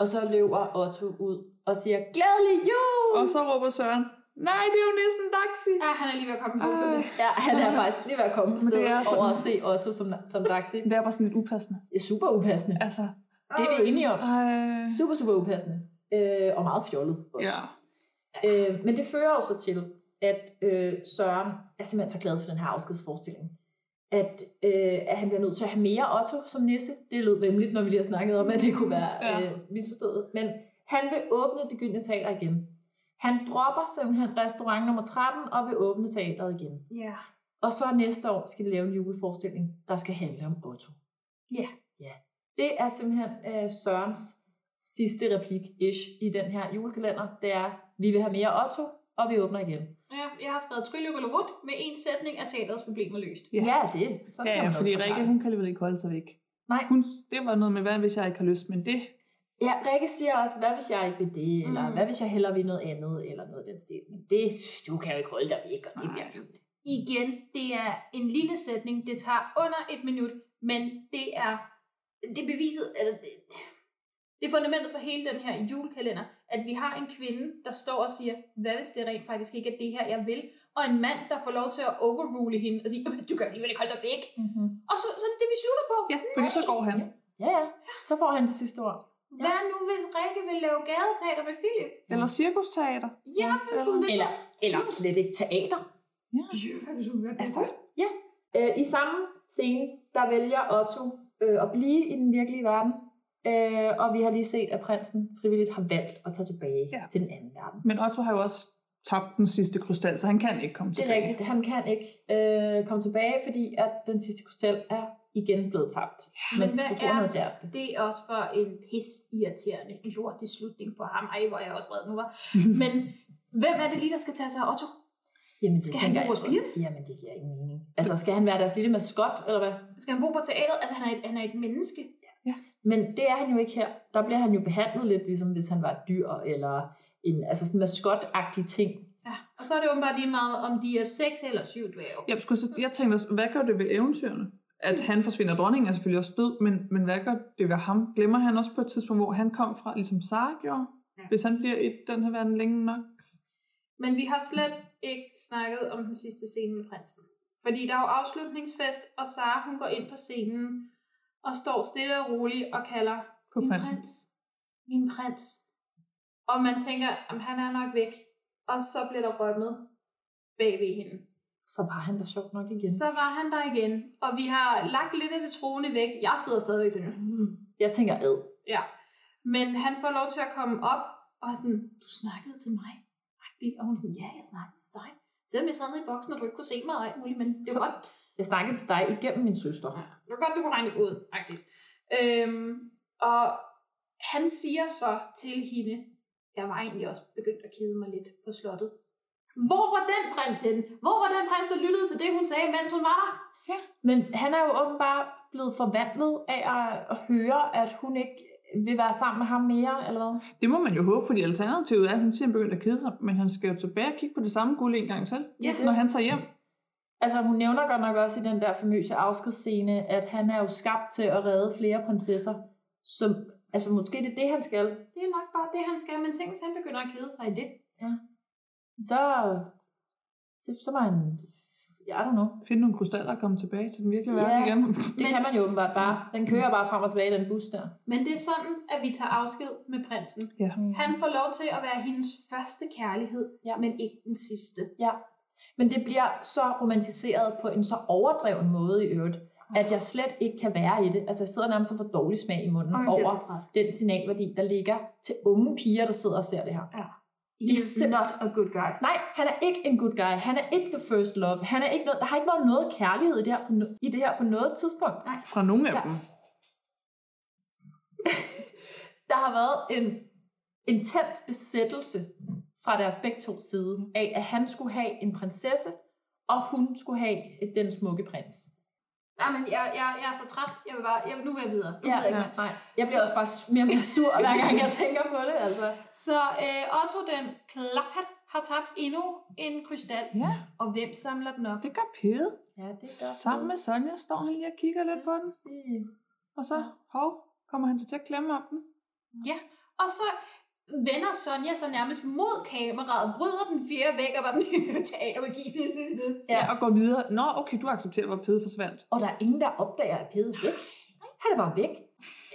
H: Og så løber Otto ud og siger, glædelig jul!
I: Og så råber Søren, nej, det er jo næsten Daxi.
B: Ja, han er lige ved at komme på bukserne.
H: Ja, han er faktisk lige ved at komme på
I: Men det
H: stedet
I: er
H: over
I: sådan-
H: at se Otto som, som Daxi.
I: Det er bare sådan lidt upassende.
H: Det er super upassende.
I: Altså,
H: Det er vi enige om.
I: Øh.
H: Super, super upassende. Øh, og meget fjollet også.
I: Ja.
H: Øh, men det fører også til, at øh, Søren er simpelthen så glad for den her afskedsforestilling. At, øh, at han bliver nødt til at have mere Otto som nisse. Det lød vemmeligt, når vi lige har snakket om, at det kunne være
I: Ja.
H: øh, misforstået. Men han vil åbne det gyldne teater igen. Han dropper simpelthen restaurant nummer 13 og vil åbne teateret igen.
B: Ja.
H: Og så næste år skal de lave en juleforestilling, der skal handle om Otto.
B: Ja.
H: Ja. Det er simpelthen øh, Sørens sidste replik-ish i den her julekalender. Det er, vi vil have mere Otto, og vi åbner igen.
B: Ja, jeg har skrevet Tryllekolerut med en sætning af teaterets problemer løst.
I: Ja.
H: Ja, det.
I: Så ja, ja, fordi Rikke, hun kan alligevel ikke holde sig væk.
H: Nej.
I: Hun, det var noget med, hvad hvis jeg ikke har lyst, men det...
H: Ja, Rikke siger også, hvad hvis jeg ikke vil det, eller
I: Mm.
H: hvad hvis jeg hellere vil noget andet, eller noget af den stil. Men det, du kan jo ikke holde dig væk, og det bliver fint.
B: Igen, det er en lille sætning. Det tager under et minut, men det er det er beviset, eller det, det er fundamentet for hele den her julekalender, at vi har en kvinde, der står og siger, hvad hvis det rent faktisk ikke er det her, jeg vil, og en mand, der får lov til at overrule hende og sige, "Jamen, du gør alligevel ikke holde dig væk.
H: Mm-hmm.
B: Og så, så er det det, vi slutter på. Ja,
I: fordi så går han.
H: Ja, ja. Så får han det sidste ord.
B: Hvad nu, hvis Rikke vil lave gadeteater med Philip?
I: Eller cirkusteater.
B: Ja, hvis hun vil.
H: Eller, eller slet ikke teater. Altså, ja. Øh, I samme scene, der vælger Otto øh, at blive i den virkelige verden. Øh, og vi har lige set, at prinsen frivilligt har valgt at tage tilbage ja. til den anden verden.
I: Men Otto har jo også tabt den sidste krystal, så han kan ikke komme
H: Det
I: tilbage.
H: er rigtigt. Han kan ikke øh, komme tilbage, fordi at den sidste krystal er igen blevet tabt. Men,
B: Men hvad
H: jeg tror, han
B: er
H: havde lært det.
B: det? er også for en pis irriterende lortig slutning på ham. Ej, hvor er jeg også vred nu, var. Men hvem er det lige, der skal tage sig af Otto?
H: Jamen, det
B: Skal han
H: tænker
B: bo
H: jeg
B: hos Pia?
H: også. Jamen, det giver ingen mening. Altså, skal han være deres lille maskot, eller hvad?
B: Skal han bo på teateret? Altså, han er et, han er et menneske.
H: Men det er han jo ikke her. Der bliver han jo behandlet lidt, ligesom hvis han var et dyr, eller en altså sådan en maskotagtig ting.
B: Ja. Og så er det åbenbart lige meget, om de er seks eller syv dværge.
I: Jeg, skulle, så- jeg tænkte også, hvad gør det ved eventyrene? At han forsvinder, dronningen er selvfølgelig også død, men, men hvad gør det ved ham? Glemmer han også på et tidspunkt, hvor han kom fra, ligesom Sara gjorde?
B: Ja.
I: Hvis han bliver i den her verden længe nok?
B: Men vi har slet ikke snakket om den sidste scene med prinsen. Fordi der er jo afslutningsfest, og Sara hun går ind på scenen og står stille og roligt og kalder
I: På
B: min
I: prinsen."
B: prins, min prins. Og man tænker, at han er nok væk. Og så bliver der rømmet bag ved hende.
H: så var han da sjovt nok igen.
B: Så var han der igen, og vi har lagt lidt af det troende væk. Jeg sidder stadigvæk "Hmm." til
H: Jeg tænker ad.
B: Ja. Men han får lov til at komme op og er sådan, du snakkede til mig. agtig. Og hun sådan, ja, jeg snakkede til dig. Selvom jeg sad nede i boksen, og du ikke kunne se mig og alt muligt, men det var godt.
H: Jeg snakkede til dig igennem min søster. Ja.
B: Det var godt, du kunne regne det ud. Agtigt. Øhm, og han siger så til hende, jeg var egentlig også begyndt at kede mig lidt på slottet. Hvor var den prins henne? Hvor var den prins, der lyttede til det, hun sagde, mens hun var der?
H: Men han er jo åbenbart blevet forvandlet af at, at høre, at hun ikke vil være sammen med ham mere, eller hvad?
I: Det må man jo håbe, fordi alternativet er, at han siger, at han begynder at kede sig, men han skal jo tilbage og kigge på det samme guld en gang til,
H: Ja, det-
I: når han tager hjem.
H: Altså, hun nævner godt nok også i den der famøse afskedsscene, at han er jo skabt til at redde flere prinsesser. Så, altså, måske det er det, han skal.
B: Det er nok bare det, han skal, men tænk, hvis han begynder at kede sig i det.
H: Ja. Så, så, så var han... Jeg don't know.
I: Finde nogle krystaller og komme tilbage til den virkelige
H: Ja,
I: verden igen.
H: det kan man jo åbenbart bare. Den kører bare frem og tilbage, den bus der.
B: Men det er sådan, at vi tager afsked med prinsen.
I: Ja.
B: Han får lov til at være hendes første kærlighed,
H: ja.
B: men ikke den sidste.
H: Ja. Men det bliver så romantiseret på en så overdreven måde i øvrigt, at jeg slet ikke kan være i det. Altså jeg sidder nærmest og får dårlig smag i munden
B: Ej,
H: Ej,
B: jeg bliver så
H: over den signalværdi, der ligger til unge piger, der sidder og ser det her.
B: Ja.
H: Det er sim-
B: not a good guy.
H: Nej, han er ikke en good guy. Han er ikke the first love. Han er ikke noget, der har ikke været noget kærlighed i det her på, no- i det her på noget tidspunkt.
B: Nej.
I: Fra nogle af
H: der,
I: dem.
H: Der har været en intens besættelse fra deres begge to side af, at han skulle have en prinsesse, og hun skulle have den smukke prins.
B: Nej, men jeg, jeg, jeg er så træt. Jeg vil bare, jeg, nu vil jeg videre. Nu
H: Ja,
B: gider jeg
H: ja,
B: ikke mere.
H: nej. Jeg bliver også bare s- mere og mere sur, hver gang jeg tænker på det, altså.
B: Så øh, Otto den klaphat har tabt endnu en krystal.
I: Ja.
B: Og hvem samler den op?
I: Det gør Pede.
H: Ja, det
I: Sammen med Sonja står han lige og kigger lidt på den. Og så, hov, kommer han til at klemme om den.
B: Ja, og så vender Sonja så nærmest mod kameraet, bryder den fjerde væk og bare sådan, teatermagi.
I: Ja. ja, og går videre. Nå, okay, du accepterer, hvor Pede forsvandt.
H: Og der er ingen, der opdager, at Pede er væk. Han er bare væk.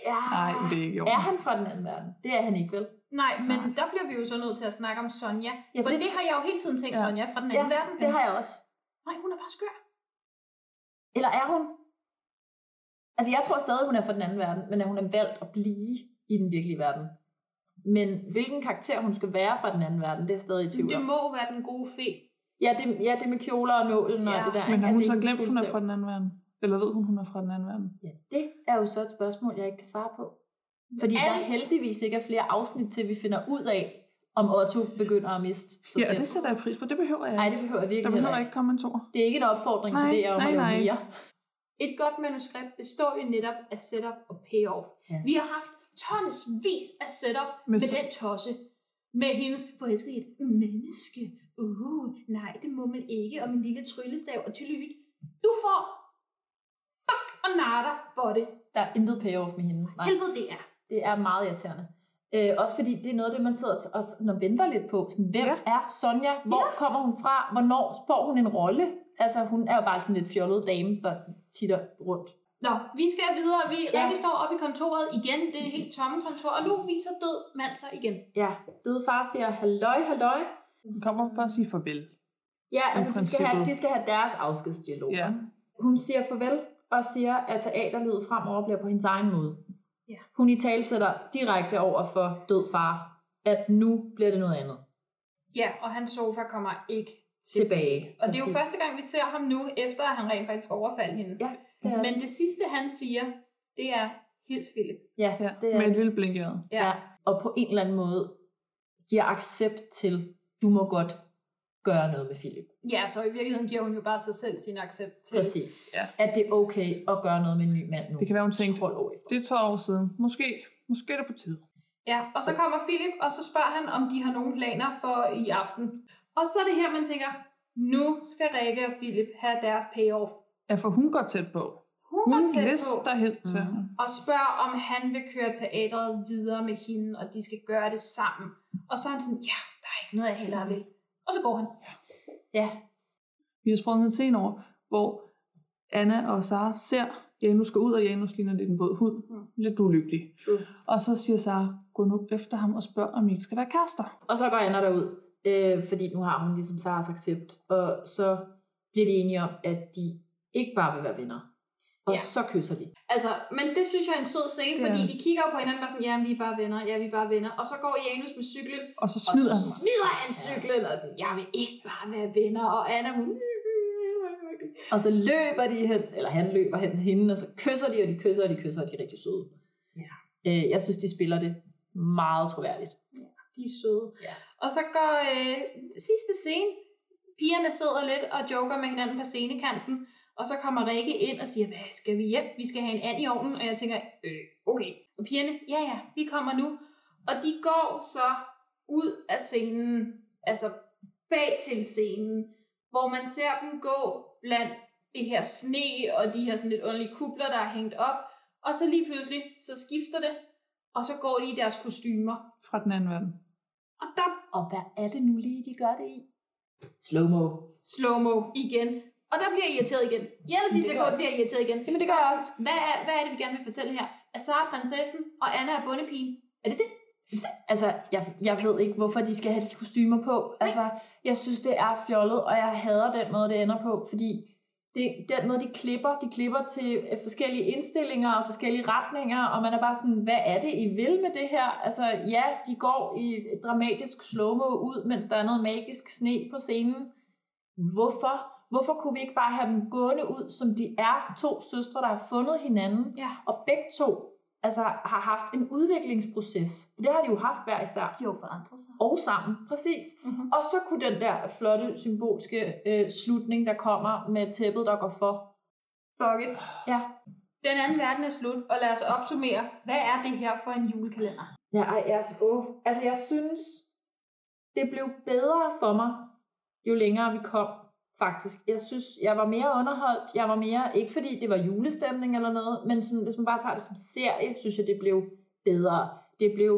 H: Ja.
I: Nej, men det er ikke i orden.
H: Ah. Er han fra den anden verden? Det er han ikke, vel?
B: Nej, men Nej. der bliver vi jo så nødt til at snakke om Sonja. Ja,
H: Ah. Ja,
B: for
H: det-
B: det, det har jeg jo hele tiden tænkt, ja.
H: Ja.
B: Sonja, fra den anden
H: Ja,
B: verden.
H: det har jeg også.
B: Nej, hun er bare skør.
H: Eller er hun? Altså, jeg tror stadig, hun er fra den anden verden, men at hun er valgt at blive i den virkelige verden. Men hvilken karakter hun skal være fra den anden verden, det er jeg stadig i tvivl
B: Det
H: om.
B: må være den gode fe.
H: Ja, det, ja, det med kjoler og nålen og
B: Ja,
H: det der.
I: Men
H: ikke?
I: har
H: At
I: hun
H: det
I: så
H: hendes
I: glemt, hun er
H: tryllestav.
I: fra den anden verden? Eller ved hun, hun er fra den anden verden?
H: Ja. Det er jo så et spørgsmål, jeg ikke kan svare på. Fordi
I: Alle-
H: der heldigvis ikke er flere afsnit, til vi finder ud af, om Otto begynder at miste sig
I: Ja, og
H: selv.
I: det sætter jeg pris på. Det behøver jeg
H: Nej, det behøver jeg virkelig
I: Der behøver
H: heller
I: ikke komme en tor.
H: Det er ikke en opfordring
I: Nej,
H: til det, om
I: nej,
H: at lave
I: nej.
H: mere.
B: Et godt manuskript består jo netop af setup og payoff. Ja. Vi har haft tonsvis af setup med,
I: Med
B: med
I: så-
B: den tosse. Med hendes forelskede i et menneske. Uh, nej, det må man ikke. Og min lille tryllestav og tyllyt. Du får fuck og natter for det.
H: Der er intet payoff med hende. Nej.
B: Helvede det er.
H: Det er meget irriterende. Øh, også fordi det er noget af det, man sidder og sådan, og venter lidt på. Sådan, hvem ja. er Sonja? Hvor ja. kommer hun fra? Hvornår får hun en rolle? Altså, hun er jo bare sådan lidt fjollet dame, der titter rundt.
B: Nå, vi skal videre. Vi ja. rigtig står oppe i kontoret igen. Det er et helt tomme kontor. Og nu viser død mand sig igen.
H: Ja, døde far siger, halløj, halløj.
I: Hun kommer for at sige farvel.
H: Ja,
I: I
H: altså de skal, have,
I: princippet.
H: de skal have deres afskedsdialog.
I: Ja.
H: Hun siger farvel og siger, at teaterlivet fremover bliver på hendes egen måde.
B: Ja.
H: Hun i talsætter direkte over for død far, at nu bliver det noget andet.
B: Ja, og hans sofa kommer ikke
H: Tilbage,
B: Og det er jo
H: præcis.
B: første gang, vi ser ham nu, efter at han rent faktisk overfaldt hende.
H: Ja,
B: det
H: det er
B: Men det sidste, han siger, det er, hils Philip.
H: Ja, ja det er
I: Med et lille blink i øjet.
H: ja. Og på en eller anden måde giver accept til, du må godt gøre noget med Philip.
B: Ja, så i virkeligheden giver hun jo bare sig selv sin accept til.
H: Præcis. Ja. At det er okay at gøre noget med en ny mand nu.
I: Det kan være, hun tænkte,
H: det
I: er 12 år siden. Måske, måske er det på tide.
B: Ja, og så kommer Philip, og så spørger han, om de har nogen planer for i aften. Og så er det her, man tænker, nu skal Rikke og Philip have deres payoff.
I: Ja, for hun går tæt på.
B: Hun går
I: hun
B: tæt på. Mhm.
I: lister hen til ham.
B: og spørger, om han vil køre teatret videre med hende, og de skal gøre det sammen. Og så er han sådan, ja, der er ikke noget, jeg hellere vil. Og så går han.
H: Ja.
I: Vi har sprunget til en år, hvor Anna og Sara ser, Janus går ud, og Janus ligner lidt en våd hud.
B: Mhm.
I: Lidt ulykkelig. Og så siger Sara, gå nu efter ham og spørg, om I ikke skal være kærester.
H: Og så går Anna derud, øh, fordi nu har hun ligesom Saras accept. Og så bliver de enige om, at de ikke bare vil være venner. Og ja. så kysser de.
B: Altså, men det synes jeg er en sød scene,
H: Ja.
B: fordi de kigger jo på hinanden og er sådan, ja, vi er bare venner, ja, vi er bare venner. Og så går Janus med cyklen.
I: Og så smider
B: og
I: han
B: så
I: mig.
B: smider han cyklen og sådan, jeg vil ikke bare være venner. Og Anna, hun...
H: Og så løber de hen, eller han løber hen til hende, og så kysser de, og de kysser, og de kysser, og de er rigtig søde. Ja. Øh, jeg synes, de spiller det meget troværdigt.
B: De er søde.
H: Ja.
B: Og så går øh, sidste scene. Pigerne sidder lidt og joker med hinanden på scenekanten. Og så kommer Rikke ind og siger, hvad skal vi hjem? Vi skal have en and i ovnen. Og jeg tænker, øh, okay. Og pigerne, ja ja, vi kommer nu. Og de går så ud af scenen, altså bag til scenen, hvor man ser dem gå blandt det her sne og de her sådan lidt underlige kubler, der er hængt op. Og så lige pludselig, så skifter det, og så går de i deres kostymer.
I: Fra den anden verden.
B: Og, der,
H: og hvad er det nu lige, de gør det i? Slow-mo.
B: Slow-mo igen. Og der bliver jeg irriteret igen. I alle
H: Men det
B: sidste
H: gør
B: sekund
H: også-
B: bliver jeg irriteret igen.
H: Jamen, det gør jeg også.
B: Hvad er, hvad er det, vi gerne vil fortælle her? At Sara er prinsessen, og Anna er bondepigen. Er det det?
H: Altså, jeg, jeg ved ikke, hvorfor de skal have de kostymer på. Altså, jeg synes, det er fjollet, og jeg hader den måde, det ender på, fordi det, den måde, de klipper, de klipper til øh, forskellige indstillinger og forskellige retninger, og man er bare sådan, hvad er det, I vil med det her? Altså, ja, de går i dramatisk slow-mo ud, mens der er noget magisk sne på scenen. Hvorfor? Hvorfor kunne vi ikke bare have dem gående ud, som de er to søstre, der har fundet hinanden,
B: ja.
H: og begge to altså, har haft en udviklingsproces? For det har de jo haft hver især.
B: De har jo forandret sig.
H: Og sammen, præcis. Mm-hmm. Og så kunne den der flotte, symbolske øh, slutning, der kommer med tæppet, der går for.
B: Fuck it.
H: Ja.
B: Den anden verden er slut, og lad os opsummere. Hvad er det her for en julekalender?
H: Ja, ej, jeg, oh. altså jeg synes, det blev bedre for mig, jo længere vi kom, faktisk. Jeg synes, jeg var mere underholdt, jeg var mere, ikke fordi det var julestemning eller noget, men sådan, hvis man bare tager det som serie, synes jeg, det blev bedre. Det blev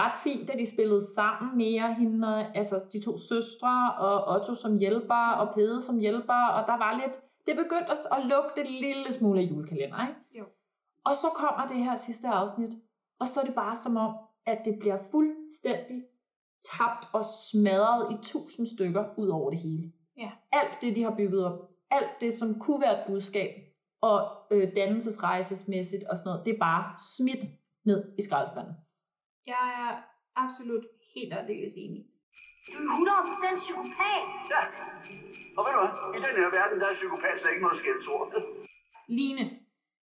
H: ret fint, da de spillede sammen mere, hende, og- altså de to søstre, og Otto som hjælper, og Pede som hjælper, og der var lidt, det begyndte at, at lugte en lille smule af julekalender, ikke?
B: Jo.
H: Og så kommer det her sidste afsnit, og så er det bare som om, at det bliver fuldstændig tabt og smadret i tusind stykker ud over det hele.
B: Ja.
H: Alt det, de har bygget op, alt det, som kunne være et budskab, og øh, dannelsesrejsesmæssigt og sådan noget, det er bare smidt ned i skraldespanden.
B: Jeg er absolut helt og aldeles enig.
R: 100% psykopat. Ja. Og ved du hvad? I den her verden, der er psykopat slet ikke noget skældsord.
B: Line,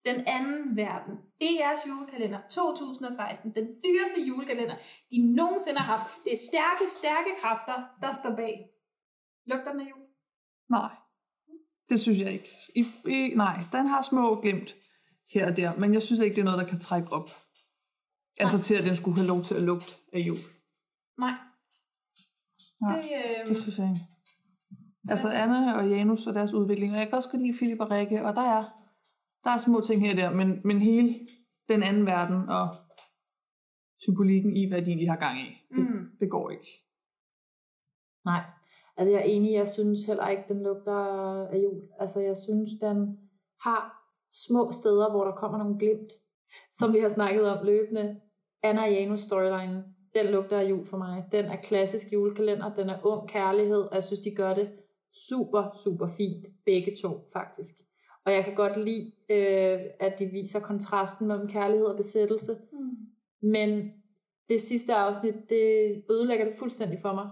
B: den anden verden, DR's julekalender 2016, den dyreste julekalender, de nogensinde har haft. Det er stærke, stærke kræfter, der står bag. Lugter med jul?
I: Nej, det synes jeg ikke. I, i, nej, den har små glemt her og der, men jeg synes ikke, det er noget, der kan trække op. Altså til, at den skulle have lov til at lugte af jul.
B: Nej.
I: Nej,
B: Det, øh,
I: det synes jeg ikke. Altså Anne og Janus og deres udvikling, og jeg kan også godt lide Philip og Rikke, og der er, der er små ting her og der, men, men hele den anden verden og symbolikken i, hvad de egentlig har gang i, det, mm. det går ikke.
H: Nej. Altså jeg er enig, jeg synes heller ikke, den lugter af jul. Altså jeg synes, den har små steder, hvor der kommer nogle glimt, som vi har snakket om løbende. Anna og Janus storyline, den lugter af jul for mig. Den er klassisk julekalender, den er ung kærlighed, og jeg synes, de gør det super, super fint, begge to faktisk. Og jeg kan godt lide, øh, at de viser kontrasten mellem kærlighed og besættelse.
B: Mm.
H: Men det sidste afsnit, det ødelægger det fuldstændig for mig.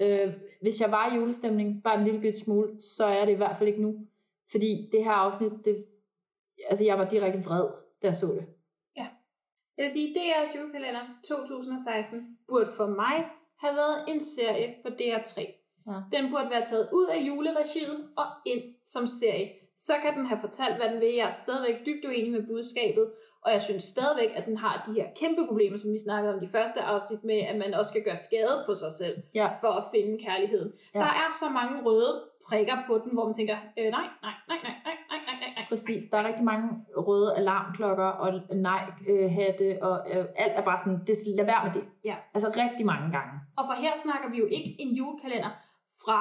H: Øh, hvis jeg var i julestemning, bare en lille bit smule, så er det i hvert fald ikke nu. Fordi det her afsnit, det, altså jeg var direkte vred, da jeg så det.
B: Ja. Jeg vil sige, DR's julekalender 2016 burde for mig have været en serie på DR3.
H: Ja.
B: Den burde være taget ud af juleregiet og ind som serie. Så kan den have fortalt, hvad den vil. Jeg er stadigvæk dybt uenig med budskabet, og jeg synes stadigvæk, at den har de her kæmpe problemer, som vi snakkede om i de første afsnit med, at man også skal gøre skade på sig selv
H: Ja.
B: for at finde kærligheden. Ja.
H: Ja.
B: Der er så mange røde prikker på den, hvor man tænker, øh, nej, nej, nej, nej, nej, nej, nej, nej, nej.
H: Præcis, der er rigtig mange røde alarmklokker og nej-hatte, og øh, alt er bare sådan, det, lad være med det.
B: Ja.
H: Altså rigtig mange gange.
B: Og for her snakker vi jo ikke en julekalender fra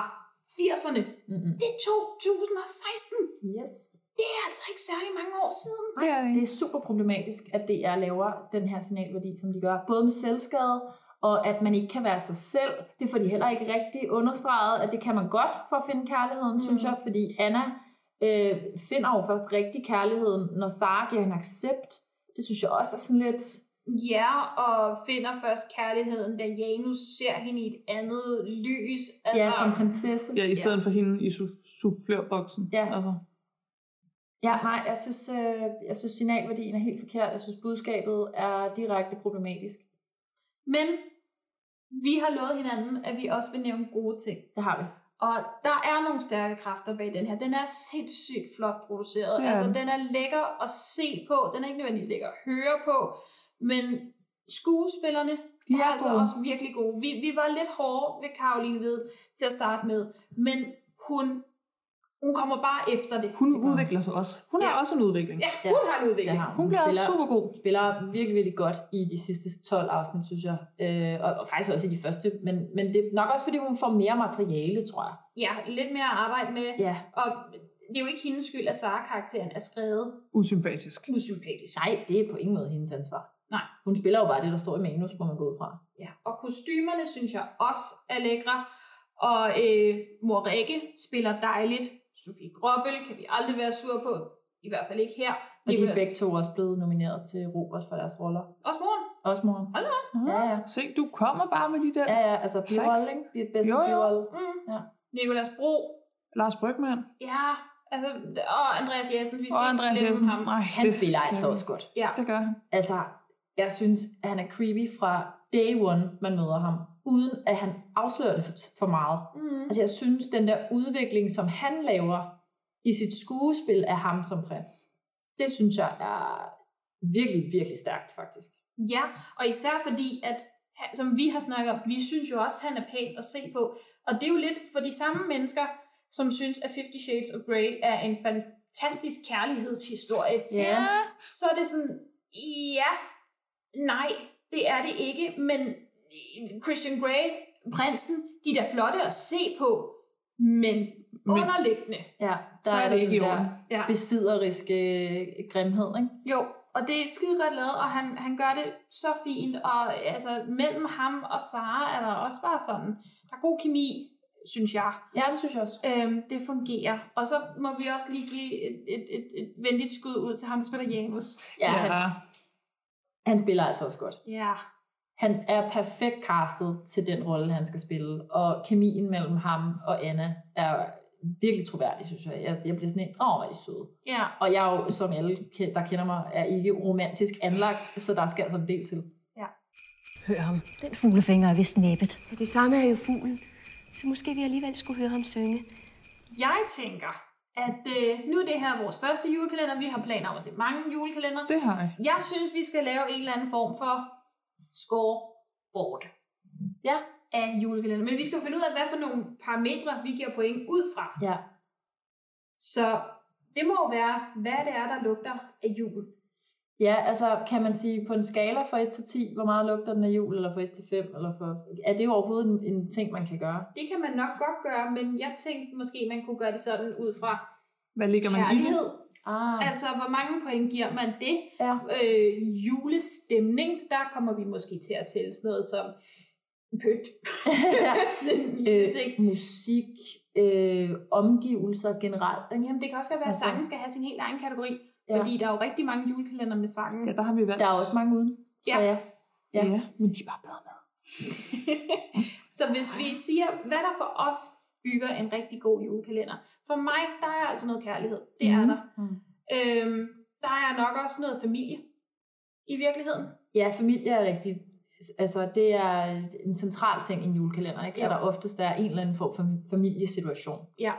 B: 80'erne.
H: Mm-mm.
B: Det er 2016.
H: Yes.
B: Det er altså ikke særlig mange år siden.
H: Det er, det er super problematisk, at DR laver den her signalværdi, som de gør. Både med selvskade og at man ikke kan være sig selv. Det får de heller ikke rigtig understreget, at det kan man godt for at finde kærligheden, mm. synes jeg, fordi Anna øh, finder jo først rigtig kærligheden, når Sara giver hende accept. Det synes jeg også er sådan lidt...
B: Ja, og finder først kærligheden, da Janus ser hende i et andet lys. Altså,
H: Ja, som prinsesse.
I: Ja, i stedet ja. for hende i su- sufflørboksen.
H: Ja.
I: Altså.
H: Ja, nej, jeg synes, øh, jeg synes signalværdien er helt forkert. Jeg synes, budskabet er direkte problematisk.
B: Men vi har lovet hinanden, at vi også vil nævne gode ting.
H: Det har vi.
B: Og der er nogle stærke kræfter bag den her. Den er sindssygt flot produceret.
H: Det
B: Ja.
H: er
B: Altså,
H: den.
B: den er lækker at se på. Den er ikke nødvendigvis lækker at høre på. Men skuespillerne
I: De
B: de
I: er
B: er altså
I: gode.
B: også virkelig gode. Vi, vi var lidt hårde ved Karoline Ved til at starte med. Men hun, hun kommer bare efter det.
I: Hun udvikler sig også. Hun ja. har også en udvikling.
B: Ja, hun har en udvikling.
H: har
I: Hun bliver også
H: god. spiller virkelig, virkelig godt i de sidste 12 afsnit, synes jeg. Øh, og, og faktisk også i de første. Men, men det er nok også, fordi hun får mere materiale, tror jeg.
B: Ja, lidt mere at arbejde med.
H: Ja.
B: Og det er jo ikke hendes skyld, at Sara-karakteren er skrevet
I: Usympatisk.
B: usympatisk.
H: Nej, det er på ingen måde hendes ansvar.
B: Nej.
H: Hun spiller jo bare det, der står i manus, må man gå ud fra.
B: Ja, og kostymerne synes jeg også er lækre. Og øh, mor Rikke spiller dejligt. Sofie Grobbel kan vi aldrig være sur på. I hvert fald ikke her.
H: Og de er
B: Nicolai-
H: begge to også blevet nomineret til Robert for deres roller.
B: Også moren.
H: Også moren.
B: Hold da op.
H: Ja, ja.
I: Se, du kommer bare med de der...
H: Ja, ja, altså birolle, ikke? Det bedste
I: Jo, jo.
H: birolle.
B: Mm.
H: Ja.
B: Nikolas Bro.
I: Lars Brygman.
B: Ja, altså, og Andreas Jessen. Vi skal
I: Og
B: ikke
I: Andreas
B: glemme
I: Jessen.
B: ham.
I: Nej,
H: Han
I: det-
H: spiller
I: det-
H: altså også godt.
B: Ja.
I: Det gør han.
H: Altså, jeg synes, at han er creepy fra day one, man møder ham. Uden at han afslører det for- for meget.
B: Mm.
H: Altså, jeg synes, den der udvikling, som han laver i sit skuespil af ham som prins, det synes jeg er virkelig, virkelig stærkt, faktisk.
B: Ja, og især fordi, at han- som vi har snakket om, vi synes jo også, at han er pæn at se på. Og det er jo lidt for de samme mennesker, som synes, at Fifty Shades of Grey er en fantastisk kærlighedshistorie.
H: Ja.
B: Så er det sådan, ja, nej, det er det ikke, men Christian Grey, prinsen, de er da flotte at se på, men, men underliggende.
H: Ja, der
B: Så er
H: er
B: det
H: der
B: ikke i
H: den der
B: orden. Ja.
H: besidderiske øh, grimhed, ikke?
B: Jo, og det er skide godt lavet, og han, han gør det så fint, og altså, mellem ham og Sara er der også bare sådan, der er god kemi, synes jeg.
H: Ja, det synes jeg også.
B: Øhm, det fungerer. Og så må vi også lige give et, et, et, et venligt skud ud til ham, der spiller Janus.
H: Ja, Ja. han- Han spiller altså også godt.
B: Ja.
H: Han er perfekt castet til den rolle, han skal spille, og kemien mellem ham og Anna er virkelig troværdig, synes jeg. Jeg, jeg bliver sådan en, åh, hvor er de søde.
B: Ja.
H: Og jeg er jo, som alle, ke- der kender mig, er ikke romantisk anlagt, så der skal altså en del til.
J: Hør ham. Den fuglefinger er vist næbbet. Ja, det samme er jo fuglen. Så måske vi alligevel skulle høre ham synge.
B: Jeg tænker, at øh, nu er det her vores første julekalender. Vi har planer om at se mange julekalender.
I: Det har jeg.
B: Jeg synes, vi skal lave en eller anden form for scoreboard
H: ja.
B: af julekalender. Men vi skal finde ud af, hvad for nogle parametre, vi giver point ud fra.
H: Ja.
B: Så det må jo være, hvad det er, der lugter af jul.
H: Ja, altså kan man sige på en skala fra 1 til 10, hvor meget lugter den af jul, eller fra 1 til 5, eller for... Er det overhovedet en, en ting, man kan gøre?
B: Det kan man nok godt gøre, men jeg tænkte måske, man kunne gøre det sådan ud fra
I: Hvad ligger man i
B: kærlighed.
I: det?
H: Ah.
B: Altså, hvor mange point giver man det?
H: Ja.
B: Øh, julestemning, der kommer vi måske til at tælle sådan noget som pynt. sådan en lille ting.
H: øh, musik, øh, omgivelser generelt. Ikke?
B: Jamen, det kan også godt være, at sangen skal have sin helt egen kategori,
H: Ja.
B: fordi der er jo rigtig mange julekalender med sangen.
I: Ja, der har vi valgt.
H: Der er også mange uden.
B: Ja.
H: Så ja.
I: Ja. ja, men de er bare bedre med.
B: Så hvis vi siger, hvad der for os bygger en rigtig god julekalender. For mig, der er altså noget kærlighed. Det er
H: Mhm.
B: der. Øhm, der er nok også noget familie i virkeligheden.
H: Ja, familie er rigtig... Altså, det er en central ting i en julekalender, ikke?
B: Ja.
H: Ja. At der oftest er en eller anden form for familiesituation.
B: Ja.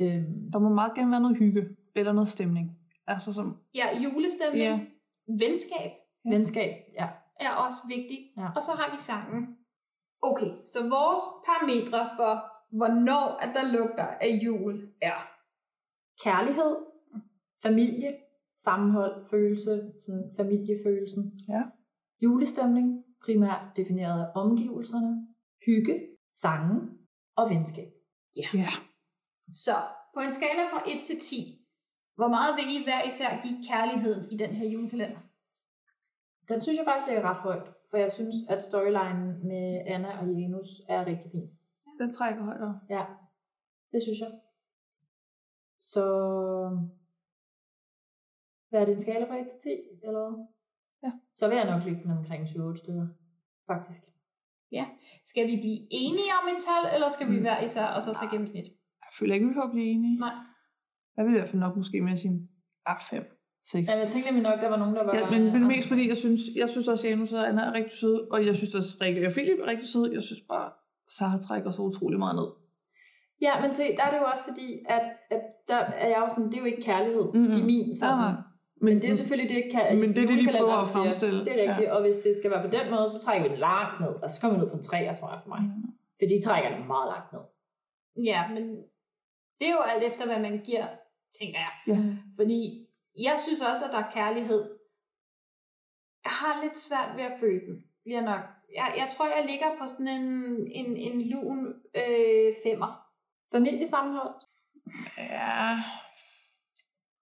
H: Øhm,
I: Der må meget gerne være noget hygge, eller noget stemning. Altså som...
B: Ja, julestemning,
I: Ja.
B: ja. venskab
I: Ja.
H: Venskab, ja.
B: er også vigtigt.
H: Ja.
B: Og så har vi sangen. Okay, så vores parametre for, hvornår at der lugter af jul, er
H: Kærlighed, familie, sammenhold, følelse, sådan familiefølelsen.
I: Ja.
H: Julestemning, primært defineret af omgivelserne. Hygge, sange og venskab.
B: Ja.
I: ja.
B: Så på en skala fra 1 til 10, hvor meget vil I hver især give kærligheden i den her julekalender?
H: Den synes jeg faktisk ligger ret højt. For jeg synes, at storylinen med Anna og Janus er rigtig fin.
I: Den trækker højt over.
H: Ja, det synes jeg. Så... Hvad er det en skala fra 1 til 10? Eller? hvad?
I: Ja.
H: Så vil jeg nok ligge den omkring 28 stykker, faktisk.
B: Ja. Skal vi blive enige om et tal, eller skal vi være især og så tage gennemsnit?
I: Jeg føler ikke, vi behøver at blive enige.
B: Mm. Nej.
I: Jeg vil i hvert fald nok måske med sin ah, 5, 6.
H: Jamen, jeg tænkte nemlig nok, der var nogen, der var...
I: Ja, men, men mest fordi, jeg synes, jeg synes også, at Janus og Anna er rigtig søde, og jeg synes også, at Rikke og Philip er rigtig søde. Jeg synes bare, Sara trækker så utrolig meget ned.
H: Ja, men se, der er det jo også fordi, at, at der er jeg jo sådan, det er jo ikke kærlighed mm-hmm. i min sammenhæng. Men, men det er selvfølgelig det, kan,
I: Men det er det, de
H: julekalenderen
I: prøver at
H: siger.
I: fremstille.
H: Det er rigtigt, ja. og hvis det skal være på den måde, så trækker vi den langt ned, og så kommer vi ned på en 3, tror jeg, for mig. Mm. For de trækker den meget langt ned.
B: Ja, men det er jo alt efter, hvad man giver, tænker jeg.
I: Ja.
B: Fordi jeg synes også, at der er kærlighed. Jeg har lidt svært ved at føle den, bliver nok. Jeg, jeg tror, jeg ligger på sådan en, en, en lun øh, femmer.
H: Familiesammenhold?
I: Ja.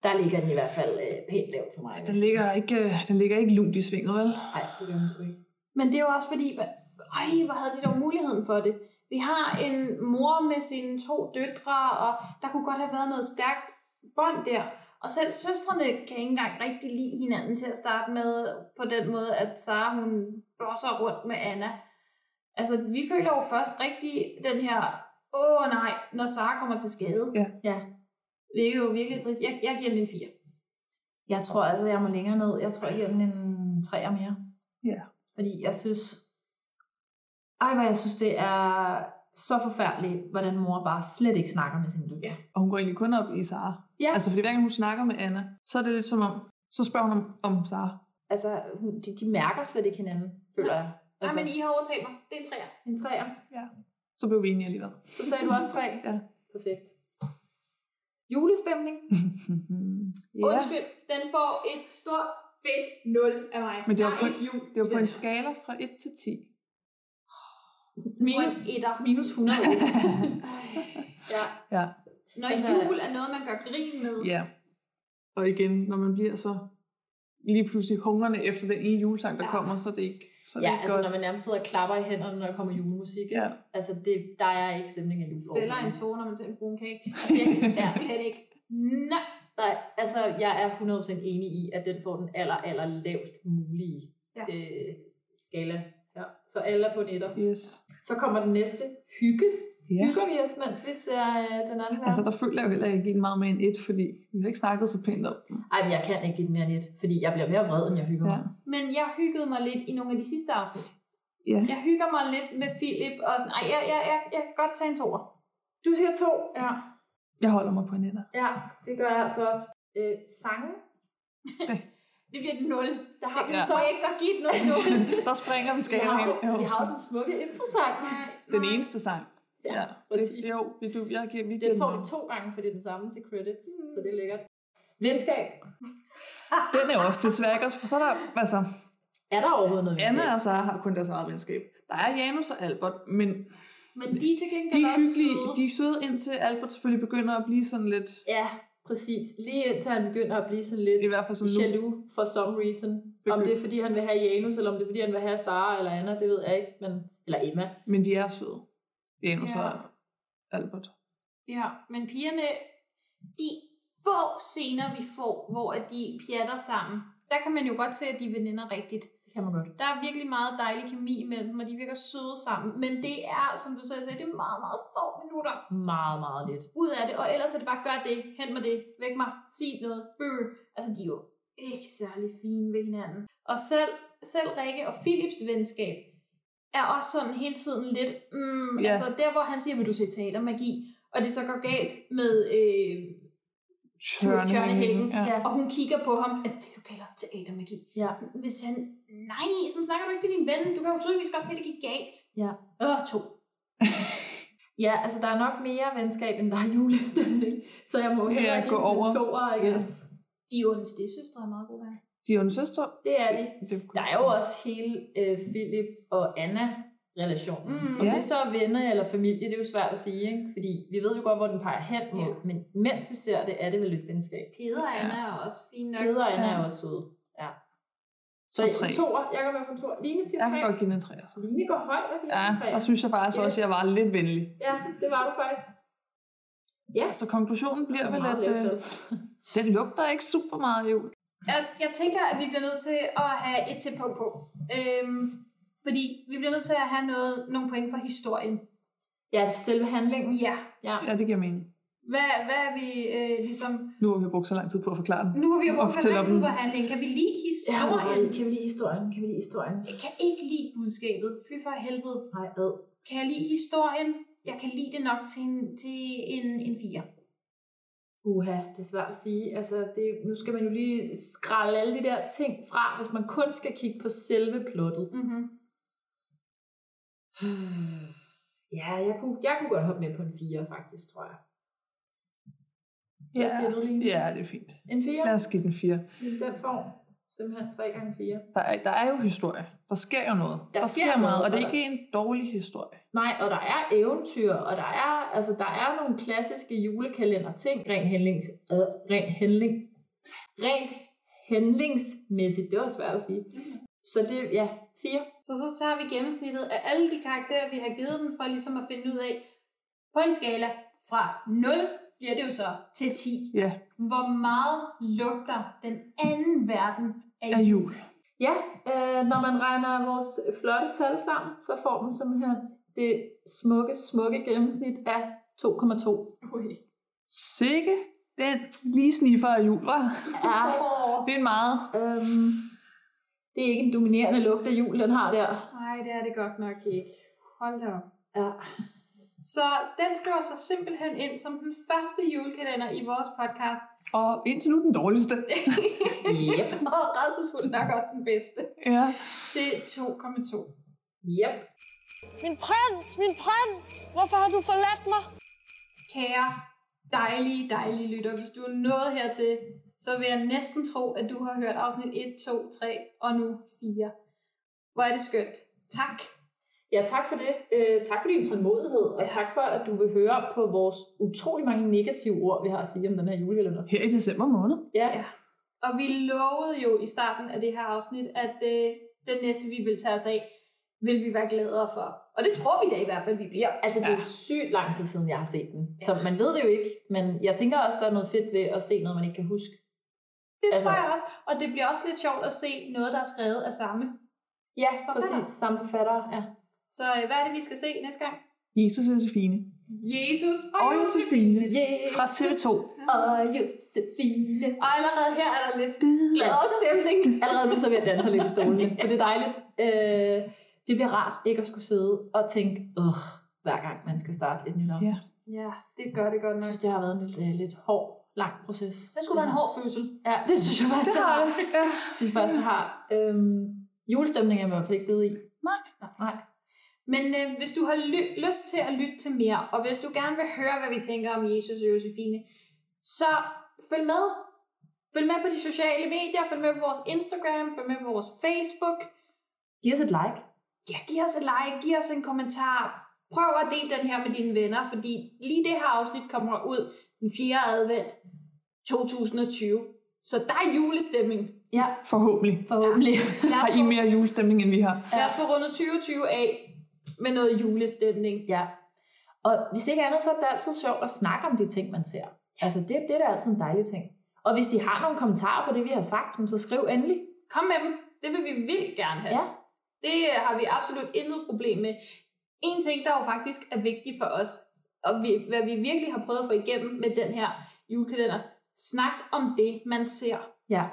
H: Der ligger den i hvert fald øh, pænt lavt for mig.
I: Den ligger ikke, øh, den ligger ikke lunt i svinget, vel?
H: Nej, det gør den sgu ikke.
B: Men det er jo også fordi, hva- øj, hvor havde de dog muligheden for det. Vi har en mor med sine to døtre, og der kunne godt have været noget stærkt bånd der. Og selv søstrene kan ikke engang rigtig lide hinanden til at starte med, på den måde, at Sara hun bosser rundt med Anna. Altså, vi føler jo først rigtig den her, åh nej, når Sara kommer til skade.
I: Ja.
H: ja.
B: Det er jo virkelig trist. Jeg, jeg giver den en 4.
H: Jeg tror altså, jeg må længere ned. Jeg tror, jeg giver den en 3 mere.
I: Ja.
H: Fordi jeg synes... Ej, hvor jeg synes, det er så forfærdeligt, hvordan mor bare slet ikke snakker med sin døtre. Ja.
I: Og hun går egentlig kun op i Sara.
H: Ja.
I: Altså, fordi hver gang hun snakker med Anna, så er det lidt som om, så spørger hun om, om Sara.
H: Altså, hun- de, de mærker slet ikke hinanden, føler jeg.
B: Altså.
H: Altså,
B: Nej, men I har overtalt mig. Det er en 3.
H: en træer.
I: Ja. Så blev vi enige alligevel.
H: Så sagde du også tre.
I: ja.
H: Perfekt. Julestemning.
I: Mhm.
B: Yeah. Undskyld, den får et stort fedt 0 af mig.
I: Men det
B: Der
I: var
B: er
I: på,
B: ikke jul
I: det var
B: i
I: på
B: den
I: en skala fra 1 til 10.
B: Minus 1. Minus 100. ja.
I: Ja.
B: Når
I: Altså-
B: jul er noget, man gør grin med.
I: Ja. Og igen, når man bliver så lige pludselig hungrende efter den ene julesang, der
H: Ja.
I: ja. kommer, så er det ikke, så er det
H: Ja,
I: ikke
H: altså
I: godt.
H: når man nærmest sidder og klapper i hænderne, når der kommer julemusik. ikke?
I: Ja.
H: Altså, det, der er ikke stemning af jul.
B: Fælder en tåre, når man tager en brun kage. Altså, jeg kan simpelthen ikke. Nej.
H: Nej, altså jeg er 100% enig i, at den får den aller, aller lavst mulige
B: Ja.
H: øh, skala. Ja. Så alle er på netter.
I: Yes.
H: Så kommer den næste. Hygge.
I: Ja.
H: Hygger vi os, mens vi ser øh, den anden verden?
I: Altså, der føler jeg jo heller ikke en meget mere end et, fordi vi har ikke snakket så pænt om den.
H: Ej, men jeg kan ikke give den mere net, fordi jeg bliver mere vred, end jeg hygger mig. Ja.
B: Men jeg hyggede mig lidt i nogle af de sidste afsnit.
I: Ja.
B: Jeg hygger mig lidt med Philip. Og sådan, ej, jeg, jeg, jeg, jeg kan godt tage en toer.
H: Du siger to. Ja,
I: Jeg holder mig på en etter.
H: ja det gør jeg altså også. Øh, sange.
B: Det bliver et 0.
H: Der har
B: det
H: vi
B: kan
H: jo
B: ja.
H: så
B: så ikke godt give et 0 nu.
I: Der springer vi
H: Vi har,
I: skalaen.
H: jo- vi har jo den smukke introsang.
I: Den eneste sang.
H: Ja,
I: det, jo, vi, du, jeg giver, vi giver
H: Den får vi
I: den,
H: to gange, for det er den samme til credits, så det er lækkert. Venskab.
I: den er jo også lidt svær, ikke også? For så er der, altså...
H: Er der overhovedet noget
I: Anna og Sara har kun deres eget venskab. Der er Janus og Albert, men
B: Men de er til gengæld
I: de er
B: også
I: hyggelige.
B: søde.
I: De er søde, indtil Albert selvfølgelig begynder at blive sådan lidt...
H: Ja, præcis. Lige indtil han begynder at blive sådan lidt
I: I hvert fald sådan nu.
H: jaloux for some reason. Om det er fordi, han vil have Janus, eller om det er fordi, han vil have Sara eller Anna, det ved jeg ikke. Men, eller Emma.
I: Men de er søde. Janus
B: Ja.
I: ja. og Albert.
B: Ja, men pigerne, de få scener, vi får, hvor at de pjatter sammen, der kan man jo godt se, at de er veninder rigtigt.
H: Det kan man godt.
B: Der er virkelig meget dejlig kemi imellem dem, og de virker søde sammen. Men det er, som du selv sagde, det er meget, meget få minutter
H: Meget, meget lidt.
B: ud af det. Og ellers er det bare, gør det, hent mig det, væk mig, sig noget, bøh. Altså, de er jo ikke særlig fine ved hinanden. Og selv, selv Rikke og Philips venskab er også sådan hele tiden lidt, mm,
I: Ja.
B: yeah. altså der, hvor han siger, vil du se teatermagi? Og det så går galt med øh, Tjørne Helgen,
I: Ja.
B: og hun kigger på ham, at det du kalder teatermagi.
H: Ja.
B: Hvis han, nej, sådan snakker du ikke til din ven, du kan jo tydeligvis godt se, at det gik galt.
H: Ja.
B: Åh, to.
H: ja, altså der er nok mere venskab, end der er julestemning. Så jeg må hellere
I: Ja,
H: give
I: gå
H: den en
I: over.
H: toer, I guess.
B: De er jo en stedsøstre er meget gode venner.
I: De er jo en søster.
H: Det er det.
I: det
H: Der er jo også hele øh, Philip og Anna relationen.
I: Mm.
H: Mm, Om
I: Ja.
H: det så er venner eller familie, det er jo svært at sige, ikke? fordi vi ved jo godt, hvor den peger hen mod, ja. men mens vi ser det, er det vel et venskab.
B: Peder og Anna er også fine nok.
H: Peder og Anna
B: Ja.
H: er også søde. Ja. Så
I: Som
H: en
I: tre.
H: toer, jeg går med på en toer. Line siger
I: Jeg kan
H: tre.
I: godt give den en træer. så.
H: Line går højt og giver
I: Ja,
H: en træer.
I: der synes jeg faktisk også, at jeg var lidt venlig.
H: Ja, det var du faktisk. Ja.
I: Så konklusionen bliver
H: Det
I: vel,
H: var
I: at
H: meget
I: øh,
H: lavt
I: den lugter ikke super meget af jul.
B: Jeg, jeg tænker, at vi bliver nødt til at have et til punkt på. Øhm, fordi vi bliver nødt til at have noget, nogle point for historien.
H: Ja, altså selve handlingen.
B: Ja.
H: ja.
I: Ja, det giver mening.
B: Hvad, hvad er vi øh, ligesom...
I: Nu har vi brugt så lang tid på at forklare den.
B: Nu har vi jo
I: Og
B: brugt for
I: fortælle
B: lang
I: om
B: tid
I: den.
B: på handling. Kan vi lide
H: Ja,
B: historien?
H: kan vi lide historien? Kan vi lide historien?
B: Jeg kan ikke lide budskabet. Fy for helvede.
H: Nej, ad.
B: Kan jeg lide historien? Jeg kan lide det nok til en, til en, en fire.
H: Uha, det er svært at sige. Altså, det, nu skal man jo lige skralde alle de der ting fra, hvis man kun skal kigge på selve plottet.
B: Mm-hmm.
H: Ja, jeg kunne, jeg kunne godt hoppe med på en 4, faktisk, tror jeg. Hvad siger du, Line?
I: Ja, det er fint.
H: En 4?
I: Lad os give den fire.
H: I den form. Simpelthen 3 gange 4.
I: Der er, der er jo historie. Der sker jo noget.
H: Der
I: Der, der
H: sker
I: sker, sker
H: noget,
I: meget, og det er
H: og
I: ikke en dårlig historie.
H: Nej, og der er eventyr, og der er, altså, der er nogle klassiske julekalender-ting, rent, handlings, øh, rent handling. Rent handlingsmæssigt, det var svært at sige. Så det, ja, 4.
B: Så så tager vi gennemsnittet af alle de karakterer, vi har givet dem, for ligesom at finde ud af, på en skala fra 0, bliver det jo så, til 10.
I: Ja.
B: Hvor meget lugter den anden verden af
I: Af jul.
H: Ja, øh, når man regner vores flotte tal sammen, så får man simpelthen det smukke, smukke gennemsnit af 2,2.
B: Ui.
I: Sikke den lige sniffer af jul, var.
H: Ja.
I: Det er en meget.
H: Øhm, det er ikke en dominerende lugt af jul, den har der.
B: Nej, det er det godt nok ikke. Hold da op.
H: Ja.
B: Så den skriver sig simpelthen ind som den første julekalender i vores podcast.
I: Og indtil nu den dårligste.
H: Yep.
B: Og redselsfuld nok også den bedste.
I: Ja.
B: Til 2,2.
H: Yep.
L: Min prins, min prins! Hvorfor har du forladt mig?
B: Kære, dejlige, dejlige lytter, hvis du er nået hertil, så vil jeg næsten tro, at du har hørt afsnit 1, 2, 3 og nu 4. Hvor er det skønt. Tak.
H: Ja, tak for det. Øh, tak for din tålmodighed, og ja. tak for, at du vil høre på vores utrolig mange negative ord, vi har at sige om den her julekalender.
I: Her i december måned.
H: Ja.
B: ja. Og vi lovede jo i starten af det her afsnit, at øh, den næste, vi vil tage os af, vil vi være gladere for. Og det tror vi da i hvert fald, vi bliver.
H: Altså, det er sygt lang tid siden, jeg har set den. Så man ved det jo ikke, men jeg tænker også, der er noget fedt ved at se noget, man ikke kan huske.
B: Det altså. tror jeg også. Og det bliver også lidt sjovt at se noget, der er skrevet af samme.
H: Ja, præcis. Samme forfattere, ja.
B: Så øh, hvad er det, vi skal se næste gang?
I: Jesus og Josefine.
B: Jesus og,
I: Og Josefine.
B: Jesus.
I: Fra TV2.
H: Og Josefine.
B: Og allerede her er der lidt glad stemning.
H: Allerede nu så vil jeg danse lidt i stolene, så det er dejligt. Øh, det bliver rart ikke at skulle sidde og tænke, Åh, hver gang man skal starte et nyt afsnit.
B: Ja, det gør det godt nok.
H: Jeg synes, det har været en lidt, øh, lidt hård, lang proces.
B: Det skulle være en hård fødsel.
H: Ja, det synes jeg faktisk,
B: Det har det.
I: Ja.
H: Jeg synes faktisk, det har. Øhm, julestemning er jeg i hvert fald ikke blevet i.
I: Nej.
H: Nej.
B: Men øh, hvis du har ly- lyst til at lytte til mere, og hvis du gerne vil høre, hvad vi tænker om Jesus og Josefine, så følg med. Følg med på de sociale medier, følg med på vores Instagram, følg med på vores Facebook.
H: Giv os et like.
B: Ja, giv os et like, giv os en kommentar. Prøv at dele den her med dine venner, fordi lige det her afsnit kommer ud den 4. advent 2020. Så der er julestemning.
H: Ja,
I: Forhåbentlig.
H: forhåbentlig.
I: Har I mere julestemning, end vi har?
B: Lad os få rundet 2020 af med noget julestemning.
H: Ja. Og hvis ikke andet, så er det altid sjovt at snakke om de ting, man ser. Altså, det, det er da altid en dejlig ting. Og hvis I har nogle kommentarer på det, vi har sagt, jamen, så skriv endelig.
B: Kom med dem. Det vil vi vildt gerne have.
H: Ja.
B: Det øh, har vi absolut intet problem med. En ting, der jo faktisk er vigtig for os, og vi, hvad vi virkelig har prøvet at få igennem med den her julekalender, snak om det, man ser.
H: Ja.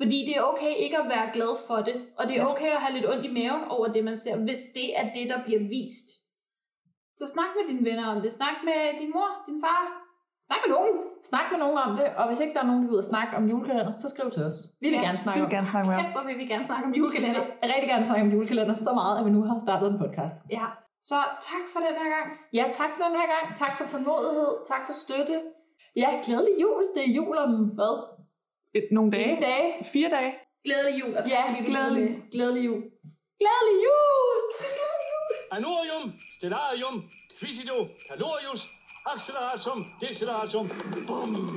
B: Fordi det er okay ikke at være glad for det, og det er okay at have lidt ondt i maven over det, man ser, hvis det er det, der bliver vist. Så snak med dine venner om det. Snak med din mor, din far. Snak med nogen.
H: Snak med nogen om det, og hvis ikke der er nogen, der gider snakke om julekalender, så skriv til os. Vi vil
B: Ja,
H: gerne snakke
I: vi vil
H: om
I: gerne snakke med jer.
B: Hvor vil vi gerne snakke om julekalender.
H: Jeg vil rigtig gerne snakke om julekalender, så meget, at vi nu har startet en podcast.
B: Ja, så tak for den her gang.
H: Ja, tak for den her gang. Tak for tålmodighed. Tak for støtte. Ja, glædelig jul. Det er jul om hvad?
I: Et- Nogle dage?
H: Nogle dage.
I: Fire dage?
B: Glædelig jul. Og tak,
H: Ja,
B: fordi du
I: glædelig.
B: lyttede med.
H: Glædelig jul. Glædelig jul!
P: Anorium, stellarium, quisido, calorius, acceleratum, deceleratum. Bum.